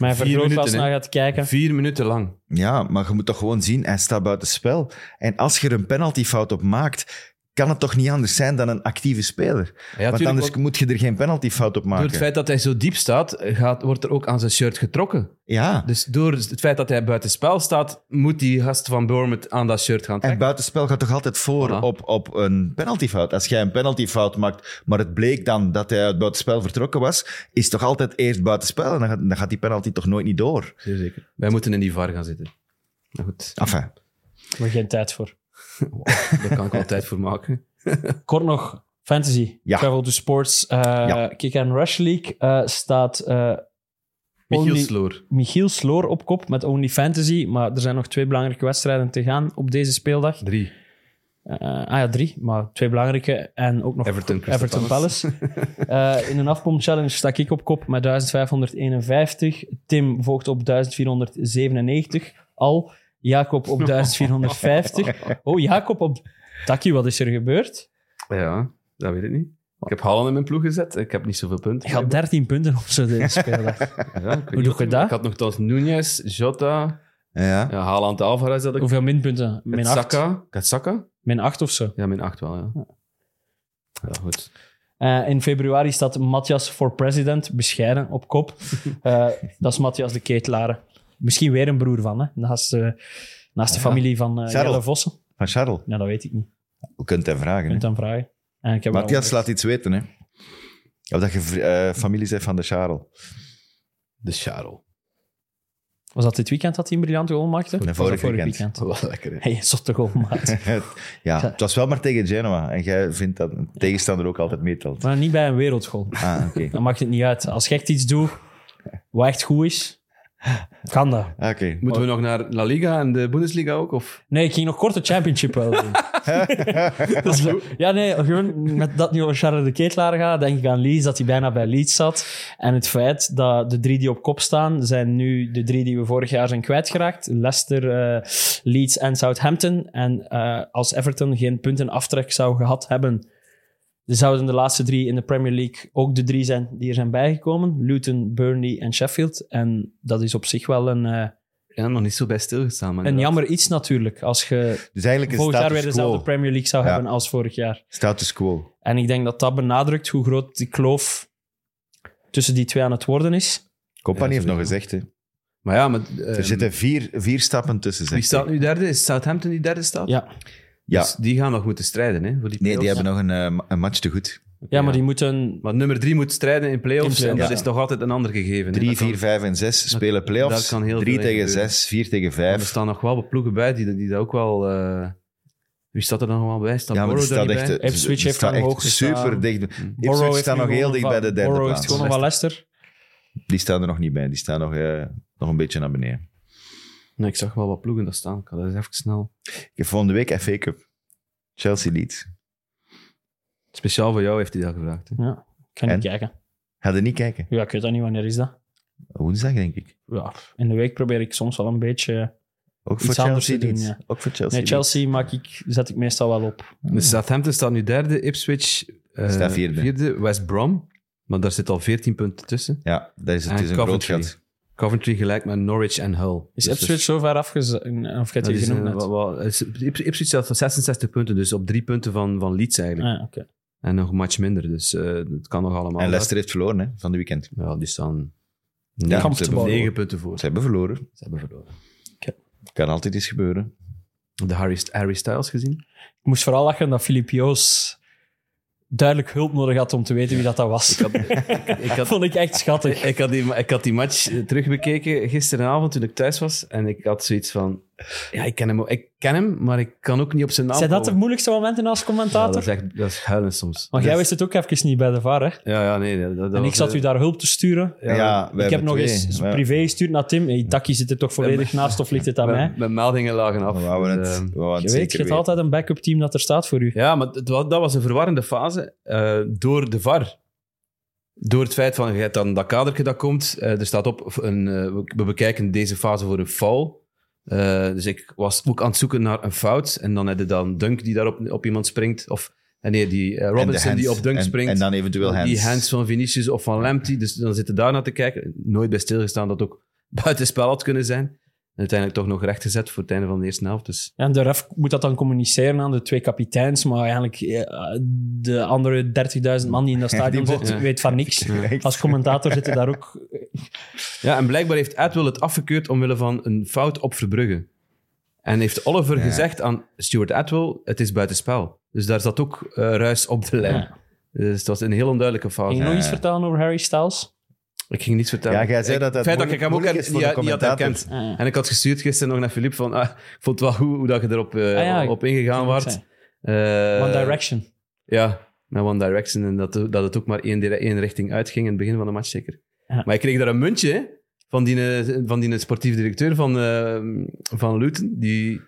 Speaker 6: Mijn
Speaker 5: Vier
Speaker 6: vergrootglas
Speaker 5: minuten,
Speaker 6: naar
Speaker 5: hè?
Speaker 6: gaat kijken.
Speaker 5: Vier minuten lang.
Speaker 4: Ja, maar je moet toch gewoon zien, hij staat buitenspel. En als je er een penaltyfout op maakt, kan het toch niet anders zijn dan een actieve speler?
Speaker 5: Ja,
Speaker 4: Want
Speaker 5: tuurlijk,
Speaker 4: anders
Speaker 5: want
Speaker 4: moet je er geen penaltyfout op
Speaker 5: door het
Speaker 4: maken.
Speaker 5: feit dat hij zo diep staat, gaat, wordt er ook aan zijn shirt getrokken.
Speaker 4: Ja,
Speaker 5: Dus door het feit dat hij buitenspel staat, moet die gast van Bournemouth aan dat shirt gaan
Speaker 4: en
Speaker 5: trekken.
Speaker 4: buitenspel gaat toch altijd voor
Speaker 5: Voilà.
Speaker 4: op, op een penaltyfout? Als jij een penaltyfout maakt, maar het bleek dan dat hij uit buitenspel vertrokken was, is toch altijd eerst buitenspel en dan gaat, dan gaat die penalty toch nooit niet door?
Speaker 5: Zeer zeker. Wij moeten in die VAR gaan zitten. Nou goed,
Speaker 4: Enfin,
Speaker 6: Maar geen tijd voor.
Speaker 5: daar kan ik wel tijd voor maken.
Speaker 6: Kort nog, fantasy.
Speaker 4: Ja.
Speaker 6: Travel to Sports. eh,
Speaker 4: Ja.
Speaker 6: Kick and Rush League eh, staat eh
Speaker 5: Michiel
Speaker 6: only-
Speaker 5: Sloor.
Speaker 6: Michiel Sloor op kop met Only Fantasy. Maar er zijn nog twee belangrijke wedstrijden te gaan op deze speeldag.
Speaker 5: Drie.
Speaker 6: Eh, ah ja, drie, maar twee belangrijke. En ook nog
Speaker 5: Everton, Crystal
Speaker 6: Everton Palace. Eh, in een afpomp challenge sta ik op kop met 1551. Tim volgt op 1497 al. Jacob op 1450. Oh, Jacob op... Taki, wat is er gebeurd?
Speaker 5: Ja, dat weet ik niet. Ik heb Haaland in mijn ploeg gezet. Ik heb niet zoveel punten.
Speaker 6: Ik had 13 punten op zo deze speeldag.
Speaker 5: Ja, ik weet
Speaker 6: doe
Speaker 5: niet.
Speaker 6: je dat?
Speaker 5: Ik had nog thans Nunez, Jota,
Speaker 4: ja.
Speaker 5: ja, Haaland, Alvarez had ik.
Speaker 6: Hoeveel minpunten? Min
Speaker 5: Met
Speaker 6: 8.
Speaker 5: Saka. Ik had Saka?
Speaker 6: Min 8 of zo.
Speaker 5: Ja, min 8 wel, ja. Ja, goed.
Speaker 6: Eh, in februari staat Matthias voor president, bescheiden, op kop. Eh, dat is Matthias de Keetlare. Misschien weer een broer van, hè? Naast, eh, naast de familie van eh
Speaker 4: Charles.
Speaker 6: Jelle Vossen.
Speaker 4: Van Charles,
Speaker 6: Nou, dat weet ik niet.
Speaker 4: je kunt hem
Speaker 6: Je
Speaker 4: vragen. hè?
Speaker 6: kunt hem vragen. En ik heb
Speaker 4: Matthias
Speaker 6: wel-
Speaker 4: laat iets weten, hè. Of dat je vri- eh, familie bent van de Charles.
Speaker 5: De Charol.
Speaker 6: Was dat dit weekend dat hij een briljante goal maakte?
Speaker 4: Nee,
Speaker 6: Was
Speaker 4: vorig
Speaker 6: dat
Speaker 4: weekend.
Speaker 5: Wel lekker, hè.
Speaker 6: Hey, een zotte goal maakt.
Speaker 4: ja, het was wel maar tegen Genoa. En jij vindt dat een tegenstander ook altijd meetelt.
Speaker 6: maar niet bij een wereldgoal.
Speaker 4: Ah, oké.
Speaker 6: Dan maakt het niet uit. Als je echt iets doet wat echt goed is, kan dat.
Speaker 4: Ah, oké.
Speaker 5: Moeten we nog naar La Liga en de Bundesliga ook? Of?
Speaker 6: Nee, ik ging nog kort de championship wel doen. Dat is goed. Ja, nee, gewoon met dat nu over Charles de Ketelaar gaat, denk ik aan Leeds, dat hij bijna bij Leeds zat. En het feit dat de drie die op kop staan, zijn nu de drie die we vorig jaar zijn kwijtgeraakt. Leicester, eh, Leeds en Southampton. En eh, als Everton geen puntenaftrek zou gehad hebben, zouden de laatste drie in de Premier League ook de drie zijn die er zijn bijgekomen. Luton, Burnley en Sheffield. En dat is op zich wel een, eh,
Speaker 5: Ja, nog niet zo bij stilgestaan. maar
Speaker 6: een
Speaker 5: inderdaad.
Speaker 6: jammer iets natuurlijk, als je
Speaker 4: Dus eigenlijk is
Speaker 6: volgend jaar weer
Speaker 4: status
Speaker 6: dezelfde
Speaker 4: quo.
Speaker 6: Premier League zou
Speaker 4: Ja.
Speaker 6: hebben als vorig jaar.
Speaker 4: Status quo.
Speaker 6: En ik denk dat dat benadrukt hoe groot die kloof tussen die twee aan het worden is.
Speaker 4: Company
Speaker 5: Ja,
Speaker 4: heeft nog
Speaker 5: sowieso.
Speaker 4: gezegd, hè.
Speaker 5: Maar ja, maar, eh,
Speaker 4: Er zitten vier, vier stappen tussen,
Speaker 5: wie
Speaker 4: zegt
Speaker 5: staat
Speaker 4: hij.
Speaker 5: nu derde? Is Southampton die derde staat?
Speaker 6: Ja,
Speaker 4: Ja.
Speaker 5: Dus die gaan nog moeten strijden, hè? Voor die
Speaker 4: Nee, die
Speaker 5: play-offs.
Speaker 4: hebben nog een, eh, een match te goed.
Speaker 6: ja maar
Speaker 5: Ja.
Speaker 6: die moeten...
Speaker 5: Maar nummer drie moet strijden in play-offs.
Speaker 6: In play-offs,
Speaker 5: en dat is
Speaker 6: ja.
Speaker 5: nog altijd een ander gegeven. hè.
Speaker 4: Drie,
Speaker 5: Dat kan-
Speaker 4: vier, vijf en zes spelen play-offs.
Speaker 5: daar kan heel
Speaker 4: Drie
Speaker 5: veel in
Speaker 4: tegen
Speaker 5: gebeuren.
Speaker 4: zes, vier tegen
Speaker 5: Maar Er
Speaker 4: vijf.
Speaker 5: staan nog wel ploegen bij die, die dat ook wel... eh, wie staat er dan nog wel bij? Staat
Speaker 4: Ja, maar die
Speaker 5: Borough daar
Speaker 4: staat
Speaker 5: niet
Speaker 4: echt,
Speaker 5: bij?
Speaker 4: eh,
Speaker 6: Ipswich
Speaker 4: die
Speaker 6: heeft
Speaker 4: staat
Speaker 6: nog
Speaker 4: echt
Speaker 6: hoog gestaan.
Speaker 4: super dicht.
Speaker 6: Borrow
Speaker 4: Ipswich staat nog heel dicht bij de derde
Speaker 6: Borrow heeft
Speaker 4: plaats.
Speaker 6: gewonnen van Leicester.
Speaker 4: Die staan er nog niet bij. Die staan nog, eh, nog een beetje naar beneden.
Speaker 5: Nee, ik zag wel wat ploegen daar staan. Ik ga dat eens even snel...
Speaker 4: Ik heb volgende week FA Cup. Chelsea Leeds.
Speaker 5: Speciaal voor jou heeft hij dat gevraagd. Hè?
Speaker 6: Ja, ik ga niet
Speaker 4: En?
Speaker 6: kijken.
Speaker 4: Ga er niet kijken.
Speaker 6: Ja, ik weet dat niet. Wanneer is dat?
Speaker 4: Woensdag, denk ik.
Speaker 6: Ja, in de week probeer ik soms wel een beetje...
Speaker 4: Ook
Speaker 6: Iets
Speaker 4: voor
Speaker 6: anders
Speaker 4: Chelsea
Speaker 6: te doen,
Speaker 4: Leeds.
Speaker 6: ja.
Speaker 4: Ook voor Chelsea dus.
Speaker 6: Nee, Chelsea maak ik, zet ik meestal wel op.
Speaker 5: Dus Southampton staat nu derde. Ipswich eh,
Speaker 4: Staat vierde.
Speaker 5: West Brom. Maar daar zit al 14 punten tussen.
Speaker 4: Ja, dat is, Dus het
Speaker 5: En
Speaker 4: is een groot
Speaker 5: Ah, Coventry.
Speaker 4: gat.
Speaker 5: Coventry gelijk met Norwich en Hull.
Speaker 6: Is
Speaker 5: Dus-
Speaker 6: Ipswich zo ver afgezet? Of gaat
Speaker 5: Dat
Speaker 6: je
Speaker 5: is,
Speaker 6: genoemd
Speaker 5: eh,
Speaker 6: net?
Speaker 5: wat- wat- is- Ips- Ipswich staat van 66 punten, dus op drie punten van, van Leeds eigenlijk.
Speaker 6: Ah, oké.
Speaker 5: En nog een match minder, dus eh het kan nog allemaal.
Speaker 4: En Leicester heeft verloren hè, van de weekend. Ze
Speaker 5: Ja, die staan
Speaker 4: Ja,
Speaker 5: negen,
Speaker 6: ze hebben-
Speaker 5: negen punten voor. Ze
Speaker 4: hebben verloren.
Speaker 5: hebben verloren.
Speaker 4: Kan altijd iets gebeuren.
Speaker 5: De Harry, Harry Styles gezien?
Speaker 6: Ik moest vooral lachen dat Filip Joos duidelijk hulp nodig had om te weten wie dat, dat was.
Speaker 5: Ik had,
Speaker 6: vond ik echt schattig.
Speaker 5: ik, had die, ik had die match eh, terugbekeken gisteravond toen ik thuis was. En ik had zoiets van... Ja, ik ken hem, ik ken hem maar ik kan ook niet op zijn
Speaker 4: Ah,
Speaker 5: naam
Speaker 6: Zijn dat de
Speaker 5: komen.
Speaker 6: moeilijkste momenten als
Speaker 5: Ja, dat
Speaker 6: commentator?
Speaker 5: is echt dat is huilen soms.
Speaker 6: Want jij
Speaker 5: Dus-
Speaker 6: wist het ook even niet bij de VAR, hè?
Speaker 5: Ja, ja, nee. Dat, dat
Speaker 6: en ik
Speaker 5: was,
Speaker 6: zat u
Speaker 5: eh,
Speaker 6: daar hulp te sturen.
Speaker 4: Ja, we
Speaker 6: ik heb
Speaker 4: hebben
Speaker 6: nog
Speaker 4: twee.
Speaker 6: eens
Speaker 4: We-
Speaker 6: privé gestuurd naar Tim. Hey, Taki zit er toch volledig naast of ligt het aan mij?
Speaker 5: Mijn, mijn meldingen lagen af.
Speaker 4: We wouden
Speaker 5: Dus,
Speaker 4: het,
Speaker 5: eh,
Speaker 4: we wouden het
Speaker 6: Je weet, je
Speaker 4: zeker
Speaker 6: hebt
Speaker 4: weten.
Speaker 6: altijd een backup team dat er staat voor u.
Speaker 5: Ja, maar het wa- dat was een verwarrende fase eh, door de VAR. Door het feit van, je hebt dan dat kadertje dat komt. eh, er staat op, een, eh, we- we bekijken deze fase voor een foul. Eh, dus ik was ook aan het zoeken naar een fout. En dan heb je dan Dunk die daar op, op iemand springt. Of eh, nee, die eh,
Speaker 4: En de
Speaker 5: Robinson die
Speaker 4: hands.
Speaker 5: op Dunk
Speaker 4: En-
Speaker 5: springt.
Speaker 4: En dan eventueel hands.
Speaker 5: Die hands van Vinicius of van Lamptey. Dus dan zitten daar naar te kijken. Nooit bij stilgestaan dat ook buitenspel had kunnen zijn. En uiteindelijk toch nog rechtgezet voor het einde van de eerste helft. Dus
Speaker 6: En de ref moet dat dan communiceren aan de twee kapiteins, maar eigenlijk eh, de andere 30.000 man die in dat stadion
Speaker 4: Die
Speaker 6: zitten,
Speaker 5: botten.
Speaker 6: weet van niks. Als commentator zitten daar ook...
Speaker 5: Ja, en blijkbaar heeft Atwell het afgekeurd omwille van een fout op Verbrugge. En heeft Oliver gezegd aan Stuart Atwell, het is buitenspel. Dus daar zat ook eh, ruis op de lijn.
Speaker 6: Ja.
Speaker 5: Dus het was een heel onduidelijke fout.
Speaker 6: Ging je nog
Speaker 4: Ja.
Speaker 6: iets vertellen over Harry Styles?
Speaker 5: Ik ging niets vertellen.
Speaker 4: Ja, jij zei
Speaker 5: Ik-
Speaker 4: dat
Speaker 5: het
Speaker 4: dat
Speaker 5: feit dat ik
Speaker 4: moeilijk-
Speaker 5: hem ook
Speaker 4: moeilijk
Speaker 5: niet,
Speaker 4: is voor de
Speaker 5: niet had
Speaker 4: commentator.
Speaker 5: herkend.
Speaker 6: Ah.
Speaker 5: En ik had gestuurd gisteren nog naar Filip van, ah, ik vond het wel goed hoe dat je erop eh,
Speaker 6: Ah ja,
Speaker 5: op ingegaan
Speaker 6: kan ook
Speaker 5: waart.
Speaker 6: zijn.
Speaker 5: Eh,
Speaker 6: One Direction.
Speaker 5: Ja, naar One Direction. En dat, dat het ook maar één, dire- één richting uitging in het begin van de match, zeker.
Speaker 6: Ja.
Speaker 5: Maar ik kreeg daar een muntje hè, van die, eh, van die sportief directeur van, eh, van Luton, die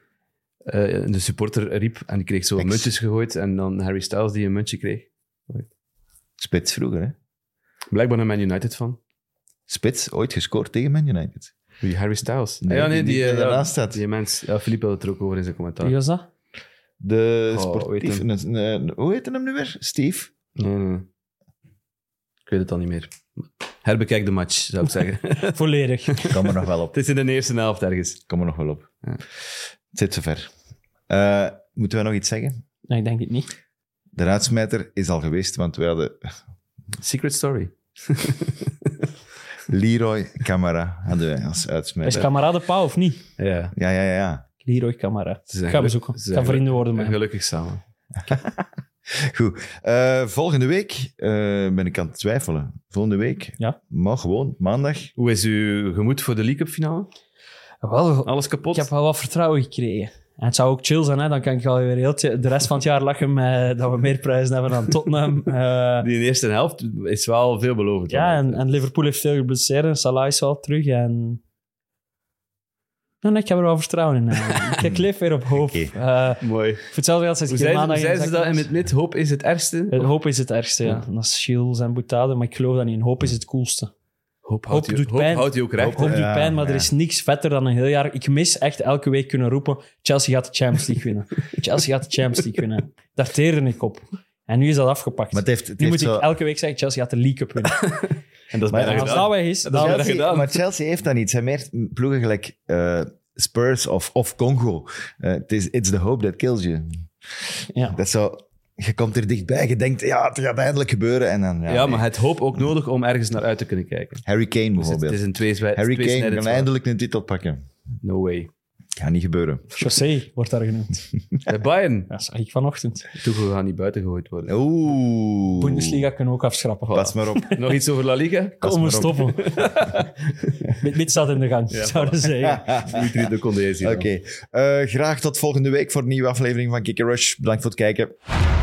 Speaker 5: eh de supporter riep. En die kreeg zo
Speaker 4: Ex.
Speaker 5: muntjes gegooid. En dan Harry Styles die een muntje kreeg.
Speaker 4: Spits vroeger, hè?
Speaker 5: Blijkbaar een Man United fan.
Speaker 4: Spits, ooit gescoord tegen Man United.
Speaker 5: Wie, Harry Styles?
Speaker 4: Nee,
Speaker 5: ja, nee,
Speaker 4: die
Speaker 5: die,
Speaker 4: niet
Speaker 5: eh, ja,
Speaker 4: daarnaast staat.
Speaker 5: Die mens. Ja, Philippe had het er ook over in zijn commentaar.
Speaker 6: Wie was dat?
Speaker 4: De
Speaker 5: Oh,
Speaker 4: sportief...
Speaker 5: hoe
Speaker 4: eh, eh, hoe heette hem nu weer? Steve?
Speaker 5: Nee, nee, nee. Ik weet het al niet meer. Herbekijk de match, zou ik zeggen.
Speaker 6: Volledig.
Speaker 4: Kom er nog wel op.
Speaker 5: het is in de eerste helft ergens.
Speaker 4: Kom er nog wel op.
Speaker 5: Ja.
Speaker 4: Het zit zover. Eh, moeten we nog iets zeggen?
Speaker 6: Nee, ik denk het niet.
Speaker 4: De raadsmijter is al geweest, want we hadden
Speaker 5: Secret story.
Speaker 4: Leroy Camara hadden wij als
Speaker 6: Is
Speaker 4: uitsmijter.
Speaker 6: Camara de Pauw of niet?
Speaker 5: Ja.
Speaker 4: Ja, ja, ja, ja.
Speaker 6: Leroy Camara.
Speaker 5: Ze zijn
Speaker 6: Ga
Speaker 5: geluk-
Speaker 6: bezoeken.
Speaker 5: ze zijn
Speaker 6: Ga vrienden
Speaker 5: geluk-
Speaker 6: worden met hem.
Speaker 5: Gelukkig samen.
Speaker 4: Goed. Eh, volgende week eh, ben ik aan het twijfelen. Volgende week?
Speaker 6: Ja.
Speaker 4: Maar gewoon, maandag.
Speaker 5: Hoe is uw gemoed voor de League Cup finale?
Speaker 6: Wel,
Speaker 5: Alles kapot?
Speaker 6: Ik heb wel wat vertrouwen gekregen. En het zou ook chill zijn, hè? dan kan ik alweer heel t- de rest van het jaar lachen met eh, dat we meer prijzen hebben dan Tottenham. Eh,
Speaker 5: Die eerste helft is wel veelbelovend.
Speaker 6: ja, en, en Liverpool heeft veel geblesseerd en Salah is wel terug. En... Nou, nee, ik heb er wel vertrouwen in. eh. ik kijk leef weer op hoop.
Speaker 4: Oké.
Speaker 6: Eh
Speaker 5: Mooi.
Speaker 6: voor hetzelfde geld zit
Speaker 5: Hoe
Speaker 6: ik hier
Speaker 5: zei ze,
Speaker 6: maandag
Speaker 5: hoe zei
Speaker 6: in de
Speaker 5: ze
Speaker 6: zak.
Speaker 5: dat in het mid? Hoop is het ergste.
Speaker 6: Eh, Hoop is het ergste, ja. Dat is Shields en Boutade, maar ik geloof dat niet. Hoop is het coolste.
Speaker 5: Hoop,
Speaker 6: hoop
Speaker 5: je-
Speaker 6: doet
Speaker 5: hoop
Speaker 6: pijn.
Speaker 5: houdt je ook recht.
Speaker 6: Hoop
Speaker 5: hè?
Speaker 6: doet
Speaker 4: Ja,
Speaker 6: pijn, maar er
Speaker 4: ja.
Speaker 6: is niks vetter dan een heel jaar. Ik mis echt elke week kunnen roepen: Chelsea gaat de Champions League winnen. Chelsea gaat de Champions League winnen. Daar teerde ik op. En nu is dat afgepakt.
Speaker 4: Maar het heeft, het
Speaker 6: nu moet
Speaker 4: heeft zo...
Speaker 6: ik elke week zeggen: Chelsea gaat de League Cup winnen.
Speaker 5: En dat is
Speaker 4: Maar
Speaker 5: bijna
Speaker 6: En als dat
Speaker 5: gedaan.
Speaker 6: weg is,
Speaker 5: is
Speaker 6: dan.
Speaker 5: erg.
Speaker 4: Chelsea,
Speaker 5: gedaan.
Speaker 4: Maar Chelsea heeft dan iets. Zijn meer ploegen gelijk eh, Spurs of, of Congo. Eh, het is it's the hope that kills you.
Speaker 6: Ja.
Speaker 4: Dat is zo... Je komt er dichtbij, je denkt, ja, het gaat eindelijk gebeuren. En dan, ja,
Speaker 5: Ja,
Speaker 4: nee.
Speaker 5: maar het hoop ook nodig om ergens naar uit te kunnen kijken.
Speaker 4: Harry
Speaker 5: Dus
Speaker 4: Kane
Speaker 5: het,
Speaker 4: bijvoorbeeld.
Speaker 5: het is een tweeswij-
Speaker 4: Harry Kane
Speaker 5: tweesnijdend
Speaker 4: kan
Speaker 5: zwaard.
Speaker 4: eindelijk een titel pakken.
Speaker 5: No way.
Speaker 4: Gaat niet gebeuren.
Speaker 6: José wordt daar genoemd.
Speaker 5: Bij Eh, Bayern.
Speaker 6: Dat zag ik vanochtend.
Speaker 5: Toegel gaat niet buiten gegooid worden.
Speaker 4: Oeh.
Speaker 6: Bundesliga kunnen we ook afschrappen.
Speaker 4: Pas maar op.
Speaker 5: Nog iets over La Liga?
Speaker 6: Kom, we stoppen. Mid, mid staat in de gang, zouden ze zeggen.
Speaker 5: Dimitri de Condé is hier.
Speaker 4: Oké. Eh, graag tot volgende week voor een nieuwe aflevering van Kick and Rush. Bedankt voor het kijken.